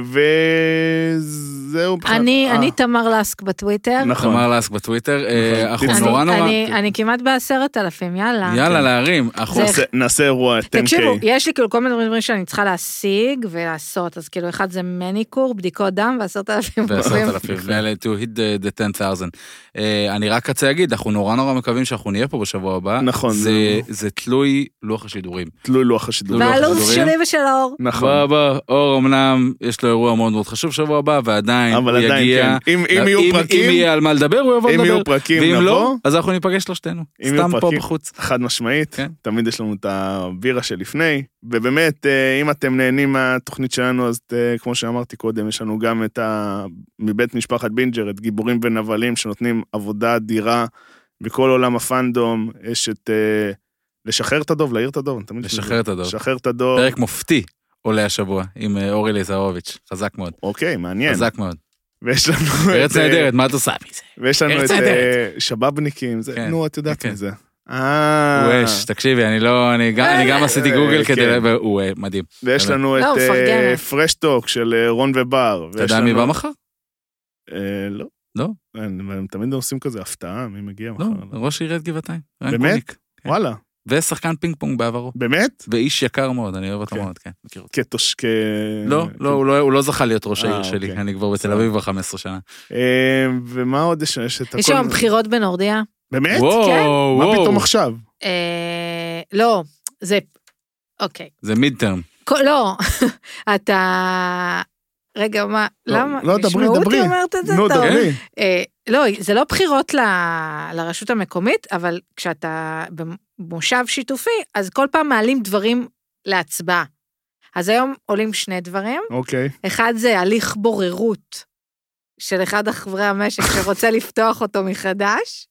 S1: וזהו. מבחינת-
S2: אני,
S1: אה.
S2: אני תמר לסק בטוויטר.
S1: נכון.
S3: תמר לסק בטוויטר, אה,
S1: נכון.
S3: אנחנו
S1: אני-
S3: נורא נורא...
S2: אני, אני כמעט בעשרת אלפים, יאללה.
S3: יאללה, להרים. אנחנו
S2: זה-
S1: נעשה- נעשה אירוע 10K.
S2: תקשיבו, יש לי כאילו כל מיני דברים שאני צריכה להשיג ולעשות, אז כאילו אחד זה מניקור, בדיקות דם ועשרת אלפים
S3: ועשרת
S2: עוקבים.
S3: אלפים, ו- to hit the- the 10,000. אה, אני רק רוצה להגיד, אנחנו נורא נורא מקווים שאנחנו נהיה פה בשבוע הבא.
S1: נכון,
S3: זה-
S1: זה-
S3: זה תלוי לוח השידורים.
S1: תלוי לוח השידור.
S3: תלוי לוח
S2: והלו"ז
S3: השידורים.
S2: שלי ושל האור.
S1: נכון.
S3: בא, בא, אור אמנם, יש לו אירוע מאוד מאוד חשוב שבוע הבא, ועדיין הוא
S1: אבל עדיין,
S3: יגיע.
S1: כן. אם אם יהיו
S3: אם
S1: פרקים,
S3: יהיה על מה לדבר, הוא יבוא
S1: אם
S3: לדבר.
S1: יהיו פרקים,
S3: ואם לא,
S1: נבוא.
S3: אז אנחנו ניפגש שלושתנו.
S1: אם יהיו
S3: סתם פה
S1: פרקים.
S3: בחוץ.
S1: חד משמעית,
S3: כן.
S1: תמיד יש לנו את הבירה שלפני, ובאמת, אה, אם אתם נהנים מהתוכנית שלנו, אז אה, כמו שאמרתי קודם, יש לנו גם את ה... מבית משפחת בינג'ר, את גיבורים ונבלים, שנותנים עבודה אדירה בכל עולם הפאנדום. יש את... אה, לשחרר את הדוב, להעיר את הדוב, אני תמיד...
S3: לשחרר את הדור.
S1: לשחרר את הדוב.
S3: פרק מופתי עולה השבוע עם אה, אורי ליזהרוביץ', חזק מאוד,
S1: אוקיי, מעניין.
S3: חזק מאוד.
S1: ויש לנו... את,
S3: ארץ
S1: אה,
S3: נהדרת, מה את עושה מזה?
S1: ויש לנו את
S3: ארץ
S1: אה,
S3: נהדרת.
S1: שבאבניקים, זה-
S3: כן,
S1: נו, את יודעת
S3: כן.
S1: מי זה. אה,
S3: וואש, תקשיבי, אני לא, אני גם, אני גם עשיתי גוגל
S1: אה,
S3: כדי,
S1: כן.
S3: ל- הוא אה, מדהים.
S1: ויש לנו את
S2: לא, הוא
S1: אה,
S2: מפרגן.
S1: פרשטוק של אה, רון ובר.
S3: אתה יודע מי בא מחר?
S1: אה, לא.
S3: לא?
S1: הם הם תמיד עושים כזה הפתעה, מי מגיע מחר.
S3: לא, ראש עיריית גבעתיים. רן
S1: נכון, באמת?
S3: קוניק. כן.
S1: וואלה,
S3: ושחקן פינג פונג בעברו.
S1: באמת?
S3: ואיש יקר מאוד, אני אוהב אותו
S1: כן.
S3: מאוד, כן, מכיר אותו.
S1: כתוש... כ-
S3: לא, לא, הוא לא- הוא לא זכה להיות ראש
S1: אה,
S3: העיר שלי,
S1: אוקיי.
S3: אני כבר בתל אביב כבר 15 שנה.
S1: אה, ומה עוד יש? יש את הכל...
S2: יש שם בחירות בנורדיה?
S1: באמת? כן?
S3: וואו,
S1: מה פתאום
S3: וואו,
S1: עכשיו?
S2: אה, לא, זה... אוקיי.
S3: זה מיד טרם.
S2: כל- לא, אתה... רגע, מה,
S1: לא,
S2: למה?
S1: לא, דברי,
S2: ישמעו אותי
S1: דברי.
S2: אומרת את זה?
S1: נו,
S2: טוב.
S1: דברי.
S2: אה, לא, זה לא בחירות ל, לרשות המקומית, אבל כשאתה במושב שיתופי, אז כל פעם מעלים דברים להצבעה. אז היום עולים שני דברים,
S1: אוקיי.
S2: אחד זה הליך בוררות של אחד החברי המשק שרוצה לפתוח אותו מחדש,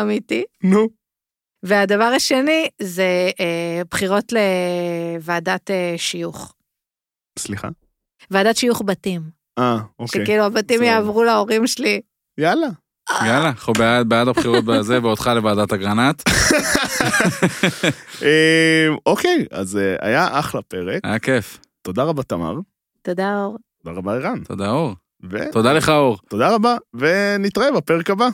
S2: אמיתי,
S1: נו.
S2: והדבר השני זה אה, בחירות לוועדת אה, שיוך,
S1: סליחה?
S2: ועדת שיוך בתים,
S1: אה, אוקיי.
S2: שכאילו הבתים
S1: בסדר.
S2: יעברו להורים שלי.
S1: יאללה.
S3: יאללה, אנחנו בעד בעד הבחירות בזה, ואותך לוועדת אגרנט.
S1: אה, אוקיי, אז אה, היה אחלה פרק.
S3: היה כיף.
S1: תודה רבה, תמר.
S2: תודה, אור.
S1: תודה רבה, ערן.
S3: תודה, אור.
S1: ו-
S3: תודה לך, אור.
S1: תודה רבה, ונתראה בפרק הבא.